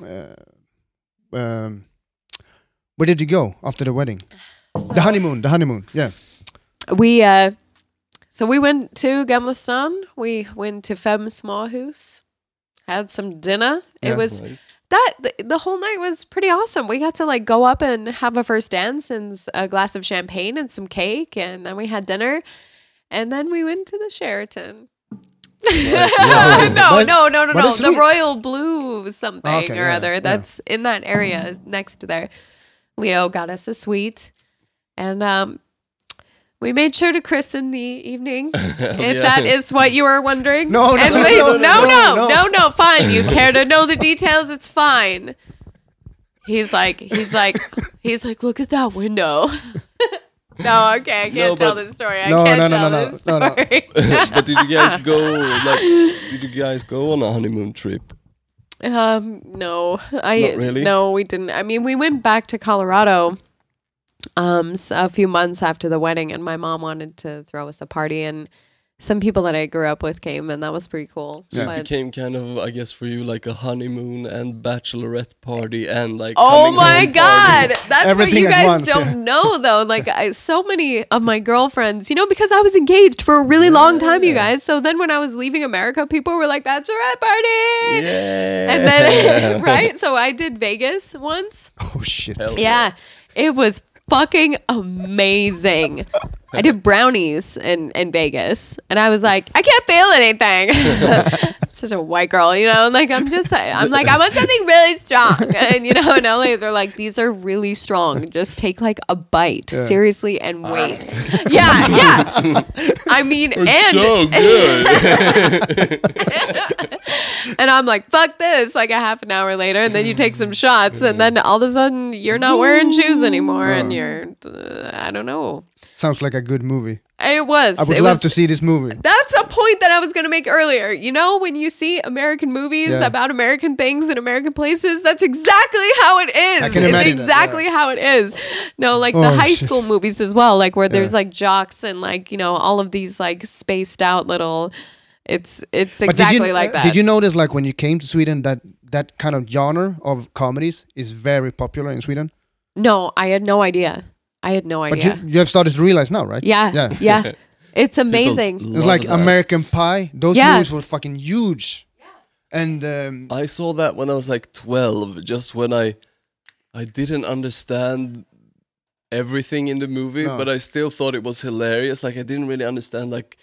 [SPEAKER 2] the uh, um, where did you go after the
[SPEAKER 3] (sighs)
[SPEAKER 2] wedding? the honeymoon. The honeymoon. Yeah. (laughs)
[SPEAKER 3] We, uh, so we went to Gamla Stan. We went to Fem Småhus, had some dinner.
[SPEAKER 2] Yeah.
[SPEAKER 3] It was that th- the whole night was pretty awesome. We got to like go up and have a first dance and s- a glass of champagne and some cake, and then we had dinner, and then we went to the Sheraton. no,
[SPEAKER 1] (laughs)
[SPEAKER 2] But-
[SPEAKER 3] (laughs) no, no, no,
[SPEAKER 2] but
[SPEAKER 3] no.
[SPEAKER 2] it's
[SPEAKER 3] The
[SPEAKER 2] sweet.
[SPEAKER 3] Royal Blue something
[SPEAKER 2] Okay,
[SPEAKER 3] or
[SPEAKER 2] yeah, yeah.
[SPEAKER 3] other. That's in that area next to there. Leo got us a suite, and um, we made sure to christen the
[SPEAKER 2] (laughs)
[SPEAKER 3] evening, if
[SPEAKER 1] yeah.
[SPEAKER 3] that is what you were wondering.
[SPEAKER 2] Oh, No, no,
[SPEAKER 3] And
[SPEAKER 2] no,
[SPEAKER 3] we-
[SPEAKER 2] no, no,
[SPEAKER 3] no, no,
[SPEAKER 2] no.
[SPEAKER 3] no, no, Fine, you care to know the
[SPEAKER 2] (laughs)
[SPEAKER 3] details? It's fine. He's like, he's
[SPEAKER 2] (laughs)
[SPEAKER 3] like, he's like, look at that window. (laughs) no, okay, I can't
[SPEAKER 1] No,
[SPEAKER 3] tell
[SPEAKER 1] but-
[SPEAKER 3] this story. I
[SPEAKER 2] No,
[SPEAKER 3] can't
[SPEAKER 2] no, no,
[SPEAKER 3] tell
[SPEAKER 2] no, no,
[SPEAKER 3] this
[SPEAKER 2] no, no.
[SPEAKER 3] story.
[SPEAKER 1] (laughs) but did you guys go
[SPEAKER 3] (laughs)
[SPEAKER 1] like did you guys go on a honeymoon trip?
[SPEAKER 3] Um, no, I
[SPEAKER 1] Not really?
[SPEAKER 3] no, we didn't. I mean, we went back to Colorado, um, s- a few months after the wedding, and my mom wanted to throw us a party, and some people that I grew up with came, and that was pretty cool.
[SPEAKER 1] So
[SPEAKER 3] but-
[SPEAKER 1] it became kind of I guess for you like a honeymoon and bachelorette party and like
[SPEAKER 3] Oh
[SPEAKER 1] coming
[SPEAKER 3] my
[SPEAKER 1] home party.
[SPEAKER 3] god, that's
[SPEAKER 2] Everything
[SPEAKER 3] what
[SPEAKER 2] at
[SPEAKER 3] you guys
[SPEAKER 2] once,
[SPEAKER 3] don't
[SPEAKER 2] yeah.
[SPEAKER 1] (laughs)
[SPEAKER 3] know though. Like I, so many of my girlfriends, you know, because I was engaged for a really long time, you guys. So then when I was leaving America, people were like, "Bachelorette party,"
[SPEAKER 1] Yeah.
[SPEAKER 3] and
[SPEAKER 1] (laughs)
[SPEAKER 3] then (laughs) right. So I did Vegas once.
[SPEAKER 2] Oh shit.
[SPEAKER 1] Hell
[SPEAKER 3] Yeah, it was fucking amazing. I did brownies in, in Vegas, and I was like, I can't feel anything. (laughs) Such a white girl, you know. And like, I'm just, I'm like, I want something really strong, (laughs) and you know, in LA they're like, these are really strong. Just take like a bite, seriously, and wait. yeah, yeah. I mean, and (laughs)
[SPEAKER 1] So good.
[SPEAKER 3] and I'm like, fuck this. Like a half an hour later, and then you take some shots, and then all of a sudden you're not wearing shoes anymore, and you're, uh, I don't know.
[SPEAKER 2] Sounds like a good movie.
[SPEAKER 3] It was.
[SPEAKER 2] I would
[SPEAKER 3] it
[SPEAKER 2] love
[SPEAKER 3] was,
[SPEAKER 2] to see this movie.
[SPEAKER 3] That's a point that I was going to make earlier. You know, when you see American movies
[SPEAKER 2] Yeah.
[SPEAKER 3] about American things and American places, that's exactly how it is.
[SPEAKER 2] I can
[SPEAKER 3] it's
[SPEAKER 2] imagine that,
[SPEAKER 3] exactly how it is. No, like
[SPEAKER 2] Oh,
[SPEAKER 3] the high
[SPEAKER 2] shit.
[SPEAKER 3] school movies as well, like where there's like jocks and like, you know, all of these like spaced out little. It's it's
[SPEAKER 2] But did
[SPEAKER 3] exactly
[SPEAKER 2] you,
[SPEAKER 3] like
[SPEAKER 2] uh,
[SPEAKER 3] that.
[SPEAKER 2] Did you notice, like, when you came to Sweden, that that kind of genre of comedies is very popular in Sweden?
[SPEAKER 3] No, I had no idea. I had no
[SPEAKER 2] But
[SPEAKER 3] idea.
[SPEAKER 2] you, you have started to realize now, right?
[SPEAKER 3] yeah,
[SPEAKER 2] Yeah.
[SPEAKER 1] (laughs)
[SPEAKER 3] yeah, It's amazing.
[SPEAKER 1] People
[SPEAKER 2] It's
[SPEAKER 1] love
[SPEAKER 2] like
[SPEAKER 1] that.
[SPEAKER 2] American Pie. Those
[SPEAKER 3] Yeah.
[SPEAKER 2] movies were fucking huge. And um,
[SPEAKER 1] I saw that when I was like 12, just when I I didn't understand everything in the movie,
[SPEAKER 2] No.
[SPEAKER 1] but I still thought it was hilarious. Like I didn't really understand like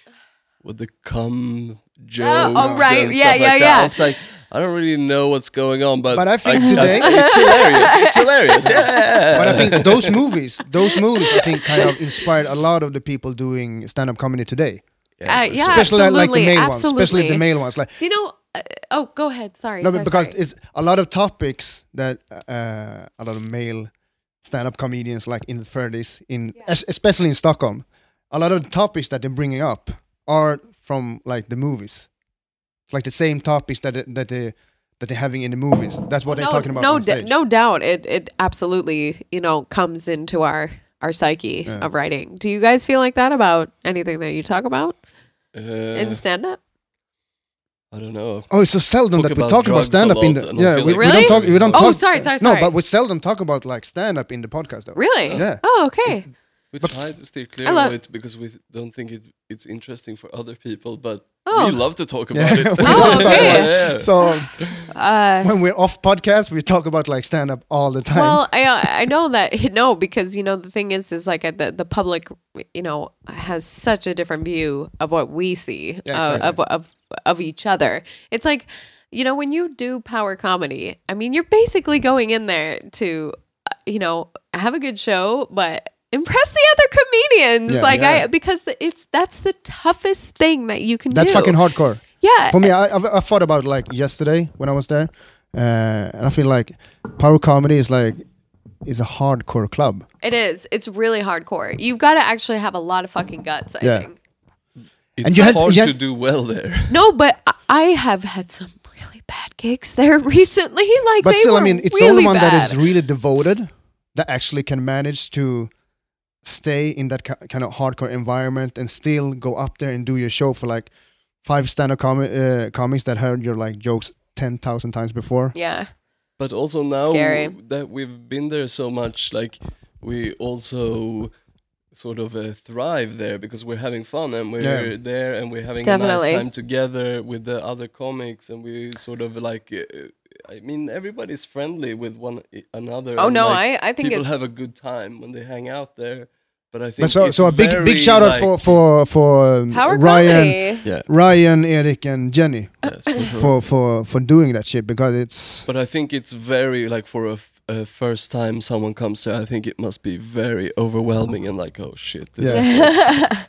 [SPEAKER 1] what the cum jokes
[SPEAKER 3] oh, right.
[SPEAKER 1] and
[SPEAKER 3] Yeah,
[SPEAKER 1] stuff
[SPEAKER 3] yeah,
[SPEAKER 1] like that.
[SPEAKER 3] yeah.
[SPEAKER 1] I was like I don't really know what's going on, but (laughs)
[SPEAKER 2] But I think today-
[SPEAKER 1] it's hilarious. It's
[SPEAKER 3] (laughs)
[SPEAKER 1] hilarious. Yeah.
[SPEAKER 2] but I think those movies, those movies, I think kind of inspired a lot of the people doing stand-up comedy today.
[SPEAKER 3] Uh, yeah,
[SPEAKER 2] especially
[SPEAKER 3] absolutely,
[SPEAKER 2] like the male
[SPEAKER 3] absolutely.
[SPEAKER 2] ones, especially the male ones. Like
[SPEAKER 3] Do you know? Uh, oh, go ahead. Sorry.
[SPEAKER 2] no,
[SPEAKER 3] sorry,
[SPEAKER 2] but because
[SPEAKER 3] sorry.
[SPEAKER 2] it's a lot of topics that uh, a lot of male stand-up comedians, like in the 30s, in es- especially in Stockholm, a lot of the topics that they're bringing up are from like the movies, It's like the same topics that they- that they that they're having in the movies. That's what
[SPEAKER 3] no,
[SPEAKER 2] they're talking about.
[SPEAKER 3] no,
[SPEAKER 2] on
[SPEAKER 3] d-
[SPEAKER 2] stage.
[SPEAKER 3] no doubt. It it absolutely you know comes into our our psyche of writing. Do you guys feel like that about anything that you talk about
[SPEAKER 1] Uh,
[SPEAKER 3] in stand up?
[SPEAKER 1] I don't know.
[SPEAKER 2] Oh, it's so seldom
[SPEAKER 1] Talk
[SPEAKER 2] that we
[SPEAKER 1] about
[SPEAKER 2] talk
[SPEAKER 1] drugs
[SPEAKER 2] about
[SPEAKER 1] a
[SPEAKER 2] stand up in
[SPEAKER 1] lot,
[SPEAKER 2] the
[SPEAKER 1] and I
[SPEAKER 2] yeah.
[SPEAKER 1] feel
[SPEAKER 2] We,
[SPEAKER 1] like
[SPEAKER 3] we
[SPEAKER 2] we don't
[SPEAKER 3] Really?
[SPEAKER 2] talk. We don't
[SPEAKER 1] Oh,
[SPEAKER 2] talk.
[SPEAKER 3] sorry, sorry,
[SPEAKER 2] No,
[SPEAKER 3] sorry.
[SPEAKER 2] but we seldom talk about like stand up in the podcast though.
[SPEAKER 3] Really?
[SPEAKER 2] Yeah.
[SPEAKER 3] Oh, okay.
[SPEAKER 1] We
[SPEAKER 2] But-
[SPEAKER 1] try to steer clear
[SPEAKER 3] Hello.
[SPEAKER 1] of it because we don't think it, it's interesting for other people, but
[SPEAKER 3] Oh.
[SPEAKER 1] we love to talk about it.
[SPEAKER 2] (laughs) We don't
[SPEAKER 3] Oh,
[SPEAKER 2] talk
[SPEAKER 3] okay.
[SPEAKER 2] about
[SPEAKER 1] Yeah.
[SPEAKER 2] it. So
[SPEAKER 3] Uh,
[SPEAKER 2] when we're off podcast, we talk about like stand up all the time.
[SPEAKER 3] Well, I I know that (laughs) no, because you know the thing is is like uh, the the public you know has such a different view of what we see
[SPEAKER 2] Yeah,
[SPEAKER 3] uh,
[SPEAKER 2] exactly.
[SPEAKER 3] of of of each other. It's like, you know, when you do power comedy, I mean, you're basically going in there to, uh, you know, have a good show, but impress the other comedians.
[SPEAKER 2] Yeah.
[SPEAKER 3] like
[SPEAKER 1] Yeah.
[SPEAKER 3] I, because the, it's that's the toughest thing that you can
[SPEAKER 2] That's
[SPEAKER 3] do.
[SPEAKER 2] fucking hardcore.
[SPEAKER 3] Yeah. eh,
[SPEAKER 2] For me, I, I've, I thought about like yesterday when I was there, uh, and I feel like power comedy is like is a hardcore club.
[SPEAKER 3] It is. It's really hardcore. You've got to actually have a lot of fucking guts, I
[SPEAKER 2] Yeah.
[SPEAKER 3] think.
[SPEAKER 1] It's
[SPEAKER 2] you had-
[SPEAKER 1] hard
[SPEAKER 2] you had-
[SPEAKER 1] to do well there. (laughs)
[SPEAKER 3] No, but I- I have had some really bad gigs there (laughs) recently. Like,
[SPEAKER 2] But
[SPEAKER 3] they
[SPEAKER 2] still, I
[SPEAKER 3] were
[SPEAKER 2] mean, it's
[SPEAKER 3] really
[SPEAKER 2] the only one that
[SPEAKER 3] bad.
[SPEAKER 2] is really devoted that actually can manage to stay in that ki- kind of hardcore environment and still go up there and do your show for like five stand-up com- uh, comics that heard your like jokes ten thousand times before.
[SPEAKER 3] Yeah.
[SPEAKER 1] But also now
[SPEAKER 3] Scary.
[SPEAKER 1] that we've been there so much, like we also sort of uh, thrive there because we're having fun and we're
[SPEAKER 2] Yeah.
[SPEAKER 1] there and we're having a
[SPEAKER 3] Definitely.
[SPEAKER 1] nice time together with the other comics and we sort of like. Uh, I mean, everybody's friendly with one i- another.
[SPEAKER 3] Oh,
[SPEAKER 1] and,
[SPEAKER 3] no,
[SPEAKER 1] like,
[SPEAKER 3] I, I think
[SPEAKER 1] people
[SPEAKER 3] it's.
[SPEAKER 1] have a good time when they hang out there. But I think
[SPEAKER 2] But so,
[SPEAKER 1] it's
[SPEAKER 2] so a big
[SPEAKER 1] very,
[SPEAKER 2] big shout out
[SPEAKER 1] like-
[SPEAKER 2] for for for um,
[SPEAKER 3] Power
[SPEAKER 2] Ryan,
[SPEAKER 3] comedy.
[SPEAKER 1] yeah.
[SPEAKER 2] Ryan, Eric, and Jenny.
[SPEAKER 1] (laughs) yes, for sure.
[SPEAKER 2] for for for doing that shit because it's
[SPEAKER 1] But I think it's very like for a, f- a first time someone comes there. I think it must be very overwhelming and like, oh shit, this
[SPEAKER 2] Yeah.
[SPEAKER 1] is,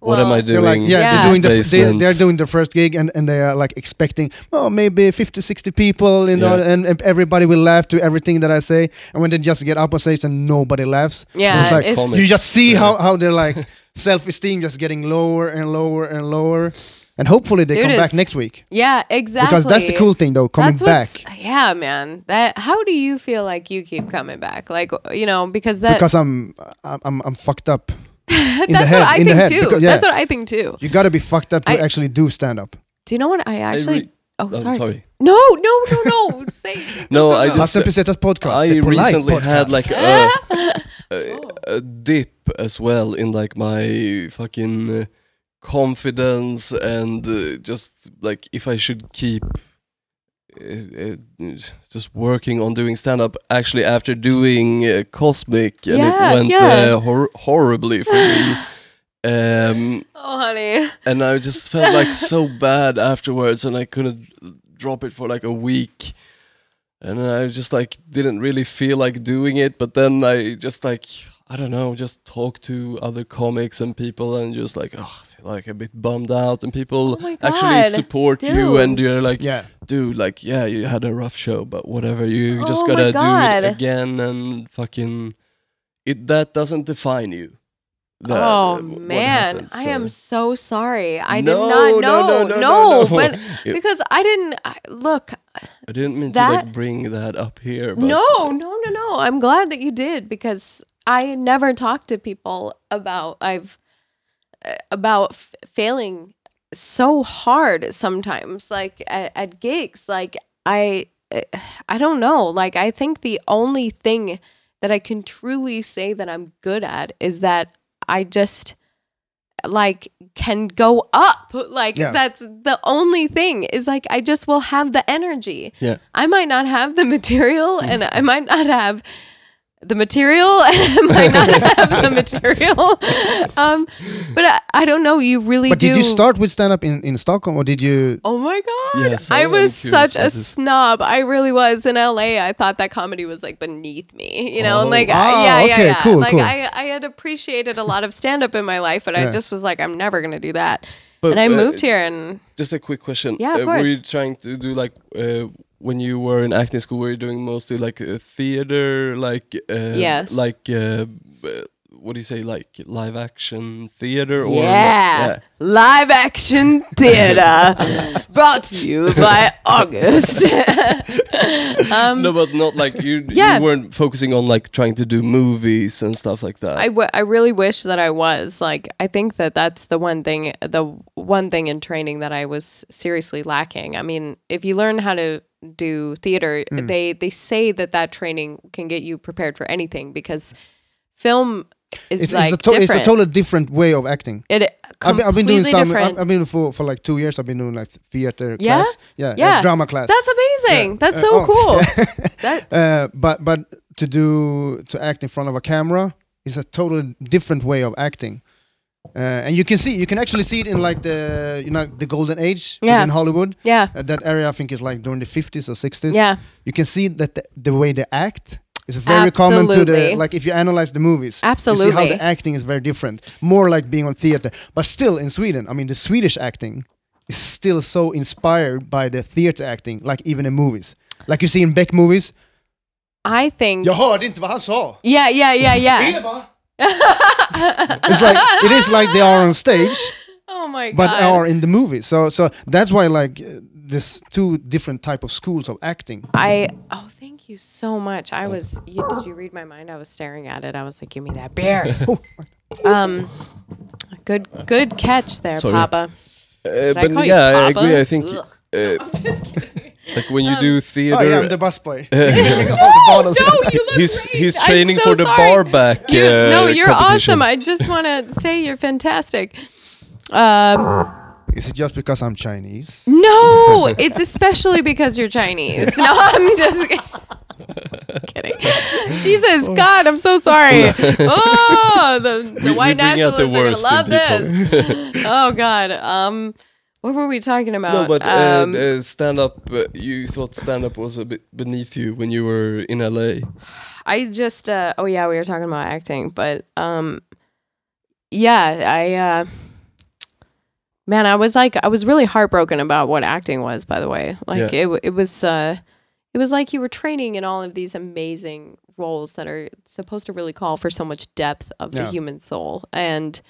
[SPEAKER 1] what am I
[SPEAKER 3] Well,
[SPEAKER 2] they're
[SPEAKER 1] doing?
[SPEAKER 2] like yeah,
[SPEAKER 3] Yeah.
[SPEAKER 2] they're doing the f- they,
[SPEAKER 1] Displacement.
[SPEAKER 2] they're doing the first gig and, and they are like expecting oh maybe 50 60 people you know
[SPEAKER 1] Yeah.
[SPEAKER 2] and, and everybody will laugh to everything that I say and when they just get up on stage and nobody laughs
[SPEAKER 3] Yeah,
[SPEAKER 2] it's like
[SPEAKER 3] it's-
[SPEAKER 1] Comics.
[SPEAKER 2] you just see
[SPEAKER 1] Yeah.
[SPEAKER 2] how how they're
[SPEAKER 1] (laughs)
[SPEAKER 2] like self esteem just getting lower and lower and lower and hopefully they
[SPEAKER 3] Dude,
[SPEAKER 2] come back
[SPEAKER 3] it's-
[SPEAKER 2] next week
[SPEAKER 3] Yeah, exactly.
[SPEAKER 2] because that's the cool thing though coming
[SPEAKER 3] what's-
[SPEAKER 2] back
[SPEAKER 3] Yeah, man. That. How do you feel like you keep coming back? Like, you know, because that.
[SPEAKER 2] because I'm I'm I'm- I'm fucked up
[SPEAKER 3] (laughs)
[SPEAKER 2] in
[SPEAKER 3] that's
[SPEAKER 2] the head
[SPEAKER 3] what I
[SPEAKER 2] in
[SPEAKER 3] think
[SPEAKER 2] the head
[SPEAKER 3] too.
[SPEAKER 2] because- yeah.
[SPEAKER 3] That's what I think too.
[SPEAKER 2] you got to be fucked up to
[SPEAKER 3] I-
[SPEAKER 2] actually do stand up
[SPEAKER 3] Do you know what I actually?
[SPEAKER 1] re-
[SPEAKER 3] oh,
[SPEAKER 1] Oh,
[SPEAKER 3] sorry.
[SPEAKER 1] sorry.
[SPEAKER 3] No, no, no, no. (laughs) Say.
[SPEAKER 1] No, I just-
[SPEAKER 2] Pasta Pesetas podcast.
[SPEAKER 1] I
[SPEAKER 2] the polite
[SPEAKER 1] recently
[SPEAKER 2] podcast.
[SPEAKER 1] had like
[SPEAKER 3] (laughs)
[SPEAKER 1] a, a,
[SPEAKER 3] Oh.
[SPEAKER 1] a dip as well in like my fucking uh, confidence and uh, just like if I should keep uh, uh, just working on doing stand up actually after doing uh, Cosmic and
[SPEAKER 3] Yeah,
[SPEAKER 1] it went
[SPEAKER 3] yeah.
[SPEAKER 1] uh, hor- horribly for
[SPEAKER 3] (laughs)
[SPEAKER 1] me. Um,
[SPEAKER 3] Oh, honey.
[SPEAKER 1] and I just felt like so bad afterwards, and I couldn't drop it for like a week. And I just like didn't really feel like doing it, but then I just like I don't know, just talk to other comics and people, and just like oh, I feel like a bit bummed out, and people
[SPEAKER 3] Oh my
[SPEAKER 1] actually
[SPEAKER 3] God,
[SPEAKER 1] support you, and
[SPEAKER 3] dude.
[SPEAKER 1] you're like,
[SPEAKER 2] yeah.
[SPEAKER 1] dude, like yeah, you had a rough show, but whatever, you just
[SPEAKER 3] Oh my
[SPEAKER 1] gotta do
[SPEAKER 3] God.
[SPEAKER 1] it again, and fucking it that doesn't define you. That,
[SPEAKER 3] oh
[SPEAKER 1] uh, what
[SPEAKER 3] man,
[SPEAKER 1] happens,
[SPEAKER 3] I
[SPEAKER 1] so.
[SPEAKER 3] am so sorry. I
[SPEAKER 1] No,
[SPEAKER 3] did not know.
[SPEAKER 1] no, no, no, no, no. (laughs)
[SPEAKER 3] but
[SPEAKER 1] It-
[SPEAKER 3] because I didn't I, look.
[SPEAKER 1] I didn't mean to
[SPEAKER 3] That-
[SPEAKER 1] like bring that up here. But
[SPEAKER 3] No, no, no, no. I'm glad that you did because I never talk to people about I've uh, about f- failing so hard sometimes, like at, at gigs. Like I, uh, I don't know. Like I think the only thing that I can truly say that I'm good at is that I just like can go up like
[SPEAKER 2] Yeah.
[SPEAKER 3] that's the only thing is like i just will have the energy
[SPEAKER 1] Yeah.
[SPEAKER 3] i might not have the material
[SPEAKER 2] Hmm.
[SPEAKER 3] and i might not have the material (laughs) and i might not
[SPEAKER 2] (laughs)
[SPEAKER 3] have the material um but i, I don't know you really
[SPEAKER 2] But
[SPEAKER 3] do
[SPEAKER 2] did you start with stand up in, in Stockholm or did you?
[SPEAKER 3] Oh my god!
[SPEAKER 1] Yes, I
[SPEAKER 3] I
[SPEAKER 1] am
[SPEAKER 3] was
[SPEAKER 1] curious
[SPEAKER 3] such
[SPEAKER 1] about
[SPEAKER 3] a
[SPEAKER 1] this.
[SPEAKER 3] snob. I really was in LA. I thought that comedy was like beneath me, you know. and
[SPEAKER 1] Oh.
[SPEAKER 3] like,
[SPEAKER 2] Ah,
[SPEAKER 3] I, yeah, yeah,
[SPEAKER 2] okay,
[SPEAKER 3] yeah.
[SPEAKER 2] cool,
[SPEAKER 3] like
[SPEAKER 2] cool.
[SPEAKER 3] I, I had appreciated a lot of stand up in my life, but
[SPEAKER 2] Yeah.
[SPEAKER 3] I just was like, I'm never gonna do that.
[SPEAKER 1] But,
[SPEAKER 3] and I
[SPEAKER 1] uh,
[SPEAKER 3] moved here, and
[SPEAKER 1] Just a quick question.
[SPEAKER 3] Yeah, of
[SPEAKER 1] uh, Were
[SPEAKER 3] course.
[SPEAKER 1] you trying to do like uh, when you were in acting school? Were you doing mostly like uh, theater, like uh,
[SPEAKER 3] Yes.
[SPEAKER 1] like uh, uh, what do you say, like live action theater? Or
[SPEAKER 3] yeah,
[SPEAKER 1] yeah.
[SPEAKER 3] live action theater (laughs) brought to you (laughs) by August. um,
[SPEAKER 1] no, but not like you.
[SPEAKER 3] (laughs) Yeah.
[SPEAKER 1] you weren't focusing on like trying to do movies and stuff like that.
[SPEAKER 3] I, w-
[SPEAKER 2] (laughs)
[SPEAKER 3] I really wish that I was like I think that that's the one thing the one thing in training that I was seriously lacking. I mean, if you learn how to do theater,
[SPEAKER 2] Mm.
[SPEAKER 3] they they say that that training can get you prepared for anything because film is
[SPEAKER 2] It's,
[SPEAKER 3] like
[SPEAKER 2] it's, a to-
[SPEAKER 3] different.
[SPEAKER 2] it's a totally different way of acting.
[SPEAKER 3] it
[SPEAKER 2] I've been, I've been doing
[SPEAKER 3] completely
[SPEAKER 2] some.
[SPEAKER 3] different.
[SPEAKER 2] I've, I've been for for like two years. I've been doing like theater
[SPEAKER 3] Yeah?
[SPEAKER 2] class. Yeah, like
[SPEAKER 3] Yeah.
[SPEAKER 2] drama class.
[SPEAKER 3] that's amazing. That's so
[SPEAKER 2] Uh, oh,
[SPEAKER 3] cool.
[SPEAKER 2] (laughs) yeah.
[SPEAKER 3] That
[SPEAKER 2] uh, but but to do to act in front of a camera is a totally different way of acting. Uh, and you can see, you can actually see it in like the you know the golden age
[SPEAKER 3] Yeah.
[SPEAKER 2] in Hollywood.
[SPEAKER 3] Yeah.
[SPEAKER 2] Uh, that area, I think, is like during the 50s or 60s.
[SPEAKER 3] Yeah.
[SPEAKER 2] you can see that the, the way they act is very common to the
[SPEAKER 3] Absolutely.
[SPEAKER 2] like if you analyze the movies. you see how
[SPEAKER 3] Absolutely.
[SPEAKER 2] the acting is very different, more like being on theater. But still, in Sweden, I mean, the Swedish acting is still so inspired by the theater acting, like even in movies, like you see in Beck movies.
[SPEAKER 3] I think.
[SPEAKER 2] Jag hörde inte vad han sa.
[SPEAKER 3] Yeah, yeah, yeah, yeah.
[SPEAKER 2] (laughs) It's like it is like they are on stage,
[SPEAKER 3] oh my god.
[SPEAKER 2] but
[SPEAKER 1] um,
[SPEAKER 2] are in the movie. So so that's why like uh, this two different type of schools of acting.
[SPEAKER 3] I oh thank you so much. I was you, did you read my mind? I was staring at it. I was like, give me
[SPEAKER 1] (laughs)
[SPEAKER 3] that beer. um, good good catch there,
[SPEAKER 1] Sorry.
[SPEAKER 3] Papa.
[SPEAKER 1] Uh,
[SPEAKER 3] I call
[SPEAKER 1] but
[SPEAKER 3] you
[SPEAKER 1] yeah, I
[SPEAKER 3] Papa?
[SPEAKER 1] agree. I think
[SPEAKER 3] Ugh.
[SPEAKER 1] uh,
[SPEAKER 3] I'm (laughs)
[SPEAKER 1] (laughs)
[SPEAKER 3] just kidding.
[SPEAKER 1] like when
[SPEAKER 3] (laughs)
[SPEAKER 1] you do
[SPEAKER 2] Oh, yeah, I'm
[SPEAKER 1] theater,
[SPEAKER 2] the busboy.
[SPEAKER 3] no, no, you look
[SPEAKER 1] he's
[SPEAKER 3] great.
[SPEAKER 1] he's
[SPEAKER 3] I'm
[SPEAKER 1] training
[SPEAKER 3] so
[SPEAKER 1] for the
[SPEAKER 3] sorry.
[SPEAKER 1] bar back.
[SPEAKER 3] You-
[SPEAKER 1] uh,
[SPEAKER 3] no, you're
[SPEAKER 1] competition.
[SPEAKER 3] awesome. I just want to say you're fantastic. Um,
[SPEAKER 2] Is it just because I'm Chinese?
[SPEAKER 3] no, it's especially because you're Chinese. No, I'm just (laughs) kidding. kidding. Jesus, God, I'm so
[SPEAKER 1] (laughs)
[SPEAKER 3] sorry. Oh, the, the
[SPEAKER 1] Oh. We- we
[SPEAKER 3] white
[SPEAKER 1] bring out
[SPEAKER 3] nationalists
[SPEAKER 1] the
[SPEAKER 3] are going to
[SPEAKER 1] worst in
[SPEAKER 3] love
[SPEAKER 1] people.
[SPEAKER 3] this. oh, God. Um, what were we talking
[SPEAKER 1] (laughs)
[SPEAKER 3] about?
[SPEAKER 1] No, but uh,
[SPEAKER 3] um,
[SPEAKER 1] uh, stand up. Uh, you thought stand up was a bit beneath you when you were in LA.
[SPEAKER 3] I just uh, oh yeah, we were talking about acting, but um yeah, I uh man, I was like I was really heartbroken about what acting was by the way. Like
[SPEAKER 1] Yeah.
[SPEAKER 3] it it it was uh it was like you were training in all of these amazing roles that are supposed to really call for so much depth of the
[SPEAKER 2] Yeah.
[SPEAKER 3] human soul and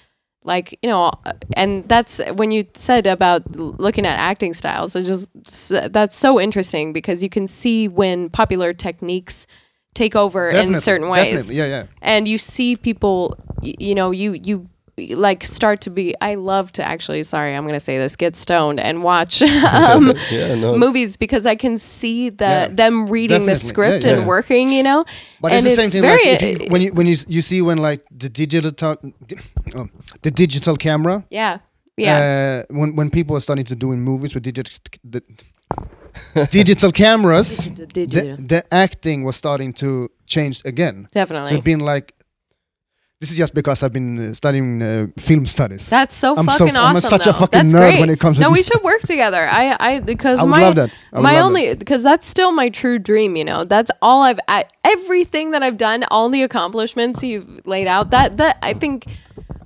[SPEAKER 3] like you know and that's when you said about l- looking at acting styles it just s- that's so interesting because you can see when popular techniques take over in certain ways
[SPEAKER 2] Definitely. Yeah, yeah.
[SPEAKER 3] and you see people y- you know you you like start to be i love to actually sorry i'm going to say this get stoned and
[SPEAKER 2] (laughs)
[SPEAKER 3] watch (laughs) um,
[SPEAKER 1] Yeah, no.
[SPEAKER 3] movies because i can see the
[SPEAKER 2] Yeah.
[SPEAKER 3] them reading the
[SPEAKER 2] Definitely.
[SPEAKER 3] script
[SPEAKER 2] Yeah,
[SPEAKER 3] and
[SPEAKER 2] yeah.
[SPEAKER 3] working you know
[SPEAKER 2] But
[SPEAKER 3] and
[SPEAKER 2] it's the same thing. Like if you, when you when you s- you see when like the digital t- di- oh, the digital camera.
[SPEAKER 3] yeah yeah
[SPEAKER 2] Uh, when when people are starting to do in movies with digital the, digital cameras,
[SPEAKER 3] (laughs) Digital,
[SPEAKER 2] the,
[SPEAKER 3] digital.
[SPEAKER 2] Uh, the acting was starting to change again. So
[SPEAKER 3] definitely
[SPEAKER 2] it's been like this is just because I've been uh, studying uh, film studies.
[SPEAKER 3] That's so
[SPEAKER 2] I'm so
[SPEAKER 3] fucking
[SPEAKER 2] f- I'm
[SPEAKER 3] awesome.
[SPEAKER 2] such a
[SPEAKER 3] though.
[SPEAKER 2] fucking
[SPEAKER 3] that's
[SPEAKER 2] nerd
[SPEAKER 3] great.
[SPEAKER 2] when it comes to
[SPEAKER 3] No, we
[SPEAKER 2] this
[SPEAKER 3] should work together. I, I, because
[SPEAKER 2] I would
[SPEAKER 3] my,
[SPEAKER 2] love that. I would
[SPEAKER 3] my
[SPEAKER 2] love
[SPEAKER 3] only, because that's still my true dream. You know, that's all I've, I, everything that I've done, all the accomplishments you've laid out. That, that I think,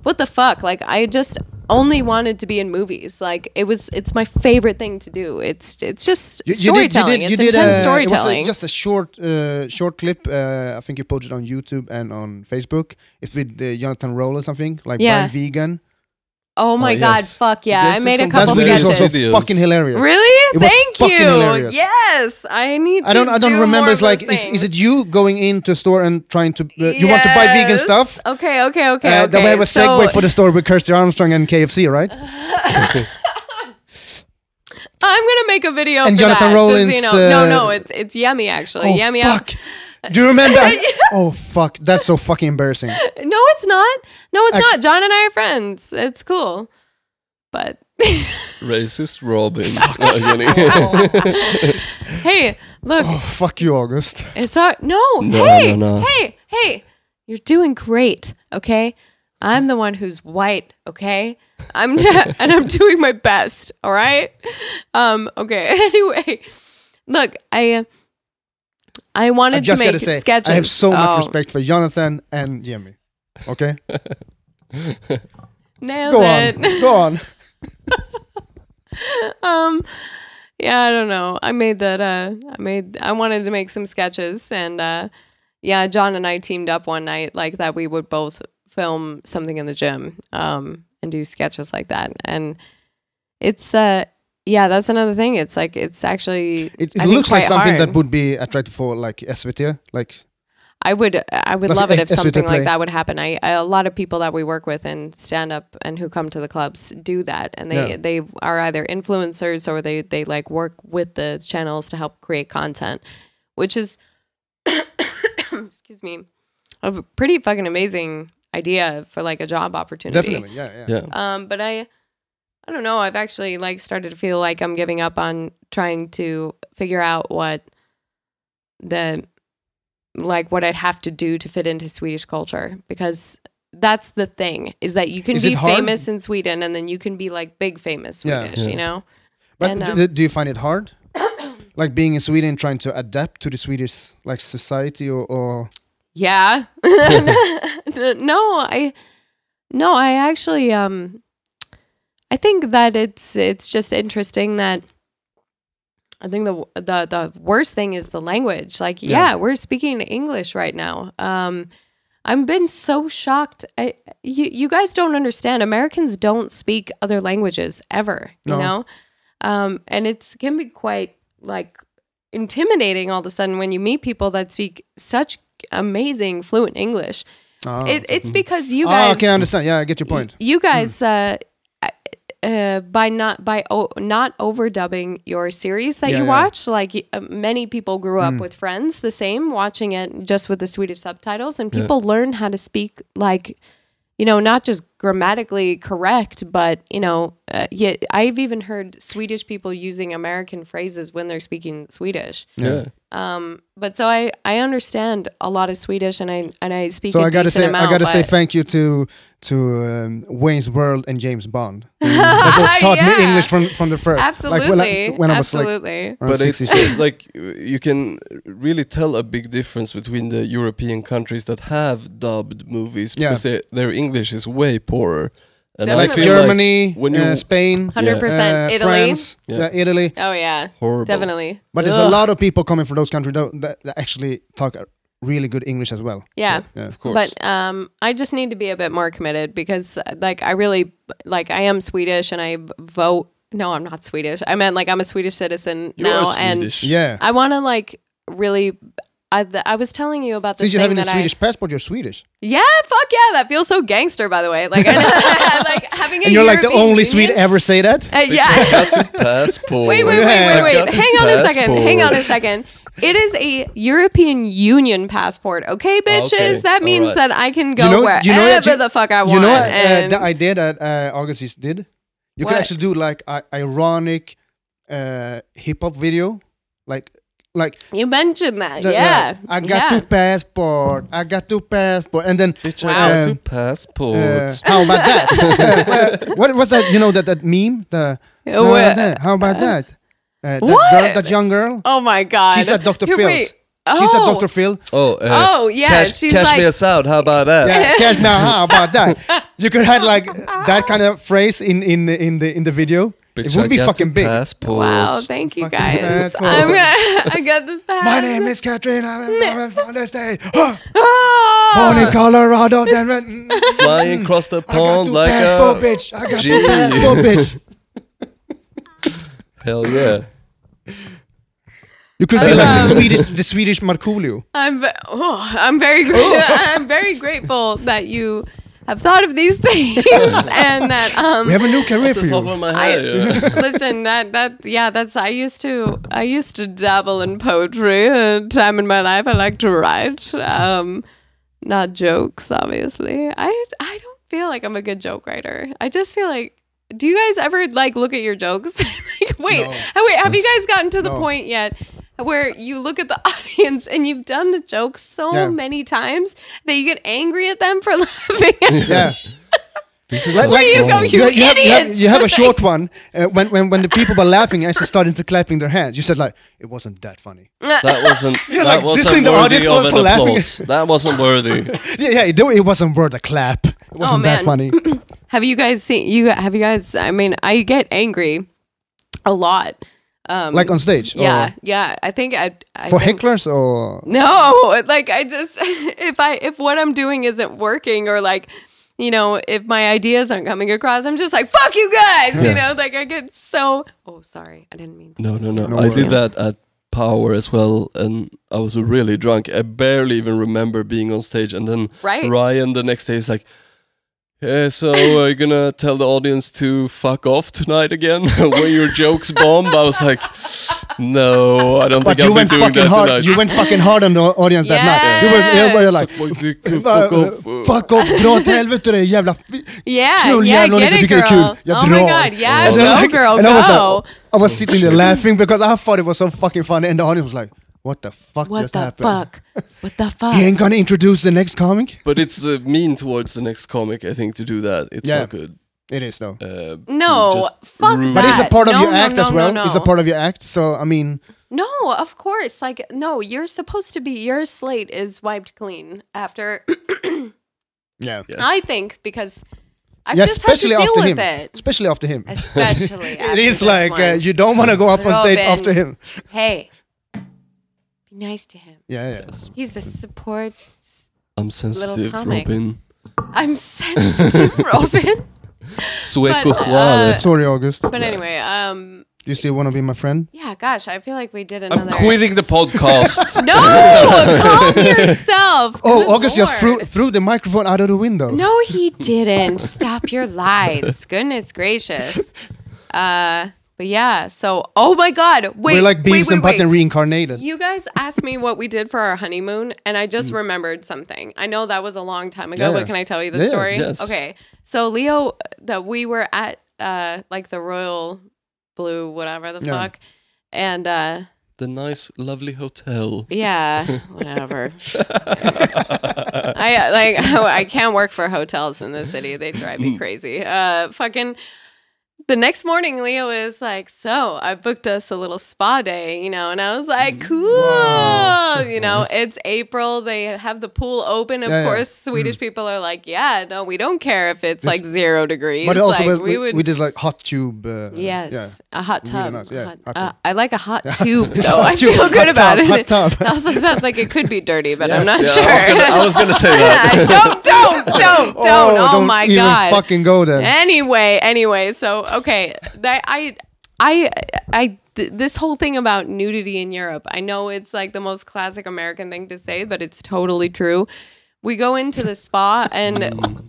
[SPEAKER 3] what the fuck? Like, I just only wanted to be in movies. Like, it was, it's my favorite thing to do. It's, it's just storytelling. it's intense
[SPEAKER 2] uh, it was, uh,
[SPEAKER 3] storytelling.
[SPEAKER 2] just a short, uh, short clip. Uh, I think you posted on YouTube and on Facebook. It's with uh, Jonathan Roll or something like
[SPEAKER 3] Yeah.
[SPEAKER 2] Brian Vegan.
[SPEAKER 3] oh my
[SPEAKER 1] Oh,
[SPEAKER 3] god,
[SPEAKER 1] yes.
[SPEAKER 3] fuck yeah! I
[SPEAKER 1] Just
[SPEAKER 3] made a
[SPEAKER 1] some-
[SPEAKER 3] couple
[SPEAKER 1] that's really
[SPEAKER 2] That's
[SPEAKER 3] sketches.
[SPEAKER 1] awesome.
[SPEAKER 2] also
[SPEAKER 1] Videos.
[SPEAKER 2] fucking hilarious.
[SPEAKER 3] Really?
[SPEAKER 2] It was
[SPEAKER 3] Thank
[SPEAKER 2] fucking
[SPEAKER 3] you.
[SPEAKER 2] hilarious.
[SPEAKER 3] Yes, I need. To
[SPEAKER 2] I don't. I don't
[SPEAKER 3] do
[SPEAKER 2] remember.
[SPEAKER 3] more
[SPEAKER 2] It's
[SPEAKER 3] of
[SPEAKER 2] like,
[SPEAKER 3] those
[SPEAKER 2] is, is it
[SPEAKER 3] things.
[SPEAKER 2] you going into a store and trying to? Uh, You want to buy vegan
[SPEAKER 3] Yes.
[SPEAKER 2] stuff?
[SPEAKER 3] Okay, okay, okay.
[SPEAKER 2] Uh,
[SPEAKER 3] okay.
[SPEAKER 2] Then we have a
[SPEAKER 3] So- Uh,
[SPEAKER 2] segue for the store with Kirsty Armstrong and KFC, right?
[SPEAKER 3] I'm gonna make a video
[SPEAKER 2] And
[SPEAKER 3] for
[SPEAKER 2] Jonathan
[SPEAKER 3] that,
[SPEAKER 2] Rowland's,
[SPEAKER 3] Just, so you know.
[SPEAKER 2] uh,
[SPEAKER 3] no, no, it's it's yummy actually.
[SPEAKER 2] oh
[SPEAKER 3] yummy.
[SPEAKER 2] fuck! Do you
[SPEAKER 3] (laughs)
[SPEAKER 2] remember? Oh fuck! That's so fucking embarrassing.
[SPEAKER 3] No, it's not. No, it's
[SPEAKER 2] Ex-
[SPEAKER 3] not. John and I are friends. It's cool, but (laughs)
[SPEAKER 1] Racist Robin. (laughs) No, I'm kidding.
[SPEAKER 3] hey, look,
[SPEAKER 2] Oh fuck you, August.
[SPEAKER 3] it's our no.
[SPEAKER 1] No,
[SPEAKER 3] hey,
[SPEAKER 1] no, no.
[SPEAKER 3] hey, hey, you're doing great. Okay, I'm the one who's white. Okay, I'm (laughs) and I'm doing my best. All right. Um. Okay. (laughs) Anyway, look, I. Uh, I wanted
[SPEAKER 2] I just
[SPEAKER 3] to
[SPEAKER 2] gotta
[SPEAKER 3] make
[SPEAKER 2] say,
[SPEAKER 3] sketches.
[SPEAKER 2] I have so
[SPEAKER 3] Oh.
[SPEAKER 2] much respect for Jonathan and Jimmy.
[SPEAKER 3] (laughs)
[SPEAKER 2] Okay,
[SPEAKER 3] Nailed
[SPEAKER 2] go
[SPEAKER 3] it. (laughs)
[SPEAKER 2] on, go on.
[SPEAKER 3] um yeah i don't know i made that uh i made i wanted to make some sketches and uh yeah john and i teamed up one night like that we would both film something in the gym um and do sketches like that and it's uh yeah that's another thing it's like it's actually
[SPEAKER 2] It,
[SPEAKER 3] I
[SPEAKER 2] it
[SPEAKER 3] think,
[SPEAKER 2] looks like
[SPEAKER 3] quite
[SPEAKER 2] something
[SPEAKER 3] hard.
[SPEAKER 2] that would be attractive for like SVT, like
[SPEAKER 3] I would I would
[SPEAKER 2] That's
[SPEAKER 3] love it
[SPEAKER 2] a-
[SPEAKER 3] if
[SPEAKER 2] a sweet
[SPEAKER 3] something like
[SPEAKER 2] play.
[SPEAKER 3] that would happen. I, I a lot of people that we work with in stand up and who come to the clubs do that and they
[SPEAKER 2] Yeah.
[SPEAKER 3] they are either influencers or they they like work with the channels to help create content, which is (coughs) excuse me, a pretty fucking amazing idea for like a job opportunity.
[SPEAKER 2] definitely, yeah, yeah.
[SPEAKER 1] yeah.
[SPEAKER 3] Um, but I, I don't know. I've actually like started to feel like I'm giving up on trying to figure out what the like what I'd have to do to fit into Swedish culture because that's the thing is that you can
[SPEAKER 2] Is
[SPEAKER 3] be
[SPEAKER 2] it hard?
[SPEAKER 3] famous in Sweden and then you can be like big famous
[SPEAKER 2] Yeah.
[SPEAKER 3] Swedish,
[SPEAKER 1] Yeah.
[SPEAKER 3] you know?
[SPEAKER 2] But
[SPEAKER 3] And,
[SPEAKER 2] d-
[SPEAKER 3] um,
[SPEAKER 2] d- do you find it hard? (coughs) like being in Sweden, trying to adapt to the Swedish like society or, or (laughs)
[SPEAKER 3] Yeah. (laughs) no, I no, I actually um I think that it's it's just interesting that I think the the the worst thing is the language. Like, yeah,
[SPEAKER 2] Yeah.
[SPEAKER 3] we're speaking English right now. Um I've been so shocked. I you you guys don't understand. Americans don't speak other languages ever, you
[SPEAKER 2] No.
[SPEAKER 3] know? Um and it's can be quite like intimidating all of a sudden when you meet people that speak such amazing fluent English.
[SPEAKER 2] Ah.
[SPEAKER 3] It, it's because you
[SPEAKER 2] Ah,
[SPEAKER 3] guys,
[SPEAKER 2] okay, Hmm. I understand. Yeah, I get your point.
[SPEAKER 3] you guys, uh, uh, by not by o- not overdubbing your series that
[SPEAKER 2] Yeah, Hmm.
[SPEAKER 3] you
[SPEAKER 2] yeah.
[SPEAKER 3] watch, like y- uh, many people grew up with Friends the same, watching it just with the Swedish subtitles, and people learn how to speak like. You know, not just grammatically correct, but you know, uh, yeah, I've even heard Swedish people using American phrases when they're speaking Swedish
[SPEAKER 1] yeah.
[SPEAKER 3] but so I, I understand a lot of Swedish and I and I speak.
[SPEAKER 2] So
[SPEAKER 3] a
[SPEAKER 2] I gotta
[SPEAKER 3] decent
[SPEAKER 2] say,
[SPEAKER 3] amount,
[SPEAKER 2] I gotta say
[SPEAKER 3] but-
[SPEAKER 2] thank you to to um, Wayne's World and James Bond.
[SPEAKER 3] (laughs)
[SPEAKER 2] They both taught me
[SPEAKER 3] Yeah.
[SPEAKER 2] English from from the first.
[SPEAKER 3] absolutely,
[SPEAKER 2] Like, when I, when I was like
[SPEAKER 3] absolutely.
[SPEAKER 2] around
[SPEAKER 1] but it's
[SPEAKER 2] 16.
[SPEAKER 1] uh, like you can really tell a big difference between the European countries that have dubbed movies
[SPEAKER 2] Yeah.
[SPEAKER 1] because their- their English is way poorer. And
[SPEAKER 3] Definitely.
[SPEAKER 2] like
[SPEAKER 1] I feel
[SPEAKER 2] Germany,
[SPEAKER 1] like when you
[SPEAKER 2] uh, Spain,
[SPEAKER 1] Yeah.
[SPEAKER 3] 100%
[SPEAKER 2] uh,
[SPEAKER 3] Italy.
[SPEAKER 2] France,
[SPEAKER 1] Yeah.
[SPEAKER 2] yeah, Italy.
[SPEAKER 3] Oh yeah,
[SPEAKER 1] horrible.
[SPEAKER 3] definitely.
[SPEAKER 2] But there's a
[SPEAKER 3] Ugh.
[SPEAKER 2] lot of people coming from those countries tho- that, that actually talk uh, really good English as well.
[SPEAKER 3] Yeah.
[SPEAKER 2] Yeah.
[SPEAKER 1] Of course.
[SPEAKER 3] But um, I just need to be a bit more committed because, uh, like, I really like I am Swedish and I b- vote. No, I'm not Swedish. I meant like I'm a Swedish citizen
[SPEAKER 1] you
[SPEAKER 3] now,
[SPEAKER 1] are Swedish.
[SPEAKER 2] Yeah.
[SPEAKER 3] and I want to like really. I, th- I was telling you about this
[SPEAKER 2] Since you
[SPEAKER 3] thing
[SPEAKER 2] have a
[SPEAKER 3] that I
[SPEAKER 2] Swedish passport, you're Swedish.
[SPEAKER 3] yeah fuck yeah that feels so gangster by the way like I know, (laughs) like having a
[SPEAKER 2] And you're like the
[SPEAKER 3] European
[SPEAKER 2] only
[SPEAKER 3] Union-
[SPEAKER 2] Swede ever say that.
[SPEAKER 1] Bitch,
[SPEAKER 3] Uh,
[SPEAKER 1] I
[SPEAKER 3] yeah
[SPEAKER 1] got a passport.
[SPEAKER 3] (laughs) Wait, wait, wait,
[SPEAKER 1] I
[SPEAKER 2] Yeah. (laughs)
[SPEAKER 3] wait, wait.
[SPEAKER 1] got
[SPEAKER 3] Hang on a second. Hang on a
[SPEAKER 1] passport.
[SPEAKER 3] second. It is a European Union passport, okay, bitches?
[SPEAKER 1] Okay,
[SPEAKER 3] That
[SPEAKER 1] all
[SPEAKER 3] means
[SPEAKER 1] right.
[SPEAKER 3] that I can go wherever
[SPEAKER 2] do that you-
[SPEAKER 3] the fuck I want.
[SPEAKER 2] You know what, uh,
[SPEAKER 3] and
[SPEAKER 2] the idea that uh, Augustus did? You could
[SPEAKER 3] What?
[SPEAKER 2] actually do like a ironic uh, hip hop video, like like
[SPEAKER 3] you mentioned that,
[SPEAKER 2] the-
[SPEAKER 3] yeah.
[SPEAKER 2] uh, I got
[SPEAKER 3] yeah.
[SPEAKER 2] two passport. I got two passport, and then
[SPEAKER 1] Bitch,
[SPEAKER 3] Wow.
[SPEAKER 1] I got a
[SPEAKER 2] Um, uh,
[SPEAKER 1] passport.
[SPEAKER 2] how about (laughs) that? Uh, uh, what was that? You know that that meme? The
[SPEAKER 3] Uh,
[SPEAKER 2] uh,
[SPEAKER 3] what?
[SPEAKER 2] that- how about that? Uh, that
[SPEAKER 3] What?
[SPEAKER 2] girl, that young girl.
[SPEAKER 3] Oh my god.
[SPEAKER 2] She's at Dr. (laughs)
[SPEAKER 3] Here,
[SPEAKER 2] Phil's.
[SPEAKER 3] wait. Oh.
[SPEAKER 2] She's at Dr. (laughs) Phil.
[SPEAKER 1] Oh, uh,
[SPEAKER 3] Oh, yeah,
[SPEAKER 1] Cash,
[SPEAKER 3] she's
[SPEAKER 1] cash
[SPEAKER 3] like-
[SPEAKER 1] me a sound. How about that?
[SPEAKER 2] Yeah, cash now. How about that? You could have (laughs) like that kind of phrase in in the- in the in the video.
[SPEAKER 1] Bitch,
[SPEAKER 2] it would
[SPEAKER 1] I
[SPEAKER 2] be
[SPEAKER 1] got a
[SPEAKER 2] fucking big.
[SPEAKER 1] Passport.
[SPEAKER 3] Wow, thank you
[SPEAKER 2] Fucking
[SPEAKER 3] guys.
[SPEAKER 2] asshole.
[SPEAKER 3] I'm gonna, (laughs) I got this pass.
[SPEAKER 2] My name is Katrina. I'm- (laughs) I'm from the state. Born in (laughs)
[SPEAKER 3] (laughs) Oh,
[SPEAKER 2] Colorado. Then
[SPEAKER 1] Flying across the
[SPEAKER 2] I got
[SPEAKER 1] pond
[SPEAKER 2] to
[SPEAKER 1] like
[SPEAKER 2] passport,
[SPEAKER 1] a
[SPEAKER 2] bitch. I got to
[SPEAKER 1] Gee.
[SPEAKER 2] passport,
[SPEAKER 1] (laughs)
[SPEAKER 2] bitch.
[SPEAKER 1] hell yeah.
[SPEAKER 2] You could be like the Swedish, the Swedish Markoolio.
[SPEAKER 3] I'm, ve- oh, I'm very grateful. (laughs) I'm very grateful that you have thought of these things and that um
[SPEAKER 2] We have a new career for
[SPEAKER 1] The top
[SPEAKER 2] you.
[SPEAKER 1] of my
[SPEAKER 3] I-
[SPEAKER 1] head. yeah.
[SPEAKER 3] (laughs) listen that that yeah that's i used to i used to dabble in poetry a time in my life i like to write um not jokes obviously i i don't feel like i'm a good joke writer i just feel like do you guys ever like look at your jokes (laughs) like wait
[SPEAKER 2] No.
[SPEAKER 3] ha- wait have you guys gotten to the
[SPEAKER 2] No.
[SPEAKER 3] point yet where you look at the (laughs) audience and you've done the joke so
[SPEAKER 2] Yeah.
[SPEAKER 3] many times that you get angry at them for (laughs) laughing
[SPEAKER 2] (laughs)
[SPEAKER 3] at
[SPEAKER 2] Yeah.
[SPEAKER 1] This is
[SPEAKER 2] Like-
[SPEAKER 1] so
[SPEAKER 2] like-
[SPEAKER 3] you go,
[SPEAKER 1] wrong.
[SPEAKER 3] you
[SPEAKER 2] you, have, you, have,
[SPEAKER 3] idiots.
[SPEAKER 2] you have a
[SPEAKER 3] (laughs)
[SPEAKER 2] short one. Uh, when, when, when the people were laughing, I just started to clapping their hands. You said like, it wasn't that funny.
[SPEAKER 3] Mm.
[SPEAKER 1] That
[SPEAKER 2] (laughs)
[SPEAKER 1] wasn't. that
[SPEAKER 2] like dissing
[SPEAKER 1] wasn't
[SPEAKER 2] the
[SPEAKER 1] worthy
[SPEAKER 2] audience
[SPEAKER 1] of
[SPEAKER 2] for-
[SPEAKER 1] an
[SPEAKER 2] for laughing.
[SPEAKER 1] applause.
[SPEAKER 2] (laughs)
[SPEAKER 1] That wasn't worthy.
[SPEAKER 2] Yeah, yeah. It, it wasn't worth a clap. It wasn't that
[SPEAKER 3] Oh, man.
[SPEAKER 2] funny.
[SPEAKER 3] Have you guys seen you have you guys I mean I get angry a lot. (clears throat) Um
[SPEAKER 2] like on stage. or
[SPEAKER 3] Yeah, yeah. I think I, I
[SPEAKER 2] Oh. for
[SPEAKER 3] think,
[SPEAKER 2] hecklers or
[SPEAKER 3] No, (laughs) like I just if I if what I'm doing isn't working or like you know, if my ideas aren't coming across, I'm just like fuck you guys, you know, like I get so Oh, sorry. I didn't mean to.
[SPEAKER 1] No, no, no.
[SPEAKER 2] No
[SPEAKER 1] I
[SPEAKER 2] worry.
[SPEAKER 1] did that at Power as well, and I was really drunk. I barely even remember being on stage. And then
[SPEAKER 3] Right.
[SPEAKER 1] Ryan the next day is like, "Yeah, so are you gonna tell the audience to fuck off tonight again (laughs) when your jokes bomb?" I was like, "No, I don't
[SPEAKER 2] But
[SPEAKER 1] think
[SPEAKER 2] you
[SPEAKER 1] I'll
[SPEAKER 2] went
[SPEAKER 1] be doing
[SPEAKER 2] fucking
[SPEAKER 1] that
[SPEAKER 2] hard.
[SPEAKER 1] tonight."
[SPEAKER 2] You went fucking hard on the audience that night. You were, you were- you
[SPEAKER 1] (laughs)
[SPEAKER 2] were like,
[SPEAKER 1] Suck my dick, uh,
[SPEAKER 2] "Va- (laughs)
[SPEAKER 1] fuck off. uh."
[SPEAKER 2] fuck off, dra
[SPEAKER 1] (laughs)
[SPEAKER 2] åt helvete dig jävla fi-
[SPEAKER 3] Yeah, yeah,
[SPEAKER 2] knulljävel om du
[SPEAKER 3] get
[SPEAKER 2] inte
[SPEAKER 3] it,
[SPEAKER 2] tycker det är
[SPEAKER 3] girl.
[SPEAKER 2] kul. Jag
[SPEAKER 3] oh
[SPEAKER 2] drar.
[SPEAKER 3] my god, yeah,
[SPEAKER 2] And then,
[SPEAKER 3] go,
[SPEAKER 2] like-
[SPEAKER 3] girl,
[SPEAKER 2] and I was,
[SPEAKER 3] go. (laughs)
[SPEAKER 2] like, I was sitting there laughing because I thought it was so fucking funny and the audience was like, What the fuck
[SPEAKER 3] What
[SPEAKER 2] just
[SPEAKER 3] the
[SPEAKER 2] happened?
[SPEAKER 3] fuck? What the
[SPEAKER 2] (laughs)
[SPEAKER 3] fuck?
[SPEAKER 2] He ain't gonna introduce the next comic.
[SPEAKER 1] But it's uh, mean towards the next comic, I think, to do that. It's
[SPEAKER 2] Yeah.
[SPEAKER 1] not good.
[SPEAKER 2] It is though.
[SPEAKER 1] Uh, to
[SPEAKER 3] No,
[SPEAKER 1] just
[SPEAKER 3] fuck
[SPEAKER 1] ruin-
[SPEAKER 2] But it's a
[SPEAKER 3] that-
[SPEAKER 2] part of
[SPEAKER 3] no,
[SPEAKER 2] your
[SPEAKER 3] no,
[SPEAKER 2] act
[SPEAKER 3] no,
[SPEAKER 2] as
[SPEAKER 3] no,
[SPEAKER 2] well.
[SPEAKER 3] no.
[SPEAKER 2] It's a part of your act. So I mean,
[SPEAKER 3] No, of course. Like, no, you're supposed to be, your slate is wiped clean after,
[SPEAKER 2] yeah.
[SPEAKER 1] Yes.
[SPEAKER 3] I think, because I've
[SPEAKER 2] yeah,
[SPEAKER 3] just had to
[SPEAKER 2] especially
[SPEAKER 3] deal
[SPEAKER 2] after
[SPEAKER 3] with
[SPEAKER 2] him.
[SPEAKER 3] it.
[SPEAKER 2] Especially after him. (laughs)
[SPEAKER 3] Especially
[SPEAKER 2] it
[SPEAKER 3] after
[SPEAKER 2] is
[SPEAKER 3] this
[SPEAKER 2] like uh,
[SPEAKER 3] one.
[SPEAKER 2] you don't want to go up on stage
[SPEAKER 3] Robin.
[SPEAKER 2] after him.
[SPEAKER 3] Hey, be nice to him.
[SPEAKER 2] Yeah, yeah.
[SPEAKER 3] He's a support.
[SPEAKER 1] I'm sensitive,
[SPEAKER 3] comic.
[SPEAKER 1] Robin.
[SPEAKER 3] I'm (laughs) sensitive,
[SPEAKER 2] (laughs)
[SPEAKER 3] Robin.
[SPEAKER 1] Sueco
[SPEAKER 3] uh,
[SPEAKER 1] suave.
[SPEAKER 2] Sorry, August.
[SPEAKER 3] But anyway, um,
[SPEAKER 2] You still want to be my friend?
[SPEAKER 3] yeah, gosh, I feel like we did another.
[SPEAKER 1] I'm quitting the podcast.
[SPEAKER 3] No, calm
[SPEAKER 2] (laughs)
[SPEAKER 3] yourself.
[SPEAKER 2] Oh,
[SPEAKER 3] Good
[SPEAKER 2] August just threw,
[SPEAKER 3] Lord.
[SPEAKER 2] threw the microphone out of the window.
[SPEAKER 3] No, he didn't. Stop your
[SPEAKER 2] (laughs)
[SPEAKER 3] lies. Goodness gracious. Uh, but yeah, so oh my god, wait,
[SPEAKER 2] We're like
[SPEAKER 3] wait,
[SPEAKER 2] Beavis
[SPEAKER 3] wait,
[SPEAKER 2] and
[SPEAKER 3] wait.
[SPEAKER 2] Button reincarnated.
[SPEAKER 3] You guys asked me what we did for our honeymoon, and I just remembered something. I know that was a long time ago,
[SPEAKER 2] Mm. Yeah.
[SPEAKER 3] but can I tell you the
[SPEAKER 2] Yeah,
[SPEAKER 3] story?
[SPEAKER 1] yes.
[SPEAKER 3] Okay. So Leo, that we were at uh like the Royal Blue, whatever the
[SPEAKER 2] Yeah.
[SPEAKER 3] fuck, and uh
[SPEAKER 1] the nice, lovely hotel.
[SPEAKER 3] yeah, whatever. I like (laughs) I can't work for hotels in the city. They drive
[SPEAKER 2] Mm.
[SPEAKER 3] me crazy. Uh fucking the next morning Leo is like, "So, I booked us a little spa day, you know." And I was
[SPEAKER 2] Mm.
[SPEAKER 3] like, "Cool." You know, it's April. They have the pool open. Of
[SPEAKER 2] Yeah, yeah.
[SPEAKER 3] course, Swedish people are like, "Yeah, no, we don't care if it's
[SPEAKER 2] This-
[SPEAKER 3] like 0 degrees."
[SPEAKER 2] But also,
[SPEAKER 3] like,
[SPEAKER 2] we, we, did like hot tube. Uh,
[SPEAKER 3] Yes,
[SPEAKER 2] Yeah.
[SPEAKER 3] a hot
[SPEAKER 2] Really
[SPEAKER 3] tub.
[SPEAKER 2] nice, yeah,
[SPEAKER 3] Hot-
[SPEAKER 2] hot
[SPEAKER 3] uh,
[SPEAKER 2] tub.
[SPEAKER 3] I like a hot
[SPEAKER 2] (laughs)
[SPEAKER 3] tube though.
[SPEAKER 2] Hot
[SPEAKER 3] I feel
[SPEAKER 2] tube,
[SPEAKER 3] good
[SPEAKER 2] hot tub,
[SPEAKER 3] about it.
[SPEAKER 2] hot tub.
[SPEAKER 3] It also sounds like it could be dirty, but I'm
[SPEAKER 1] Yes,
[SPEAKER 3] not
[SPEAKER 1] yeah,
[SPEAKER 3] sure.
[SPEAKER 1] I was gonna- I was gonna say
[SPEAKER 3] (laughs)
[SPEAKER 1] that.
[SPEAKER 3] Yeah, don't,
[SPEAKER 2] (laughs)
[SPEAKER 3] don't, don't, don't. Oh,
[SPEAKER 2] don't
[SPEAKER 3] my
[SPEAKER 2] even
[SPEAKER 3] god.
[SPEAKER 2] fucking go there.
[SPEAKER 3] Anyway, anyway, so okay, that I, I, I. Th- this whole thing about nudity in Europe, I know it's like the most classic American thing to say, but it's totally true. We go into the spa, and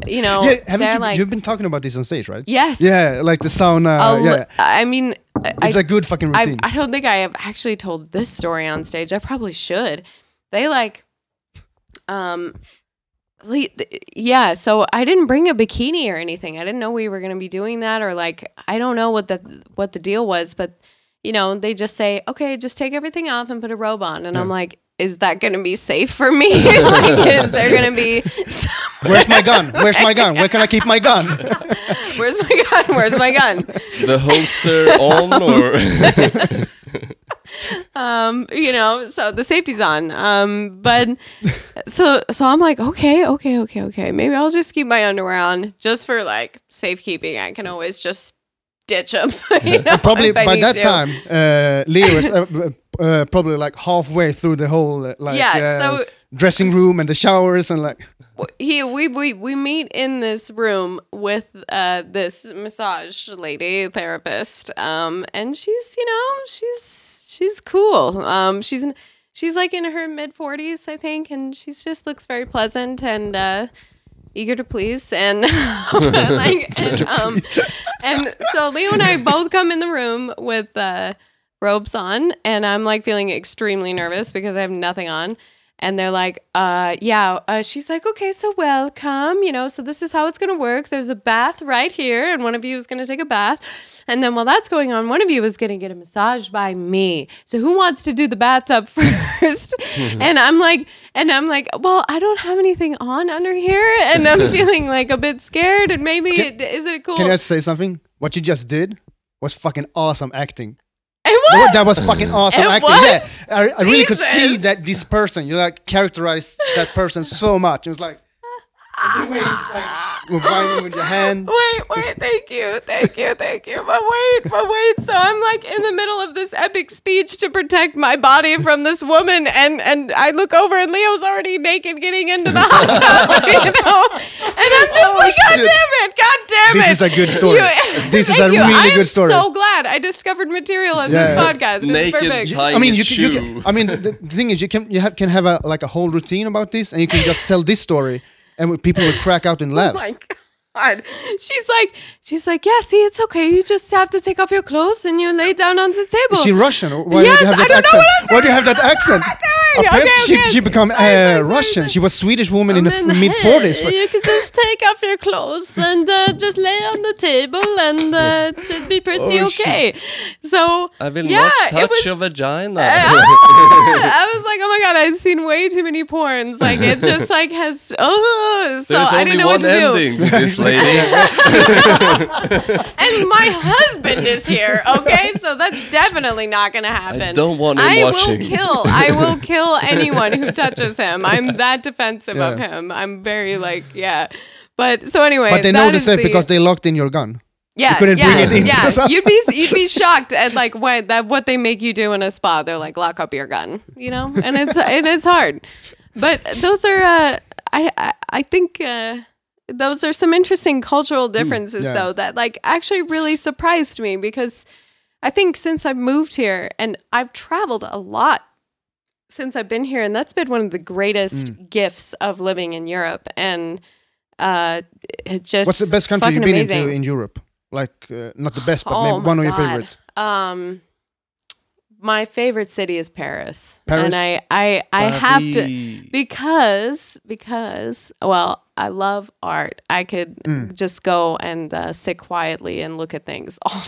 [SPEAKER 3] you know,
[SPEAKER 2] yeah, haven't
[SPEAKER 3] they're
[SPEAKER 2] you,
[SPEAKER 3] like,
[SPEAKER 2] you've been talking about this on stage, right?
[SPEAKER 3] Yes.
[SPEAKER 2] Yeah, like the sauna.
[SPEAKER 3] I'll-
[SPEAKER 2] yeah.
[SPEAKER 3] I mean,
[SPEAKER 2] It's
[SPEAKER 3] I,
[SPEAKER 2] a good fucking
[SPEAKER 3] I,
[SPEAKER 2] routine.
[SPEAKER 3] I don't think I have actually told this story on stage. I probably should. They like, um, le- th- yeah. So I didn't bring a bikini or anything. I didn't know we were gonna be doing that, or like I don't know what the what the deal was. But you know, they just say, okay, just take everything off and put a robe on, and I'm like. Is that going to be safe for me? (laughs) like, is there going to be (laughs) some
[SPEAKER 2] (laughs) Where's my gun? Where's my gun? Where can I keep my
[SPEAKER 3] (laughs)
[SPEAKER 2] gun?
[SPEAKER 3] Where's my gun? Where's my gun?
[SPEAKER 1] the holster on or (laughs)
[SPEAKER 3] um, you know, so the safety's on. Um,
[SPEAKER 2] (laughs)
[SPEAKER 3] but so so I'm like, okay, okay, okay, okay. Maybe I'll just keep my underwear on just for like safekeeping. I can always just ditch (laughs) them.
[SPEAKER 2] (laughs) Probably by that time, uh, Leo is uh, uh, uh, probably like halfway through the whole uh, like
[SPEAKER 3] Yeah,
[SPEAKER 2] uh,
[SPEAKER 3] so-
[SPEAKER 2] dressing room and the showers and like
[SPEAKER 3] he we, we we meet in this room with uh this massage lady therapist um and she's you know she's she's cool um she's in- she's like in her mid 40s i think and she's just looks very pleasant and uh eager to please and (laughs) like and, um and so leo and i both come in the room with uh robes on and i'm like feeling extremely nervous because i have nothing on and they're like uh yeah uh, she's like okay so welcome you know so this is how it's going to work there's a bath right here and one of you is going to take a bath and then while that's going on one of you is going to get a massage by me so who wants to do the bathtub (laughs)
[SPEAKER 2] (laughs)
[SPEAKER 3] first and i'm like and i'm like well i don't have anything on under here and i'm
[SPEAKER 2] (laughs)
[SPEAKER 3] feeling like a bit scared and maybe it, is it cool
[SPEAKER 2] Can I say something? What you just did was fucking awesome acting.
[SPEAKER 3] it was
[SPEAKER 2] What- That was fucking awesome
[SPEAKER 3] It
[SPEAKER 2] acting.
[SPEAKER 3] was?
[SPEAKER 2] Yeah, I, I really could see
[SPEAKER 3] Jesus.
[SPEAKER 2] that this person. You like characterized that person so much. It was like, and the way, like, you're winding with your hand.
[SPEAKER 3] Wait, wait, thank you, thank you, thank you. But wait, but wait. So I'm like in the middle of this epic speech to protect my body from this woman, and and I look over and Leo's already naked getting into the hot tub, (laughs) you know. And I'm just like, God
[SPEAKER 2] Oh, shit.
[SPEAKER 3] damn it, God damn
[SPEAKER 2] This
[SPEAKER 3] it.
[SPEAKER 2] is a good story. This is
[SPEAKER 3] Thank
[SPEAKER 2] a
[SPEAKER 3] you.
[SPEAKER 2] really
[SPEAKER 3] I am
[SPEAKER 2] good story.
[SPEAKER 3] So glad I discovered material on
[SPEAKER 2] Yeah.
[SPEAKER 3] this podcast. It's
[SPEAKER 1] Naked
[SPEAKER 3] perfect.
[SPEAKER 1] tight-
[SPEAKER 2] I mean, you
[SPEAKER 1] His
[SPEAKER 2] can, you
[SPEAKER 1] shoe.
[SPEAKER 2] can. I mean, the, the thing is, you can you have, can have a like a whole routine about this, and you can just tell this story, and we- people will crack out in laughs.
[SPEAKER 3] Oh my god. She's like, she's like, yeah. See, it's okay. You just have to take off your clothes and you lay down on the table.
[SPEAKER 2] is she Russian? Or Why
[SPEAKER 3] Yes,
[SPEAKER 2] do you have that
[SPEAKER 3] I don't know
[SPEAKER 2] accent?
[SPEAKER 3] what I'm
[SPEAKER 2] Why do you have that accent?
[SPEAKER 3] I do okay,
[SPEAKER 2] Apparently,
[SPEAKER 3] okay,
[SPEAKER 2] she,
[SPEAKER 3] okay.
[SPEAKER 2] she became uh,
[SPEAKER 3] Sorry, sorry, sorry,
[SPEAKER 2] Russian.
[SPEAKER 3] sorry.
[SPEAKER 2] She was Swedish woman in the
[SPEAKER 3] I
[SPEAKER 2] f-
[SPEAKER 3] mean,
[SPEAKER 2] mid
[SPEAKER 3] hey,
[SPEAKER 2] forties.
[SPEAKER 3] You could just take off your clothes and uh, just lay on the table, and uh, it should be pretty
[SPEAKER 1] Oh, shit.
[SPEAKER 3] okay. So
[SPEAKER 1] I will
[SPEAKER 3] yeah,
[SPEAKER 1] not
[SPEAKER 3] it
[SPEAKER 1] touch
[SPEAKER 3] was- Uh,
[SPEAKER 1] your vagina. (laughs)
[SPEAKER 3] I was like, oh my god, I've seen way too many porns.
[SPEAKER 1] (laughs)
[SPEAKER 3] Like it just like has oh, so
[SPEAKER 1] There's
[SPEAKER 3] I
[SPEAKER 1] only
[SPEAKER 3] didn't know
[SPEAKER 1] one
[SPEAKER 3] what to do.
[SPEAKER 1] ending to this
[SPEAKER 3] (laughs)
[SPEAKER 1] lady.
[SPEAKER 3] And
[SPEAKER 1] (laughs)
[SPEAKER 3] my husband is here, okay? So that's definitely not gonna happen.
[SPEAKER 1] don't want him
[SPEAKER 3] I
[SPEAKER 1] watching.
[SPEAKER 3] will kill. I
[SPEAKER 1] (laughs)
[SPEAKER 3] will kill anyone who touches him. I'm that defensive of
[SPEAKER 2] Yeah.
[SPEAKER 3] him. I'm very like, yeah. But so anyway,
[SPEAKER 2] But they
[SPEAKER 3] that
[SPEAKER 2] know this
[SPEAKER 3] is the-
[SPEAKER 2] because they locked in your gun.
[SPEAKER 3] Yeah,
[SPEAKER 2] couldn't
[SPEAKER 3] yeah,
[SPEAKER 2] bring it into
[SPEAKER 3] yeah.
[SPEAKER 2] the spa.
[SPEAKER 3] You'd be you'd
[SPEAKER 2] (laughs)
[SPEAKER 3] be shocked at like what that what they make you do in a spa. They're like lock up your gun, you know, and
[SPEAKER 2] (laughs)
[SPEAKER 3] it's and it's hard. But those are uh, I I- I think uh, those are some interesting cultural
[SPEAKER 2] Mm,
[SPEAKER 3] differences
[SPEAKER 2] yeah.
[SPEAKER 3] though that like actually really surprised me because I think since I've moved here and I've traveled a lot since I've been here, and that's been one of the greatest
[SPEAKER 2] Mm.
[SPEAKER 3] gifts of living in Europe and. Uh, it just
[SPEAKER 2] What's the best
[SPEAKER 3] it's
[SPEAKER 2] country
[SPEAKER 3] fucking
[SPEAKER 2] you've been
[SPEAKER 3] amazing. Oh
[SPEAKER 2] into in Europe? Like uh, not the best, but
[SPEAKER 3] my
[SPEAKER 2] maybe one of your
[SPEAKER 3] God.
[SPEAKER 2] favorites.
[SPEAKER 3] Um, my favorite city is Paris.
[SPEAKER 2] Paris?
[SPEAKER 3] And I, I, I have to
[SPEAKER 1] Buddy.
[SPEAKER 3] because because well, I love art. I could
[SPEAKER 2] Mm.
[SPEAKER 3] just go and uh, sit quietly and look at things (laughs) all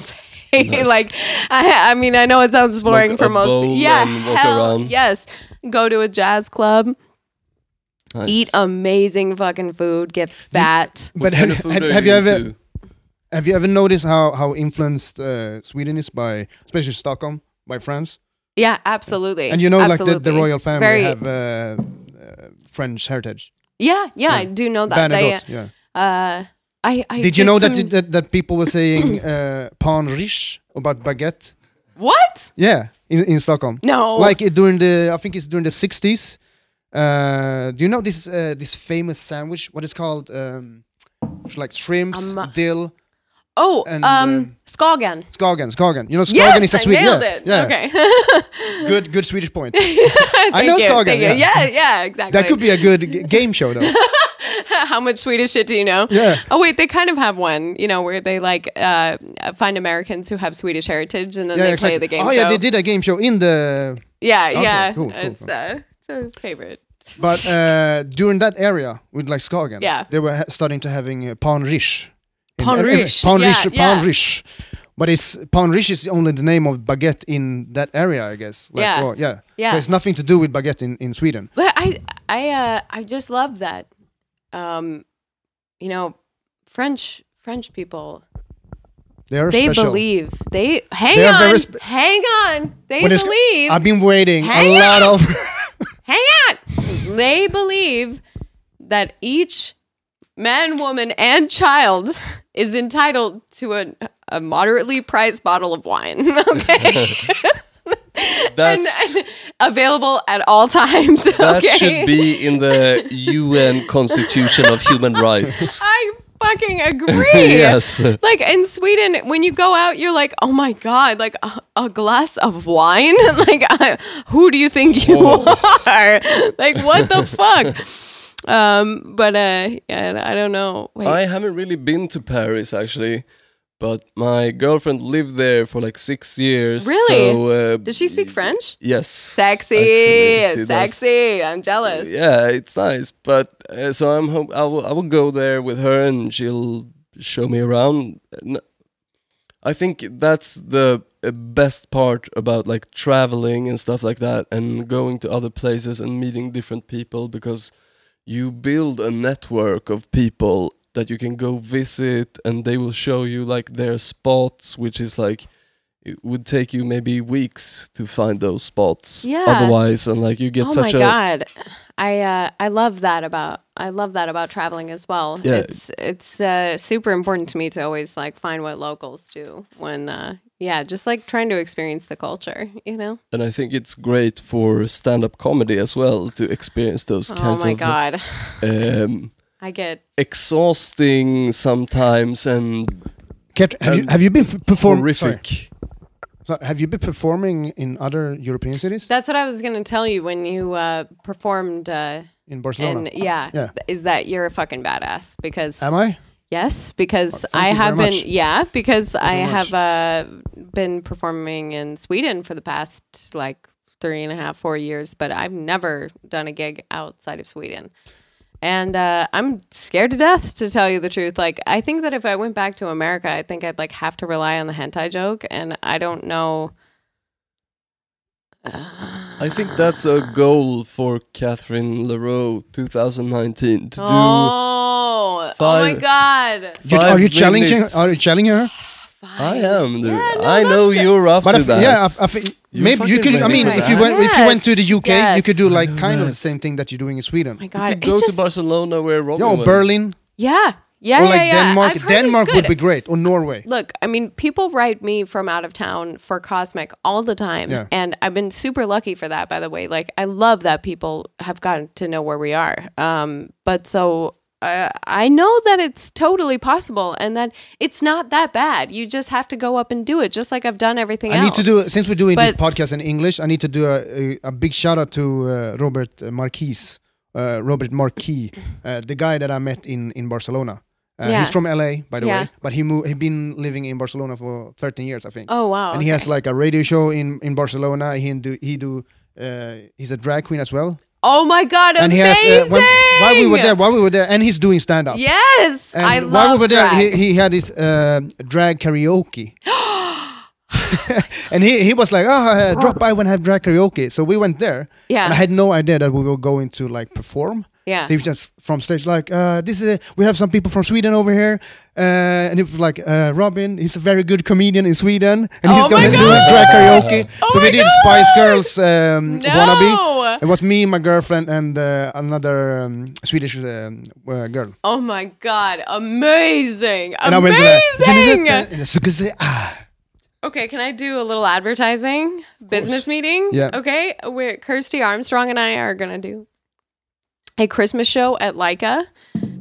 [SPEAKER 3] day. (laughs) like, I, I mean, I know it sounds boring
[SPEAKER 1] Like
[SPEAKER 3] for
[SPEAKER 1] a bowl
[SPEAKER 3] most. Yeah,
[SPEAKER 1] and walk
[SPEAKER 3] hell
[SPEAKER 1] around.
[SPEAKER 3] yes. Go to a jazz club,
[SPEAKER 1] Nice.
[SPEAKER 3] eat amazing fucking food, get fat.
[SPEAKER 1] What
[SPEAKER 2] But
[SPEAKER 1] kind
[SPEAKER 2] have,
[SPEAKER 1] of food
[SPEAKER 2] have,
[SPEAKER 1] are
[SPEAKER 2] have you ever
[SPEAKER 1] into?
[SPEAKER 2] have you ever noticed how how influenced uh, Sweden is by especially Stockholm by France?
[SPEAKER 3] Yeah, absolutely.
[SPEAKER 2] And you know, like the, the
[SPEAKER 3] Absolutely.
[SPEAKER 2] royal family
[SPEAKER 3] Very-
[SPEAKER 2] have uh, uh, French heritage.
[SPEAKER 3] Yeah, yeah, I do know that. They,
[SPEAKER 2] Bernadotte, yeah.
[SPEAKER 3] uh, I, I
[SPEAKER 2] Did you know that,
[SPEAKER 3] some-
[SPEAKER 2] that that people were saying (coughs) uh, "pan riche" about baguette?
[SPEAKER 3] what?
[SPEAKER 2] Yeah, in, in Stockholm.
[SPEAKER 3] No.
[SPEAKER 2] Like it during the I think it's during the sixties. Uh, do you know this uh, this famous sandwich? What is called? Um, it's like shrimps,
[SPEAKER 3] Um,
[SPEAKER 2] dill,
[SPEAKER 3] oh,
[SPEAKER 2] and,
[SPEAKER 3] um,
[SPEAKER 2] um,
[SPEAKER 3] Skagen.
[SPEAKER 2] skagen, skagen. You know, skagen is
[SPEAKER 3] Yes,
[SPEAKER 2] a
[SPEAKER 3] I
[SPEAKER 2] Swedish.
[SPEAKER 3] nailed
[SPEAKER 2] yeah,
[SPEAKER 3] it.
[SPEAKER 2] Yeah,
[SPEAKER 3] Okay, (laughs)
[SPEAKER 2] good, good Swedish point.
[SPEAKER 3] I
[SPEAKER 2] know Skagen, yeah.
[SPEAKER 3] yeah, yeah, exactly.
[SPEAKER 2] That could be a good g- game show,
[SPEAKER 3] (laughs)
[SPEAKER 2] though.
[SPEAKER 3] How much Swedish shit do you know?
[SPEAKER 2] Yeah.
[SPEAKER 3] Oh wait, they kind of have one, you know, where they like uh, find Americans who have Swedish heritage and then
[SPEAKER 2] yeah,
[SPEAKER 3] they
[SPEAKER 2] exactly.
[SPEAKER 3] play the game.
[SPEAKER 2] Oh yeah,
[SPEAKER 3] show.
[SPEAKER 2] they did a game show in the
[SPEAKER 3] Yeah,
[SPEAKER 2] Okay,
[SPEAKER 3] yeah.
[SPEAKER 2] cool, cool,
[SPEAKER 3] it's,
[SPEAKER 2] cool.
[SPEAKER 3] Uh, it's a favorite.
[SPEAKER 2] But uh, during that area with like Skagen,
[SPEAKER 3] Yeah.
[SPEAKER 2] they were ha- starting to having uh, Panrish.
[SPEAKER 3] Pan Rish,
[SPEAKER 2] Panrish,
[SPEAKER 3] yeah, yeah.
[SPEAKER 2] Panrish. But it's Panrish is only the name of baguette in that area, I guess. Like,
[SPEAKER 3] Yeah.
[SPEAKER 2] well, yeah.
[SPEAKER 3] Yeah.
[SPEAKER 2] So it's nothing to do with baguette in, in Sweden.
[SPEAKER 3] But I I uh I just love that. Um you know, French French people
[SPEAKER 2] They are
[SPEAKER 3] they
[SPEAKER 2] special.
[SPEAKER 3] believe. They hang
[SPEAKER 2] They are very
[SPEAKER 3] on.
[SPEAKER 2] spe-
[SPEAKER 3] hang on. They
[SPEAKER 2] When it's-
[SPEAKER 3] believe.
[SPEAKER 2] I've been waiting
[SPEAKER 3] Hang
[SPEAKER 2] a lot
[SPEAKER 3] on!
[SPEAKER 2] of. (laughs)
[SPEAKER 3] hang on. They believe that each man, woman, and child (laughs) is entitled to a, a moderately priced bottle of wine. (laughs)
[SPEAKER 2] (laughs)
[SPEAKER 3] Okay. and,
[SPEAKER 1] That's,
[SPEAKER 3] (laughs) and available at all times. (laughs)
[SPEAKER 1] that
[SPEAKER 3] okay.
[SPEAKER 1] should be in the UN Constitution of Human
[SPEAKER 3] (laughs)
[SPEAKER 1] Rights.
[SPEAKER 3] I fucking
[SPEAKER 1] (laughs)
[SPEAKER 3] agree.
[SPEAKER 1] Yes.
[SPEAKER 3] Like in Sweden, when you go out, you're like, oh my God, like a, a glass of wine? (laughs) like, uh, who do you think you
[SPEAKER 1] Oh.
[SPEAKER 3] (laughs) are? like, what the fuck? Um, but uh, yeah, I don't know. Wait.
[SPEAKER 1] I haven't really been to Paris actually, but my girlfriend lived there for like six years.
[SPEAKER 3] Really?
[SPEAKER 1] So, uh,
[SPEAKER 3] Does she speak French?
[SPEAKER 1] Yes.
[SPEAKER 3] Sexy,
[SPEAKER 1] actually, she does.
[SPEAKER 3] sexy. I'm jealous.
[SPEAKER 1] Yeah, it's nice. But uh, so I'm home. I will. I will go there with her, and she'll show me around. N- I think that's the uh, best part about like traveling and stuff like that, and going to other places and meeting different people because you build a network of people that you can go visit, and they will show you like their spots, which is like. It would take you maybe weeks to find those spots.
[SPEAKER 3] Yeah.
[SPEAKER 1] Otherwise, and like you get
[SPEAKER 3] oh
[SPEAKER 1] such
[SPEAKER 3] my
[SPEAKER 1] a
[SPEAKER 3] god i uh i love that about i love that about traveling as well
[SPEAKER 1] Yeah.
[SPEAKER 3] it's it's uh super important to me to always like find what locals do when uh yeah just like trying to experience the culture you know
[SPEAKER 1] And I think it's great for stand-up comedy as well to experience those
[SPEAKER 3] oh
[SPEAKER 1] kinds
[SPEAKER 3] my
[SPEAKER 1] of
[SPEAKER 3] god
[SPEAKER 1] Um,
[SPEAKER 3] i get
[SPEAKER 1] exhausting sometimes and
[SPEAKER 2] Kat, have, you, have you been f- perform-
[SPEAKER 1] Um, horrific.
[SPEAKER 2] sorry. So have you been performing in other European cities?
[SPEAKER 3] that's what i was gonna tell you when you uh performed uh
[SPEAKER 2] in Barcelona?
[SPEAKER 3] and yeah,
[SPEAKER 2] Yeah.
[SPEAKER 3] is that you're a fucking badass because
[SPEAKER 2] Am I?
[SPEAKER 3] Yes, because
[SPEAKER 2] thank
[SPEAKER 3] I
[SPEAKER 2] you
[SPEAKER 3] have
[SPEAKER 2] very
[SPEAKER 3] been.
[SPEAKER 2] much.
[SPEAKER 3] Yeah, because I
[SPEAKER 2] very
[SPEAKER 3] have
[SPEAKER 2] much.
[SPEAKER 3] uh, been performing in Sweden for the past like three and a half, four years, but I've never done a gig outside of Sweden. And uh, I'm scared to death, to tell you the truth. Like, I think that if I went back to America, I think I'd like have to rely on the hentai joke, and I don't know.
[SPEAKER 1] I think that's a goal for Catherine Leroux 2019 to
[SPEAKER 3] oh, oh my
[SPEAKER 1] five-
[SPEAKER 3] god! Oh
[SPEAKER 1] do.
[SPEAKER 2] You-
[SPEAKER 1] five
[SPEAKER 2] are you challenging?
[SPEAKER 1] minutes.
[SPEAKER 2] Are you challenging her?
[SPEAKER 1] I am, dude.
[SPEAKER 3] Yeah, no,
[SPEAKER 1] I know
[SPEAKER 3] that's good.
[SPEAKER 1] you're up
[SPEAKER 2] But I
[SPEAKER 1] to
[SPEAKER 2] f-
[SPEAKER 1] that.
[SPEAKER 2] yeah, uh, I f- I f-
[SPEAKER 1] You
[SPEAKER 2] maybe you
[SPEAKER 1] fucking
[SPEAKER 2] could. I
[SPEAKER 1] ready
[SPEAKER 2] mean,
[SPEAKER 1] for
[SPEAKER 2] if you
[SPEAKER 1] that?
[SPEAKER 2] went if you went to the
[SPEAKER 3] Yes,
[SPEAKER 2] UK, you could do like kind of the
[SPEAKER 1] yes.
[SPEAKER 2] same thing that you're doing in Sweden.
[SPEAKER 3] Oh my
[SPEAKER 1] you
[SPEAKER 3] god!
[SPEAKER 1] could
[SPEAKER 3] it
[SPEAKER 1] go
[SPEAKER 3] just-
[SPEAKER 1] to Barcelona where Robin
[SPEAKER 2] You know,
[SPEAKER 1] went.
[SPEAKER 2] Berlin
[SPEAKER 3] Yeah, yeah,
[SPEAKER 2] or like
[SPEAKER 3] Oh, yeah, yeah.
[SPEAKER 2] Denmark.
[SPEAKER 3] I've heard it's
[SPEAKER 2] Denmark would
[SPEAKER 3] good.
[SPEAKER 2] be great, or Norway.
[SPEAKER 3] Look, I mean, people write me from out of town for Cosmic all the time.
[SPEAKER 2] Yeah.
[SPEAKER 3] And I've been super lucky for that, by the way. Like, I love that people have gotten to know where we are. Um, but so uh, I know that it's totally possible and that it's not that bad. You just have to go up and do it, just like I've done everything
[SPEAKER 2] I
[SPEAKER 3] else.
[SPEAKER 2] need to do since we're doing this
[SPEAKER 3] But-
[SPEAKER 2] podcast in English. I need to do a, a, a big shout out to uh, Robert Marquis, uh, Robert Marquis, uh, the guy that I met in in Barcelona. Uh,
[SPEAKER 3] Yeah.
[SPEAKER 2] He's from LA, by the
[SPEAKER 3] Yeah.
[SPEAKER 2] way, but he moved. He been living in Barcelona for 13 years, I think.
[SPEAKER 3] Oh, wow.
[SPEAKER 2] and he has like a radio show in in Barcelona. He do he do. Uh, he's a drag queen as well,
[SPEAKER 3] oh my God,
[SPEAKER 2] and
[SPEAKER 3] amazing!
[SPEAKER 2] he has. uh, when, while we were there, while we were there, and he's doing stand up.
[SPEAKER 3] Yes,
[SPEAKER 2] And
[SPEAKER 3] I
[SPEAKER 2] while we
[SPEAKER 3] love
[SPEAKER 2] were there,
[SPEAKER 3] drag.
[SPEAKER 2] he, he had his uh, drag
[SPEAKER 3] (gasps)
[SPEAKER 2] karaoke. and he, he was like, oh, uh, drop by when I have drag karaoke. So we went there.
[SPEAKER 3] Yeah.
[SPEAKER 2] And I had no idea that we were going to like perform.
[SPEAKER 3] Yeah.
[SPEAKER 2] So he was just from stage like, uh, this is we have some people from Sweden over here. Uh, and he was like, uh, Robin, he's a very good comedian in Sweden. And he's
[SPEAKER 3] Oh my Oh
[SPEAKER 2] going to do a drag karaoke. so
[SPEAKER 3] my
[SPEAKER 2] we did Spice Girls um,
[SPEAKER 3] No!
[SPEAKER 2] Wannabe. It was me, my girlfriend, and uh, another um, Swedish um, uh, girl.
[SPEAKER 3] oh my God, amazing!
[SPEAKER 2] And
[SPEAKER 3] amazing!
[SPEAKER 2] I went to like, eh, ah.
[SPEAKER 3] Okay, can I do a little advertising business meeting?
[SPEAKER 2] Yeah.
[SPEAKER 3] Okay, where Kirsty Armstrong and I are gonna do a Christmas show at Leica,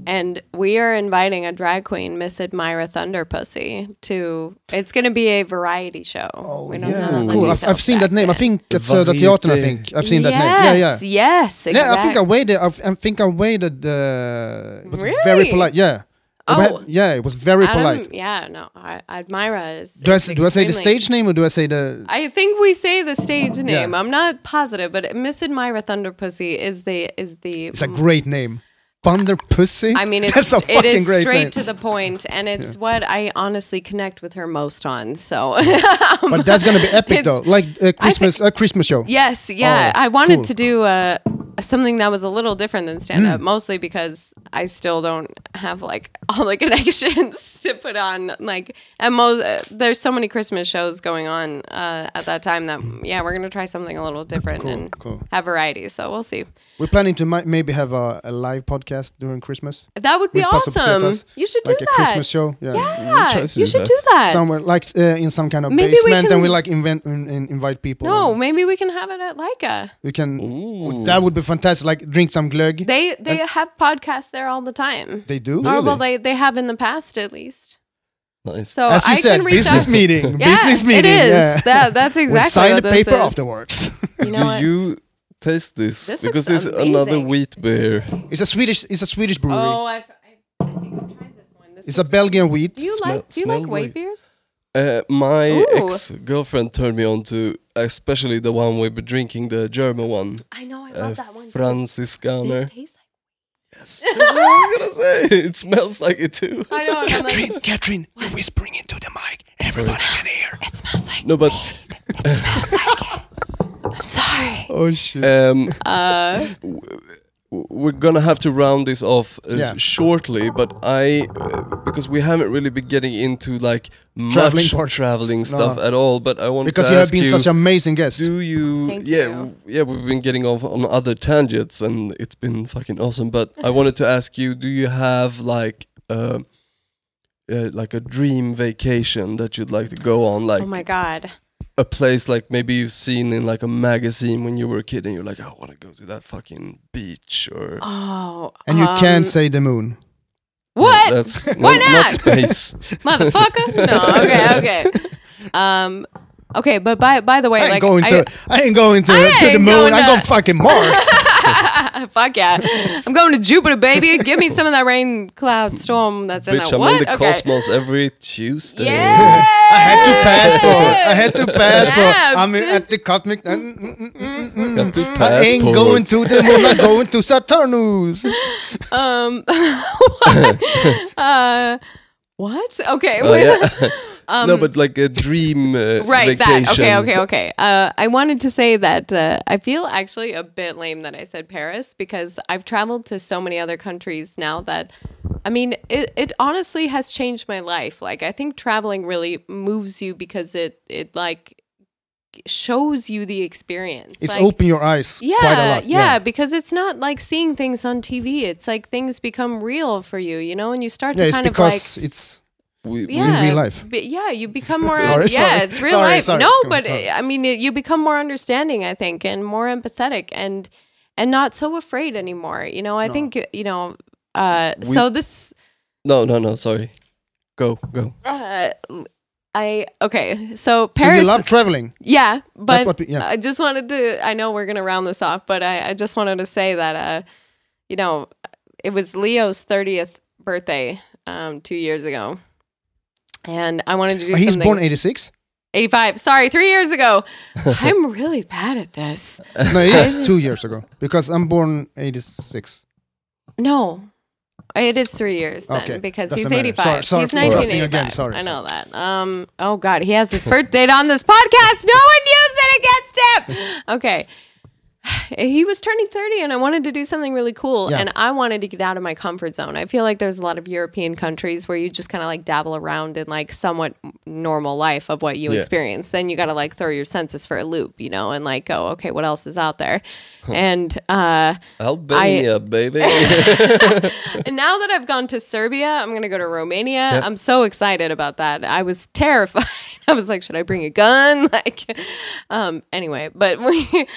[SPEAKER 3] and we are inviting a drag queen, Miss Admira Thunderpussy, to. It's gonna be a variety show. Oh
[SPEAKER 2] Yeah, cool. I've, I've seen that name. I think it's uh, the theater. I
[SPEAKER 1] Varieté.
[SPEAKER 2] think I've seen
[SPEAKER 3] yes,
[SPEAKER 2] that name. Yeah, yeah.
[SPEAKER 3] Yes. Exactly.
[SPEAKER 2] Yeah, I think I waited. I've, I think I waited. Uh, it was very
[SPEAKER 3] Really?
[SPEAKER 2] polite. Yeah. It
[SPEAKER 3] Oh.
[SPEAKER 2] wa- yeah, it was very
[SPEAKER 3] Adam-
[SPEAKER 2] polite.
[SPEAKER 3] Yeah. No. I, Admira is.
[SPEAKER 2] Do I,
[SPEAKER 3] is
[SPEAKER 2] s- do I say the
[SPEAKER 3] extremely-
[SPEAKER 2] stage name or do I say the?
[SPEAKER 3] I think we say the stage name. I'm not positive, but Miss Admira Thunderpussy is the is the.
[SPEAKER 2] It's a great name. Thunder Pussy.
[SPEAKER 3] Mm. I
[SPEAKER 2] (laughs)
[SPEAKER 3] mean, it's,
[SPEAKER 2] that's a
[SPEAKER 3] it
[SPEAKER 2] fucking
[SPEAKER 3] is
[SPEAKER 2] great
[SPEAKER 3] straight
[SPEAKER 2] name.
[SPEAKER 3] to the point, and it's what I honestly connect with her most
[SPEAKER 2] (laughs)
[SPEAKER 3] on. So,
[SPEAKER 2] but that's gonna be epic
[SPEAKER 3] It's-
[SPEAKER 2] though, like a Christmas, a Christmas show.
[SPEAKER 3] yes, yeah,
[SPEAKER 2] Oh,
[SPEAKER 3] I wanted
[SPEAKER 2] cool.
[SPEAKER 3] to do uh, something that was a little different than stand
[SPEAKER 2] Mm.
[SPEAKER 3] up, mostly because I still don't have like (laughs) all the connections (laughs) to put on. Like, at most, uh, there's so many Christmas shows going on uh, at that time that yeah, we're gonna try something a little different and
[SPEAKER 2] Mm. cool.
[SPEAKER 3] have variety. So we'll see.
[SPEAKER 2] We're planning to mi- maybe have a, a live podcast during Christmas.
[SPEAKER 3] That would be
[SPEAKER 2] with Paso
[SPEAKER 3] awesome.
[SPEAKER 2] Pesetas,
[SPEAKER 3] You should do
[SPEAKER 2] like
[SPEAKER 3] that.
[SPEAKER 2] a Christmas show.
[SPEAKER 1] We
[SPEAKER 3] Yeah,
[SPEAKER 1] tried to
[SPEAKER 3] you
[SPEAKER 1] do
[SPEAKER 3] should
[SPEAKER 1] that.
[SPEAKER 3] do that.
[SPEAKER 2] somewhere like uh, in some kind of
[SPEAKER 3] Maybe we
[SPEAKER 2] basement
[SPEAKER 3] can-
[SPEAKER 2] and we like invent in, in, invite people
[SPEAKER 3] No,
[SPEAKER 2] and
[SPEAKER 3] maybe we can have it at Leica.
[SPEAKER 2] we can that would be fantastic like drink some glögg they,
[SPEAKER 3] They they have podcasts there all the time.
[SPEAKER 2] do
[SPEAKER 3] Or
[SPEAKER 1] Really?
[SPEAKER 3] well, they they have in the past at least.
[SPEAKER 1] Nice.
[SPEAKER 3] So
[SPEAKER 2] as you
[SPEAKER 3] I
[SPEAKER 2] said
[SPEAKER 3] can reach
[SPEAKER 2] business
[SPEAKER 3] out.
[SPEAKER 2] meeting
[SPEAKER 3] (laughs) Yeah,
[SPEAKER 2] business meeting
[SPEAKER 3] It is.
[SPEAKER 2] yeah
[SPEAKER 3] That,
[SPEAKER 2] (laughs)
[SPEAKER 3] that's exactly
[SPEAKER 2] we'll sign
[SPEAKER 3] what
[SPEAKER 2] the
[SPEAKER 3] this
[SPEAKER 2] paper
[SPEAKER 3] is.
[SPEAKER 2] afterwards (laughs)
[SPEAKER 3] You know
[SPEAKER 1] Do
[SPEAKER 3] what?
[SPEAKER 1] you taste this?
[SPEAKER 3] This
[SPEAKER 1] because
[SPEAKER 3] looks
[SPEAKER 1] this is another
[SPEAKER 3] amazing.
[SPEAKER 1] wheat beer.
[SPEAKER 2] it's a swedish it's a swedish brewery
[SPEAKER 3] oh, I've, I, I think I've tried this one. This
[SPEAKER 2] it's a
[SPEAKER 3] looks-
[SPEAKER 2] belgian wheat
[SPEAKER 3] (laughs) Do you
[SPEAKER 1] Smell-
[SPEAKER 3] like do you like
[SPEAKER 1] smell
[SPEAKER 3] white
[SPEAKER 1] like-
[SPEAKER 3] beers?
[SPEAKER 1] Uh, my
[SPEAKER 3] Ooh.
[SPEAKER 1] ex girlfriend turned me on to, especially the one we've been drinking, the German one,
[SPEAKER 3] I know I
[SPEAKER 1] uh,
[SPEAKER 3] love that one.
[SPEAKER 1] Franziskaner.
[SPEAKER 3] These taste like.
[SPEAKER 1] Yes. That's (laughs) what I'm gonna say. It smells like it too.
[SPEAKER 3] I know. and I'm like,
[SPEAKER 2] Catherine, Catherine, you're whispering into the mic. Everybody can
[SPEAKER 3] (laughs)
[SPEAKER 2] hear.
[SPEAKER 3] it smells like.
[SPEAKER 1] No, but
[SPEAKER 3] smells like it. I'm sorry.
[SPEAKER 2] Oh shit!
[SPEAKER 1] um,
[SPEAKER 3] (laughs) Uh,
[SPEAKER 1] w- we're gonna have to round this off uh,
[SPEAKER 2] Yeah.
[SPEAKER 1] shortly, but I uh, because we haven't really been getting into like
[SPEAKER 2] Traveling
[SPEAKER 1] much
[SPEAKER 2] part.
[SPEAKER 1] traveling stuff at all. But I want
[SPEAKER 2] because
[SPEAKER 1] to
[SPEAKER 2] you have
[SPEAKER 1] ask
[SPEAKER 2] been
[SPEAKER 1] you,
[SPEAKER 2] such an amazing guest.
[SPEAKER 1] do you?
[SPEAKER 3] Thank
[SPEAKER 1] yeah,
[SPEAKER 3] you.
[SPEAKER 1] w- yeah, we've been getting off on other tangents, and it's been fucking awesome. But I wanted to ask you: Do you have like? Uh, uh, like a dream vacation that you'd like to go on, like
[SPEAKER 3] oh my god.
[SPEAKER 1] a place like maybe you've seen in like a magazine when you were a kid, and you're like, I want to go to that fucking beach
[SPEAKER 3] (gasps)
[SPEAKER 1] or
[SPEAKER 3] Oh.
[SPEAKER 2] and you
[SPEAKER 3] um,
[SPEAKER 2] can't say the moon. (laughs)
[SPEAKER 3] What?
[SPEAKER 1] That's
[SPEAKER 3] Why
[SPEAKER 1] no-
[SPEAKER 3] (laughs) not?
[SPEAKER 1] space.
[SPEAKER 2] (laughs)
[SPEAKER 3] motherfucker. No, okay, okay. Um, Okay, but by by the way,
[SPEAKER 2] I ain't
[SPEAKER 3] like
[SPEAKER 2] going to. I, ain't going to,
[SPEAKER 3] I
[SPEAKER 2] to the
[SPEAKER 3] ain't
[SPEAKER 2] moon.
[SPEAKER 3] going
[SPEAKER 2] I'm
[SPEAKER 3] to-
[SPEAKER 2] going fucking
[SPEAKER 3] (laughs)
[SPEAKER 2] Mars. (laughs)
[SPEAKER 3] fuck yeah, I'm going to Jupiter, baby. Give me some of that rain, cloud, storm that's in
[SPEAKER 1] Bitch,
[SPEAKER 3] that.
[SPEAKER 1] I'm
[SPEAKER 3] what?
[SPEAKER 1] in the
[SPEAKER 3] okay.
[SPEAKER 1] cosmos every Tuesday.
[SPEAKER 3] Yeah.
[SPEAKER 2] I had to pass, bro. I had to pass, bro.
[SPEAKER 3] Yeah,
[SPEAKER 2] I'm in,
[SPEAKER 3] see?
[SPEAKER 2] at the cosmic. mm, mm, mm, mm, mm.
[SPEAKER 1] Got
[SPEAKER 3] Mm-hmm.
[SPEAKER 1] to
[SPEAKER 2] I
[SPEAKER 1] passport.
[SPEAKER 2] ain't going to the moon. I'm going to Saturnus.
[SPEAKER 3] Um. what? uh, what? Okay.
[SPEAKER 1] Oh, yeah. no, but like a dream uh,
[SPEAKER 3] (laughs) Um, Right.
[SPEAKER 1] vacation.
[SPEAKER 3] That. Okay. Okay. Okay. Uh, I wanted to say that uh, I feel actually a bit lame that I said Paris because I've traveled to so many other countries now that, I mean, it, it honestly has changed my life. Like I think traveling really moves you because it it like shows you the experience.
[SPEAKER 2] It's
[SPEAKER 3] Like,
[SPEAKER 2] open your eyes
[SPEAKER 3] yeah,
[SPEAKER 2] quite a lot.
[SPEAKER 3] Yeah, because it's not like seeing things on TV. It's like things become real for you, you know, and you start
[SPEAKER 2] yeah.
[SPEAKER 3] to
[SPEAKER 2] It's
[SPEAKER 3] kind of like
[SPEAKER 2] because it's
[SPEAKER 1] We, we-
[SPEAKER 3] yeah,
[SPEAKER 2] real life.
[SPEAKER 3] be- yeah, you become more.
[SPEAKER 2] (laughs) Sorry,
[SPEAKER 3] yeah,
[SPEAKER 2] sorry,
[SPEAKER 3] it's real
[SPEAKER 2] sorry,
[SPEAKER 3] life.
[SPEAKER 2] sorry.
[SPEAKER 3] No,
[SPEAKER 2] Go
[SPEAKER 3] but
[SPEAKER 2] on.
[SPEAKER 3] I mean, it, you become more understanding, I think, and more empathetic, and and not so afraid anymore. You know, I think you know. Uh,
[SPEAKER 1] We-
[SPEAKER 3] so this,
[SPEAKER 1] no, no, no. Sorry. Go, go.
[SPEAKER 3] uh, I okay.
[SPEAKER 2] So
[SPEAKER 3] So
[SPEAKER 2] you
[SPEAKER 3] Paris,
[SPEAKER 2] love traveling.
[SPEAKER 3] yeah, but
[SPEAKER 2] what we- yeah.
[SPEAKER 3] I just wanted to. I know we're gonna round this off, but I, I just wanted to say that, uh, you know, it was Leo's thirtieth birthday um, two years ago, and I wanted to do.
[SPEAKER 2] He's
[SPEAKER 3] something.
[SPEAKER 2] born '86.
[SPEAKER 3] 85. Sorry, three
[SPEAKER 2] (laughs)
[SPEAKER 3] years ago. I'm really bad at this.
[SPEAKER 2] No,
[SPEAKER 3] (laughs)
[SPEAKER 2] it's two years ago because I'm born '86.
[SPEAKER 3] No, it is three years then
[SPEAKER 2] Okay,
[SPEAKER 3] because
[SPEAKER 2] doesn't
[SPEAKER 3] he's
[SPEAKER 2] matter.
[SPEAKER 3] 85.
[SPEAKER 2] Sorry- sorry
[SPEAKER 3] he's
[SPEAKER 2] for interrupting
[SPEAKER 3] 1985.
[SPEAKER 2] again. Sorry,
[SPEAKER 3] I know that. Um. Oh God, he has his birth date on this podcast. No one used it against him.
[SPEAKER 2] (laughs)
[SPEAKER 3] Okay. (sighs) He was turning 30 and I wanted to do something really cool.
[SPEAKER 2] Yeah.
[SPEAKER 3] And I wanted to get out of my comfort zone. I feel like there's a lot of European countries where you just kind of like dabble around in like somewhat normal life of what you
[SPEAKER 1] Yeah.
[SPEAKER 3] experience. Then you got to like throw your senses for a loop, you know, and like go, okay, what else is out there? And, uh,
[SPEAKER 1] Albania,
[SPEAKER 3] (laughs)
[SPEAKER 1] baby.
[SPEAKER 3] and now that I've gone to Serbia, I'm going to go to Romania. I'm so excited about that. I was (laughs) terrified. I was like, should I bring a gun? (laughs) Like, um, anyway, but (laughs) we,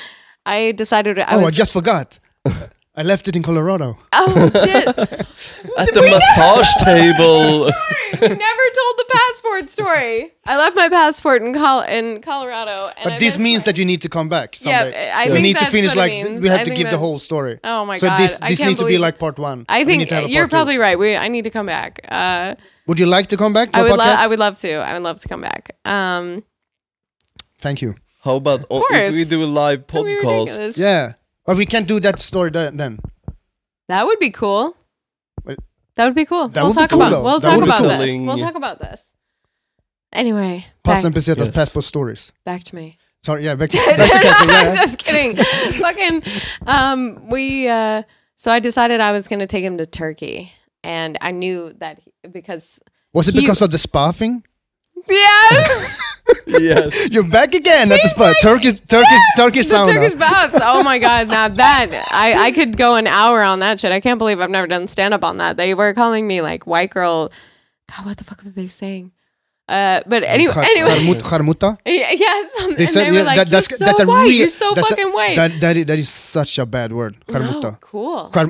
[SPEAKER 3] I decided I
[SPEAKER 2] Oh,
[SPEAKER 3] was.
[SPEAKER 2] I just forgot. I left it in Colorado.
[SPEAKER 3] oh, (laughs) did,
[SPEAKER 1] At the
[SPEAKER 3] (laughs)
[SPEAKER 1] massage table.
[SPEAKER 3] we never told the passport story. I left my passport in Col- in Colorado, and I
[SPEAKER 2] But this
[SPEAKER 3] missed
[SPEAKER 2] means
[SPEAKER 3] my-
[SPEAKER 2] that you need to come back. Someday.
[SPEAKER 3] I
[SPEAKER 2] you
[SPEAKER 3] think
[SPEAKER 2] need to
[SPEAKER 3] that's
[SPEAKER 2] finish
[SPEAKER 3] what
[SPEAKER 2] like
[SPEAKER 3] it
[SPEAKER 2] th-
[SPEAKER 3] means.
[SPEAKER 2] we have
[SPEAKER 3] I
[SPEAKER 2] to
[SPEAKER 3] think
[SPEAKER 2] give the
[SPEAKER 3] that-
[SPEAKER 2] whole story.
[SPEAKER 3] Oh my
[SPEAKER 2] so
[SPEAKER 3] God,
[SPEAKER 2] this
[SPEAKER 3] I
[SPEAKER 2] this
[SPEAKER 3] can't
[SPEAKER 2] needs to be
[SPEAKER 3] believe-
[SPEAKER 2] like part one.
[SPEAKER 3] I
[SPEAKER 2] We
[SPEAKER 3] think
[SPEAKER 2] need to have a
[SPEAKER 3] you're
[SPEAKER 2] part two.
[SPEAKER 3] probably right. We I need to come back. Uh,
[SPEAKER 2] Would you like to come back to
[SPEAKER 3] I
[SPEAKER 2] a
[SPEAKER 3] would love
[SPEAKER 2] podcast?
[SPEAKER 3] I would love to. I would love to come back. Um,
[SPEAKER 2] Thank you.
[SPEAKER 1] How about o- if
[SPEAKER 3] course.
[SPEAKER 1] we do a live
[SPEAKER 3] don't be
[SPEAKER 1] podcast?
[SPEAKER 3] ridiculous.
[SPEAKER 2] Yeah, but we can't do that story th- then.
[SPEAKER 3] That would be cool.
[SPEAKER 2] Wait.
[SPEAKER 3] That would be cool.
[SPEAKER 2] That
[SPEAKER 3] we'll
[SPEAKER 2] would be
[SPEAKER 3] talk
[SPEAKER 2] cool,
[SPEAKER 3] about
[SPEAKER 2] though.
[SPEAKER 3] we'll
[SPEAKER 2] That
[SPEAKER 3] talk
[SPEAKER 2] would be
[SPEAKER 3] about
[SPEAKER 1] cool.
[SPEAKER 3] this.
[SPEAKER 1] Ling-
[SPEAKER 3] We'll talk about this. Anyway, back,
[SPEAKER 2] Past and pesetas,
[SPEAKER 1] Yes.
[SPEAKER 2] passport stories.
[SPEAKER 3] back to me.
[SPEAKER 2] Sorry, yeah, back
[SPEAKER 3] (laughs)
[SPEAKER 2] to, (laughs) back to Catherine,
[SPEAKER 3] I'm
[SPEAKER 2] yeah.
[SPEAKER 3] just kidding. (laughs) Fucking um we uh so I decided I was going to take him to Turkey and I knew that he, because
[SPEAKER 2] (laughs) Was it
[SPEAKER 3] He-
[SPEAKER 2] because of the spa thing?
[SPEAKER 3] (laughs) Yes.
[SPEAKER 1] (laughs)
[SPEAKER 3] (laughs)
[SPEAKER 1] yes.
[SPEAKER 2] (laughs) You're back again at the spa. Turkish, Turkish, Turkish
[SPEAKER 3] the
[SPEAKER 2] sound. (laughs)
[SPEAKER 3] Turkish baths. Oh my god, now that I, I could go an hour on that shit. I can't believe I've never done stand up on that. They were calling me like white girl. God, what the fuck was they saying? Uh, but anyway, anyway,
[SPEAKER 2] Harmuta.
[SPEAKER 3] yeah, yes. um, And
[SPEAKER 2] They
[SPEAKER 3] they,
[SPEAKER 2] said
[SPEAKER 3] were
[SPEAKER 2] yeah, that,
[SPEAKER 3] like,
[SPEAKER 2] that's
[SPEAKER 3] "You're so
[SPEAKER 2] that's a
[SPEAKER 3] white.
[SPEAKER 2] real
[SPEAKER 3] You're so
[SPEAKER 2] that's a-
[SPEAKER 3] fucking white."
[SPEAKER 2] That that is, that is such a bad word. Harmuta.
[SPEAKER 3] oh, cool.
[SPEAKER 2] Har-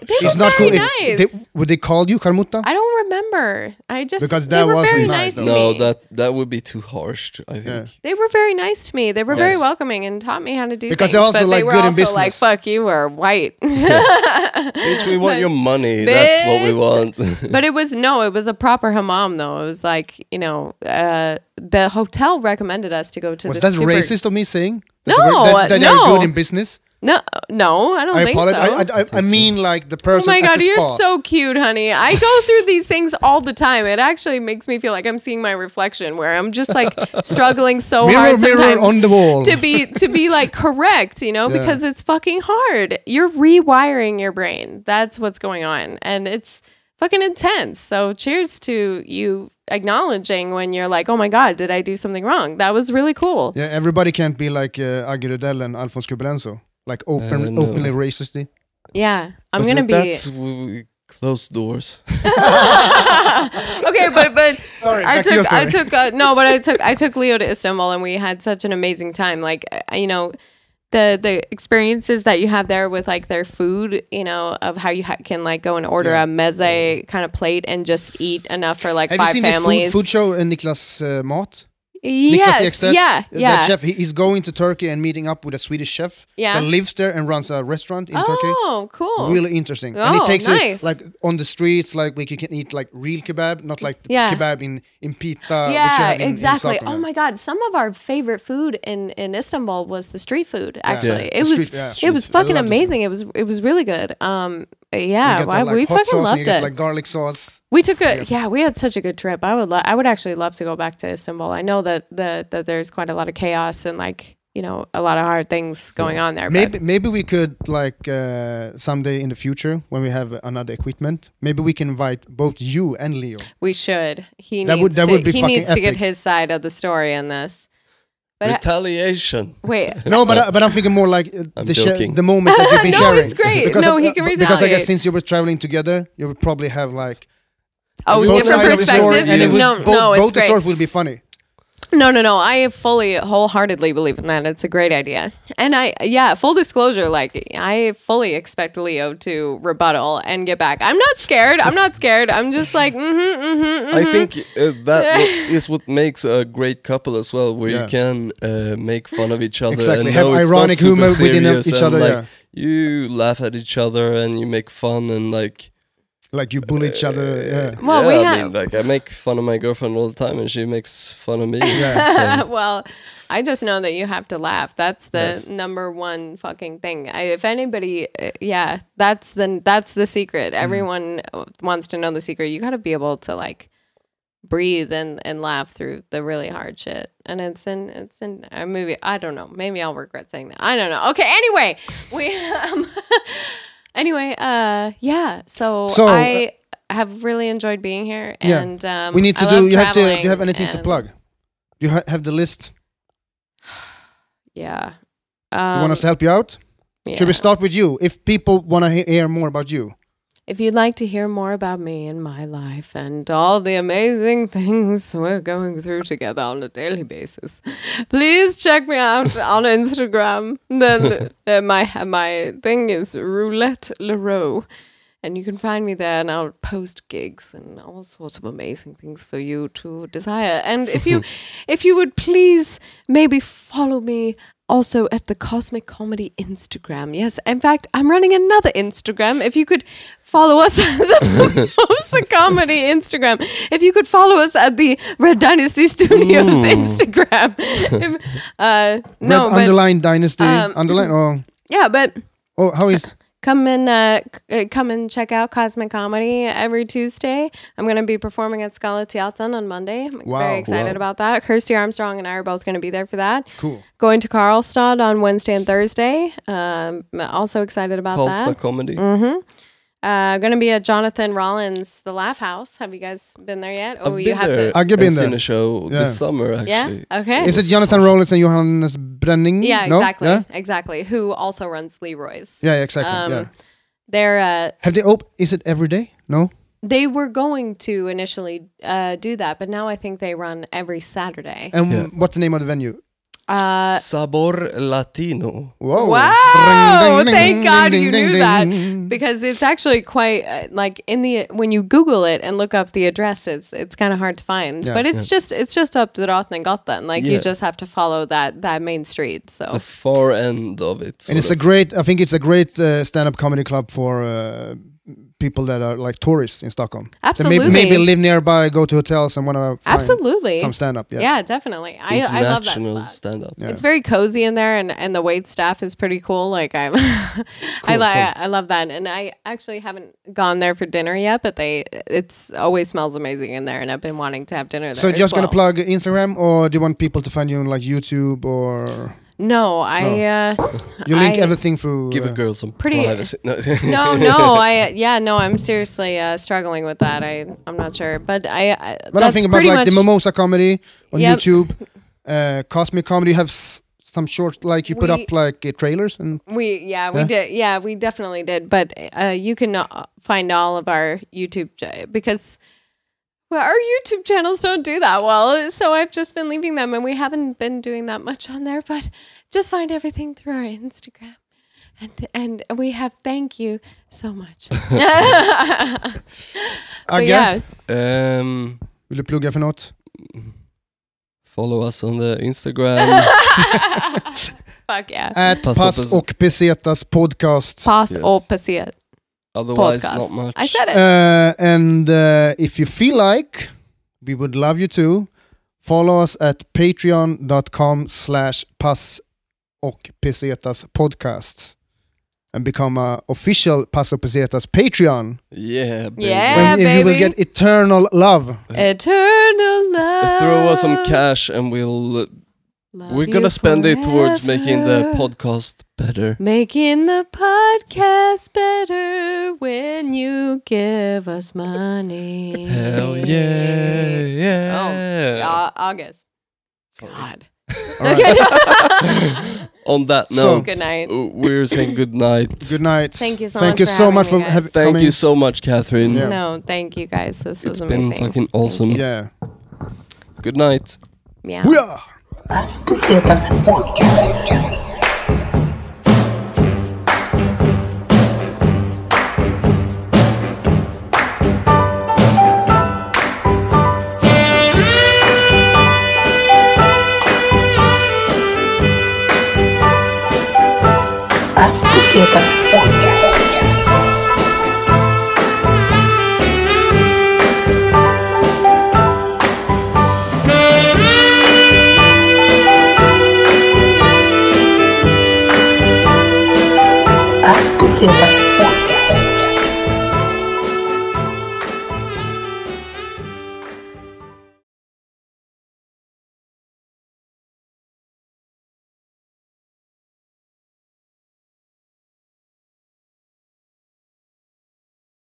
[SPEAKER 3] they
[SPEAKER 2] it's
[SPEAKER 3] were
[SPEAKER 2] not cool.
[SPEAKER 3] very
[SPEAKER 2] if-
[SPEAKER 3] nice.
[SPEAKER 2] they, would they call you Harmuta?
[SPEAKER 3] I don't remember. I just
[SPEAKER 2] Because
[SPEAKER 3] they
[SPEAKER 2] that
[SPEAKER 3] were
[SPEAKER 2] wasn't
[SPEAKER 3] very
[SPEAKER 2] nice,
[SPEAKER 3] nice,
[SPEAKER 2] though.
[SPEAKER 3] to
[SPEAKER 1] No,
[SPEAKER 3] me.
[SPEAKER 1] that that would be too harsh. t- I think.
[SPEAKER 3] they were very nice to me. They were very
[SPEAKER 2] Yes.
[SPEAKER 3] welcoming and taught me how to do
[SPEAKER 2] Because
[SPEAKER 3] things.
[SPEAKER 2] they're also,
[SPEAKER 3] but
[SPEAKER 2] like,
[SPEAKER 3] they were
[SPEAKER 2] good in
[SPEAKER 3] also like,
[SPEAKER 2] business.
[SPEAKER 3] "Fuck you, are white." (laughs)
[SPEAKER 1] Bitch, we want your money. That's what we
[SPEAKER 3] Bitch.
[SPEAKER 1] want.
[SPEAKER 3] but it was no, it was a proper hammam though. It was like you know, uh, the hotel recommended us to go to.
[SPEAKER 2] Was
[SPEAKER 3] this
[SPEAKER 2] that
[SPEAKER 3] super-
[SPEAKER 2] racist of me saying? That
[SPEAKER 3] No,
[SPEAKER 2] they were- that, that
[SPEAKER 3] no.
[SPEAKER 2] they're good in business.
[SPEAKER 3] No, no, I don't
[SPEAKER 2] I
[SPEAKER 3] think
[SPEAKER 2] apologize.
[SPEAKER 3] so.
[SPEAKER 2] I, I, I, I mean, like the
[SPEAKER 3] oh
[SPEAKER 2] person.
[SPEAKER 3] my
[SPEAKER 2] at
[SPEAKER 3] god,
[SPEAKER 2] the
[SPEAKER 3] you're
[SPEAKER 2] spa.
[SPEAKER 3] so cute, honey. I go through these things all the time. It actually makes me feel like I'm seeing my reflection, where I'm just like
[SPEAKER 2] (laughs)
[SPEAKER 3] struggling so
[SPEAKER 2] Mirror,
[SPEAKER 3] hard
[SPEAKER 2] mirror
[SPEAKER 3] sometimes
[SPEAKER 2] on the wall.
[SPEAKER 3] to be to be
[SPEAKER 2] (laughs)
[SPEAKER 3] like correct, you know,
[SPEAKER 2] Yeah.
[SPEAKER 3] because it's fucking hard. You're rewiring your brain. That's what's going on, and it's fucking intense. So, cheers to you acknowledging when you're like, "Oh my god, did I do something wrong?" That was really cool.
[SPEAKER 2] Yeah, everybody can't be like uh, Agge Rudell and Alphonse Cubelenzo, like open,
[SPEAKER 1] Uh, no.
[SPEAKER 2] openly racist.
[SPEAKER 3] Yeah,
[SPEAKER 1] (laughs)
[SPEAKER 3] I'm
[SPEAKER 1] But
[SPEAKER 3] gonna be
[SPEAKER 1] That's w- closed doors.
[SPEAKER 3] okay, but but
[SPEAKER 2] (laughs) Sorry,
[SPEAKER 3] I
[SPEAKER 2] back to your
[SPEAKER 3] took I
[SPEAKER 2] story.
[SPEAKER 3] took uh, no, but I took I
[SPEAKER 2] (laughs)
[SPEAKER 3] took Leo to Istanbul and we had such an amazing time. Like I- you know, the the experiences that you have there with like their food, you know, of how you ha- can like go and order
[SPEAKER 2] Yeah.
[SPEAKER 3] a meze kind of plate and just eat enough for like
[SPEAKER 2] Have you
[SPEAKER 3] five
[SPEAKER 2] seen
[SPEAKER 3] families.
[SPEAKER 2] this food, food show, uh, Niklas uh, Mott?
[SPEAKER 3] Yes.
[SPEAKER 2] Ekstedt, Uh,
[SPEAKER 3] yeah. Yeah.
[SPEAKER 2] That chef, he, he's going to Turkey and meeting up with a Swedish chef
[SPEAKER 3] Yeah.
[SPEAKER 2] that lives there and runs a restaurant in Turkey.
[SPEAKER 3] oh, cool.
[SPEAKER 2] Really interesting. and
[SPEAKER 3] Oh,
[SPEAKER 2] he takes
[SPEAKER 3] nice.
[SPEAKER 2] it like on the streets, like like you can eat like real kebab, not like
[SPEAKER 3] Yeah.
[SPEAKER 2] kebab in in pita. uh, which you
[SPEAKER 3] yeah,
[SPEAKER 2] have in- in
[SPEAKER 3] exactly.
[SPEAKER 2] Stockholm.
[SPEAKER 3] oh my God! Some of our favorite food in, in Istanbul was the street food. Actually,
[SPEAKER 1] Yeah,
[SPEAKER 3] it
[SPEAKER 2] the
[SPEAKER 3] was
[SPEAKER 2] street- yeah.
[SPEAKER 3] it was
[SPEAKER 2] Street food. I
[SPEAKER 3] fucking
[SPEAKER 2] love the
[SPEAKER 3] amazing. It was it was really good. Um,
[SPEAKER 2] You
[SPEAKER 3] yeah,
[SPEAKER 2] get
[SPEAKER 3] why,
[SPEAKER 2] that, like,
[SPEAKER 3] we
[SPEAKER 2] hot sauce
[SPEAKER 3] fucking
[SPEAKER 2] and
[SPEAKER 3] loved
[SPEAKER 2] you
[SPEAKER 3] it.
[SPEAKER 2] Get, like garlic sauce.
[SPEAKER 3] We took a yeah. We had such a good trip. I would lo- I would actually love to go back to Istanbul. I know that the, that there's quite a lot of chaos and like you know a lot of hard things going on there. but-
[SPEAKER 2] Maybe maybe we could like uh, someday in the future when we have another equipment, maybe we can invite both you and Leo.
[SPEAKER 3] we should.
[SPEAKER 2] That
[SPEAKER 3] He needs
[SPEAKER 2] would- that
[SPEAKER 3] to,
[SPEAKER 2] would be
[SPEAKER 3] he
[SPEAKER 2] fucking
[SPEAKER 3] needs to get
[SPEAKER 2] epic.
[SPEAKER 3] his side of the story in this. But I-
[SPEAKER 1] Retaliation.
[SPEAKER 3] wait,
[SPEAKER 2] No, but I, but I'm thinking more like uh,
[SPEAKER 1] I'm
[SPEAKER 2] the sha-
[SPEAKER 1] joking.
[SPEAKER 2] the moments that
[SPEAKER 3] (laughs)
[SPEAKER 2] you've been
[SPEAKER 3] No,
[SPEAKER 2] sharing.
[SPEAKER 3] it's great.
[SPEAKER 2] Because
[SPEAKER 3] No,
[SPEAKER 2] I-
[SPEAKER 3] he can
[SPEAKER 2] b- Because I
[SPEAKER 3] retaliate.
[SPEAKER 2] guess since you were traveling together, you would probably have like
[SPEAKER 3] oh,
[SPEAKER 2] both
[SPEAKER 3] different
[SPEAKER 2] sides of the story,
[SPEAKER 3] perspectives.
[SPEAKER 2] and it would-
[SPEAKER 3] No,
[SPEAKER 2] both,
[SPEAKER 3] no, it's
[SPEAKER 2] both the
[SPEAKER 3] great.
[SPEAKER 2] stories will be funny.
[SPEAKER 3] No, no, no. I fully, wholeheartedly believe in that. It's a great idea. And I, yeah, full disclosure, like, I fully expect Leo to rebuttal and get back. I'm not scared. I'm not scared. I'm just like, mm hmm, mm hmm.
[SPEAKER 1] I think uh, that
[SPEAKER 3] (laughs)
[SPEAKER 1] what is what makes a great couple as well, where
[SPEAKER 2] Yeah.
[SPEAKER 1] you can uh, make fun of each other
[SPEAKER 2] Exactly.
[SPEAKER 1] and
[SPEAKER 2] Have
[SPEAKER 1] know it's
[SPEAKER 2] ironic
[SPEAKER 1] not super
[SPEAKER 2] humor within
[SPEAKER 1] serious
[SPEAKER 2] each
[SPEAKER 1] and,
[SPEAKER 2] other,
[SPEAKER 1] Like,
[SPEAKER 2] yeah.
[SPEAKER 1] You laugh at each other and you make fun and like.
[SPEAKER 2] Like you bully each other. Yeah.
[SPEAKER 3] Well,
[SPEAKER 1] yeah,
[SPEAKER 3] we
[SPEAKER 1] I mean,
[SPEAKER 3] have-
[SPEAKER 1] like I make fun of my girlfriend all the time, and she makes fun of me. so-
[SPEAKER 3] (laughs) well, I just know that you have to laugh. That's the
[SPEAKER 1] Yes.
[SPEAKER 3] number one fucking thing. I, if anybody, uh, yeah, that's the that's the secret.
[SPEAKER 2] Mm-hmm.
[SPEAKER 3] Everyone uh, wants to know the secret. You got to be able to like breathe and and laugh through the really hard shit. And it's in it's in a movie. I don't know. Maybe I'll regret saying that. I don't know. Okay. Anyway, we. (laughs) Um, anyway, uh, yeah. So,
[SPEAKER 2] So, uh,
[SPEAKER 3] I. have really enjoyed being here,
[SPEAKER 2] Yeah.
[SPEAKER 3] and um,
[SPEAKER 2] we need to
[SPEAKER 3] I
[SPEAKER 2] do.
[SPEAKER 3] love
[SPEAKER 2] You have to. Do
[SPEAKER 3] traveling
[SPEAKER 2] you have anything to
[SPEAKER 3] and-
[SPEAKER 2] plug? Do you ha- have the list?
[SPEAKER 3] Yeah.
[SPEAKER 2] You
[SPEAKER 3] Um,
[SPEAKER 2] want us to help you out? Should we
[SPEAKER 3] yeah.
[SPEAKER 2] start with you? If people want to hear more about you,
[SPEAKER 3] If you'd like to hear more about me and my life and all the amazing (laughs) things we're going through together on a daily basis, please check me out on Instagram. The, the, uh, my my thing is Roulette Leroux. And you can find me there, and I'll post gigs and all sorts of amazing things for you to desire. And if
[SPEAKER 2] (laughs)
[SPEAKER 3] you, if you would please maybe follow me also at the Cosmic Comedy Instagram. Yes, in fact, I'm running another Instagram. If you could follow us (laughs) at the
[SPEAKER 2] (laughs)
[SPEAKER 3] Cosmic Comedy Instagram, if you could follow us at the Red Dynasty Studios Instagram. (laughs) If- uh, no,
[SPEAKER 2] Hmm. Red
[SPEAKER 3] but
[SPEAKER 2] underline dynasty
[SPEAKER 3] um,
[SPEAKER 2] underline. Oh,
[SPEAKER 3] yeah, but
[SPEAKER 2] oh, how
[SPEAKER 3] (laughs)
[SPEAKER 2] is?
[SPEAKER 3] come and uh, c- uh, come and check out Cosmic Comedy every Tuesday. I'm going to be performing at Scala Teatern on Monday. I'm
[SPEAKER 2] Wow.
[SPEAKER 3] very excited
[SPEAKER 1] Wow.
[SPEAKER 3] about that. Kirsty Armstrong and I are both going to be there for that.
[SPEAKER 2] Cool.
[SPEAKER 3] Going to Karlstad on Wednesday and Thursday. Um, also excited about
[SPEAKER 1] Karlstad
[SPEAKER 3] that. Mm-hmm.
[SPEAKER 1] comedy.
[SPEAKER 3] Uh, going to be at Jonathan Rollins, the Laugh House. Have you guys been there yet? Oh,
[SPEAKER 1] I've
[SPEAKER 3] you
[SPEAKER 1] been
[SPEAKER 3] have
[SPEAKER 1] there.
[SPEAKER 3] to.
[SPEAKER 2] I've been
[SPEAKER 1] and
[SPEAKER 2] there.
[SPEAKER 1] seen a show
[SPEAKER 2] Yeah.
[SPEAKER 1] this summer actually.
[SPEAKER 3] Yeah. Okay.
[SPEAKER 2] Is it Jonathan Rollins and Johannes Brenning?
[SPEAKER 3] yeah,
[SPEAKER 2] No?
[SPEAKER 3] exactly,
[SPEAKER 2] Yeah,
[SPEAKER 3] exactly. Who also runs Leroy's?
[SPEAKER 2] yeah, yeah, exactly.
[SPEAKER 3] Um,
[SPEAKER 2] yeah.
[SPEAKER 3] They're uh,
[SPEAKER 2] Have they op- Is it every day? No.
[SPEAKER 3] they were going to initially uh, do that, but now I think they run every Saturday.
[SPEAKER 2] And
[SPEAKER 1] Yeah.
[SPEAKER 2] what's the name of the venue?
[SPEAKER 3] Uh,
[SPEAKER 1] Sabor Latino.
[SPEAKER 2] Whoa!
[SPEAKER 3] wow!
[SPEAKER 2] Ding, ding,
[SPEAKER 3] Thank
[SPEAKER 2] ding,
[SPEAKER 3] God
[SPEAKER 2] ding,
[SPEAKER 3] you
[SPEAKER 2] ding,
[SPEAKER 3] knew
[SPEAKER 2] ding,
[SPEAKER 3] that
[SPEAKER 2] ding.
[SPEAKER 3] because it's actually quite uh, like in the when you Google it and look up the address, it's it's kind of hard to find.
[SPEAKER 2] Yeah.
[SPEAKER 3] but it's just it's just up to Drottninggatan. Like you
[SPEAKER 1] Yeah.
[SPEAKER 3] just have to follow that that main street. So
[SPEAKER 1] The far end of it.
[SPEAKER 2] And it's a
[SPEAKER 1] sort
[SPEAKER 2] great. I think it's a great uh, stand-up comedy club for uh, people that are like tourists in Stockholm.
[SPEAKER 3] Absolutely.
[SPEAKER 2] So maybe, maybe live nearby, go to hotels, and want to
[SPEAKER 3] absolutely,
[SPEAKER 2] some stand-up. Yeah.
[SPEAKER 3] yeah. definitely.
[SPEAKER 1] of
[SPEAKER 3] I I love that.
[SPEAKER 1] international
[SPEAKER 3] spot.
[SPEAKER 1] stand up.
[SPEAKER 2] Yeah.
[SPEAKER 3] It's very cozy in there, and, and the wait staff is pretty cool. Like I'm, (laughs) I
[SPEAKER 2] Cool,
[SPEAKER 3] li-
[SPEAKER 2] cool.
[SPEAKER 3] I love that, and I actually haven't gone there for dinner yet, but they it's always smells amazing in there, and I've been wanting to have dinner there.
[SPEAKER 2] So
[SPEAKER 3] as
[SPEAKER 2] just gonna
[SPEAKER 3] well.
[SPEAKER 2] plug Instagram, or do you want people to find you on like YouTube, or
[SPEAKER 3] No, I uh,
[SPEAKER 2] Oh. (laughs) you link
[SPEAKER 3] I-
[SPEAKER 2] everything through?
[SPEAKER 1] Give
[SPEAKER 2] uh,
[SPEAKER 1] a girl some
[SPEAKER 3] Pretty-
[SPEAKER 1] (laughs) privacy. No.
[SPEAKER 3] (laughs) No,
[SPEAKER 2] (laughs)
[SPEAKER 3] no, I yeah, no, I'm seriously uh, struggling with that. I I'm not sure, but I, I
[SPEAKER 2] But I'm
[SPEAKER 3] that's
[SPEAKER 2] thinking about
[SPEAKER 3] pretty
[SPEAKER 2] like the
[SPEAKER 3] much-
[SPEAKER 2] Mimosa comedy on
[SPEAKER 3] Yep.
[SPEAKER 2] YouTube, uh, Cosmic comedy. You have s- some short like you put
[SPEAKER 3] We-
[SPEAKER 2] up like uh, trailers and
[SPEAKER 3] We yeah we
[SPEAKER 2] Yeah?
[SPEAKER 3] did yeah we definitely did but uh, you can uh, find all of our YouTube ch- because well our YouTube channels don't do that well so I've just been leaving them and we haven't been doing that much on there but just find everything through our Instagram and and we have thank you so
[SPEAKER 1] (laughs)
[SPEAKER 3] much (laughs) but
[SPEAKER 2] Agge,
[SPEAKER 3] yeah
[SPEAKER 1] Um,
[SPEAKER 2] vill du plugga för något?
[SPEAKER 1] Follow us on the Instagram.
[SPEAKER 3] (laughs) Fuck yeah.
[SPEAKER 2] At
[SPEAKER 1] Pass
[SPEAKER 2] Pass
[SPEAKER 1] upp-
[SPEAKER 2] och Pesetas podcast.
[SPEAKER 3] Pass
[SPEAKER 1] Uh, yes.
[SPEAKER 3] or Passiert
[SPEAKER 1] Otherwise, not
[SPEAKER 3] podcast.
[SPEAKER 1] much.
[SPEAKER 3] I said it.
[SPEAKER 2] Uh, and uh, if you feel like, we would love you to follow us at patreon.com slash pass och pesetas podcast and become a official Pass och pesetas Patreon.
[SPEAKER 1] Yeah, baby.
[SPEAKER 3] Yeah.
[SPEAKER 2] When- if you will
[SPEAKER 3] baby.
[SPEAKER 2] get eternal love.
[SPEAKER 3] Eternal love.
[SPEAKER 1] Throw us some cash and we'll
[SPEAKER 3] Love
[SPEAKER 1] we're
[SPEAKER 3] you
[SPEAKER 1] gonna spend it towards making the
[SPEAKER 3] forever.
[SPEAKER 1] podcast better.
[SPEAKER 3] Making the podcast better when you give us money.
[SPEAKER 1] Hell yeah, yeah.
[SPEAKER 3] Uh, August.
[SPEAKER 1] Sorry.
[SPEAKER 3] God.
[SPEAKER 2] All right.
[SPEAKER 3] Okay.
[SPEAKER 1] On that
[SPEAKER 2] So-
[SPEAKER 1] note,
[SPEAKER 3] Good night.
[SPEAKER 1] uh, we're saying good night.
[SPEAKER 2] Good night.
[SPEAKER 3] Thank you so
[SPEAKER 2] Thank
[SPEAKER 3] much
[SPEAKER 2] you
[SPEAKER 3] for
[SPEAKER 2] so
[SPEAKER 3] having
[SPEAKER 2] much
[SPEAKER 3] me,
[SPEAKER 2] for
[SPEAKER 3] guys.
[SPEAKER 2] having
[SPEAKER 1] Thank
[SPEAKER 2] coming.
[SPEAKER 1] you so much, Catherine.
[SPEAKER 2] Yeah.
[SPEAKER 3] No, thank you guys. This was
[SPEAKER 1] It's been
[SPEAKER 3] amazing.
[SPEAKER 1] fucking awesome.
[SPEAKER 2] Yeah.
[SPEAKER 1] Good night.
[SPEAKER 3] Yeah.
[SPEAKER 2] We are.
[SPEAKER 4] As Pesetas Podcast. As Pesetas Podcast. As Pesetas Podcast.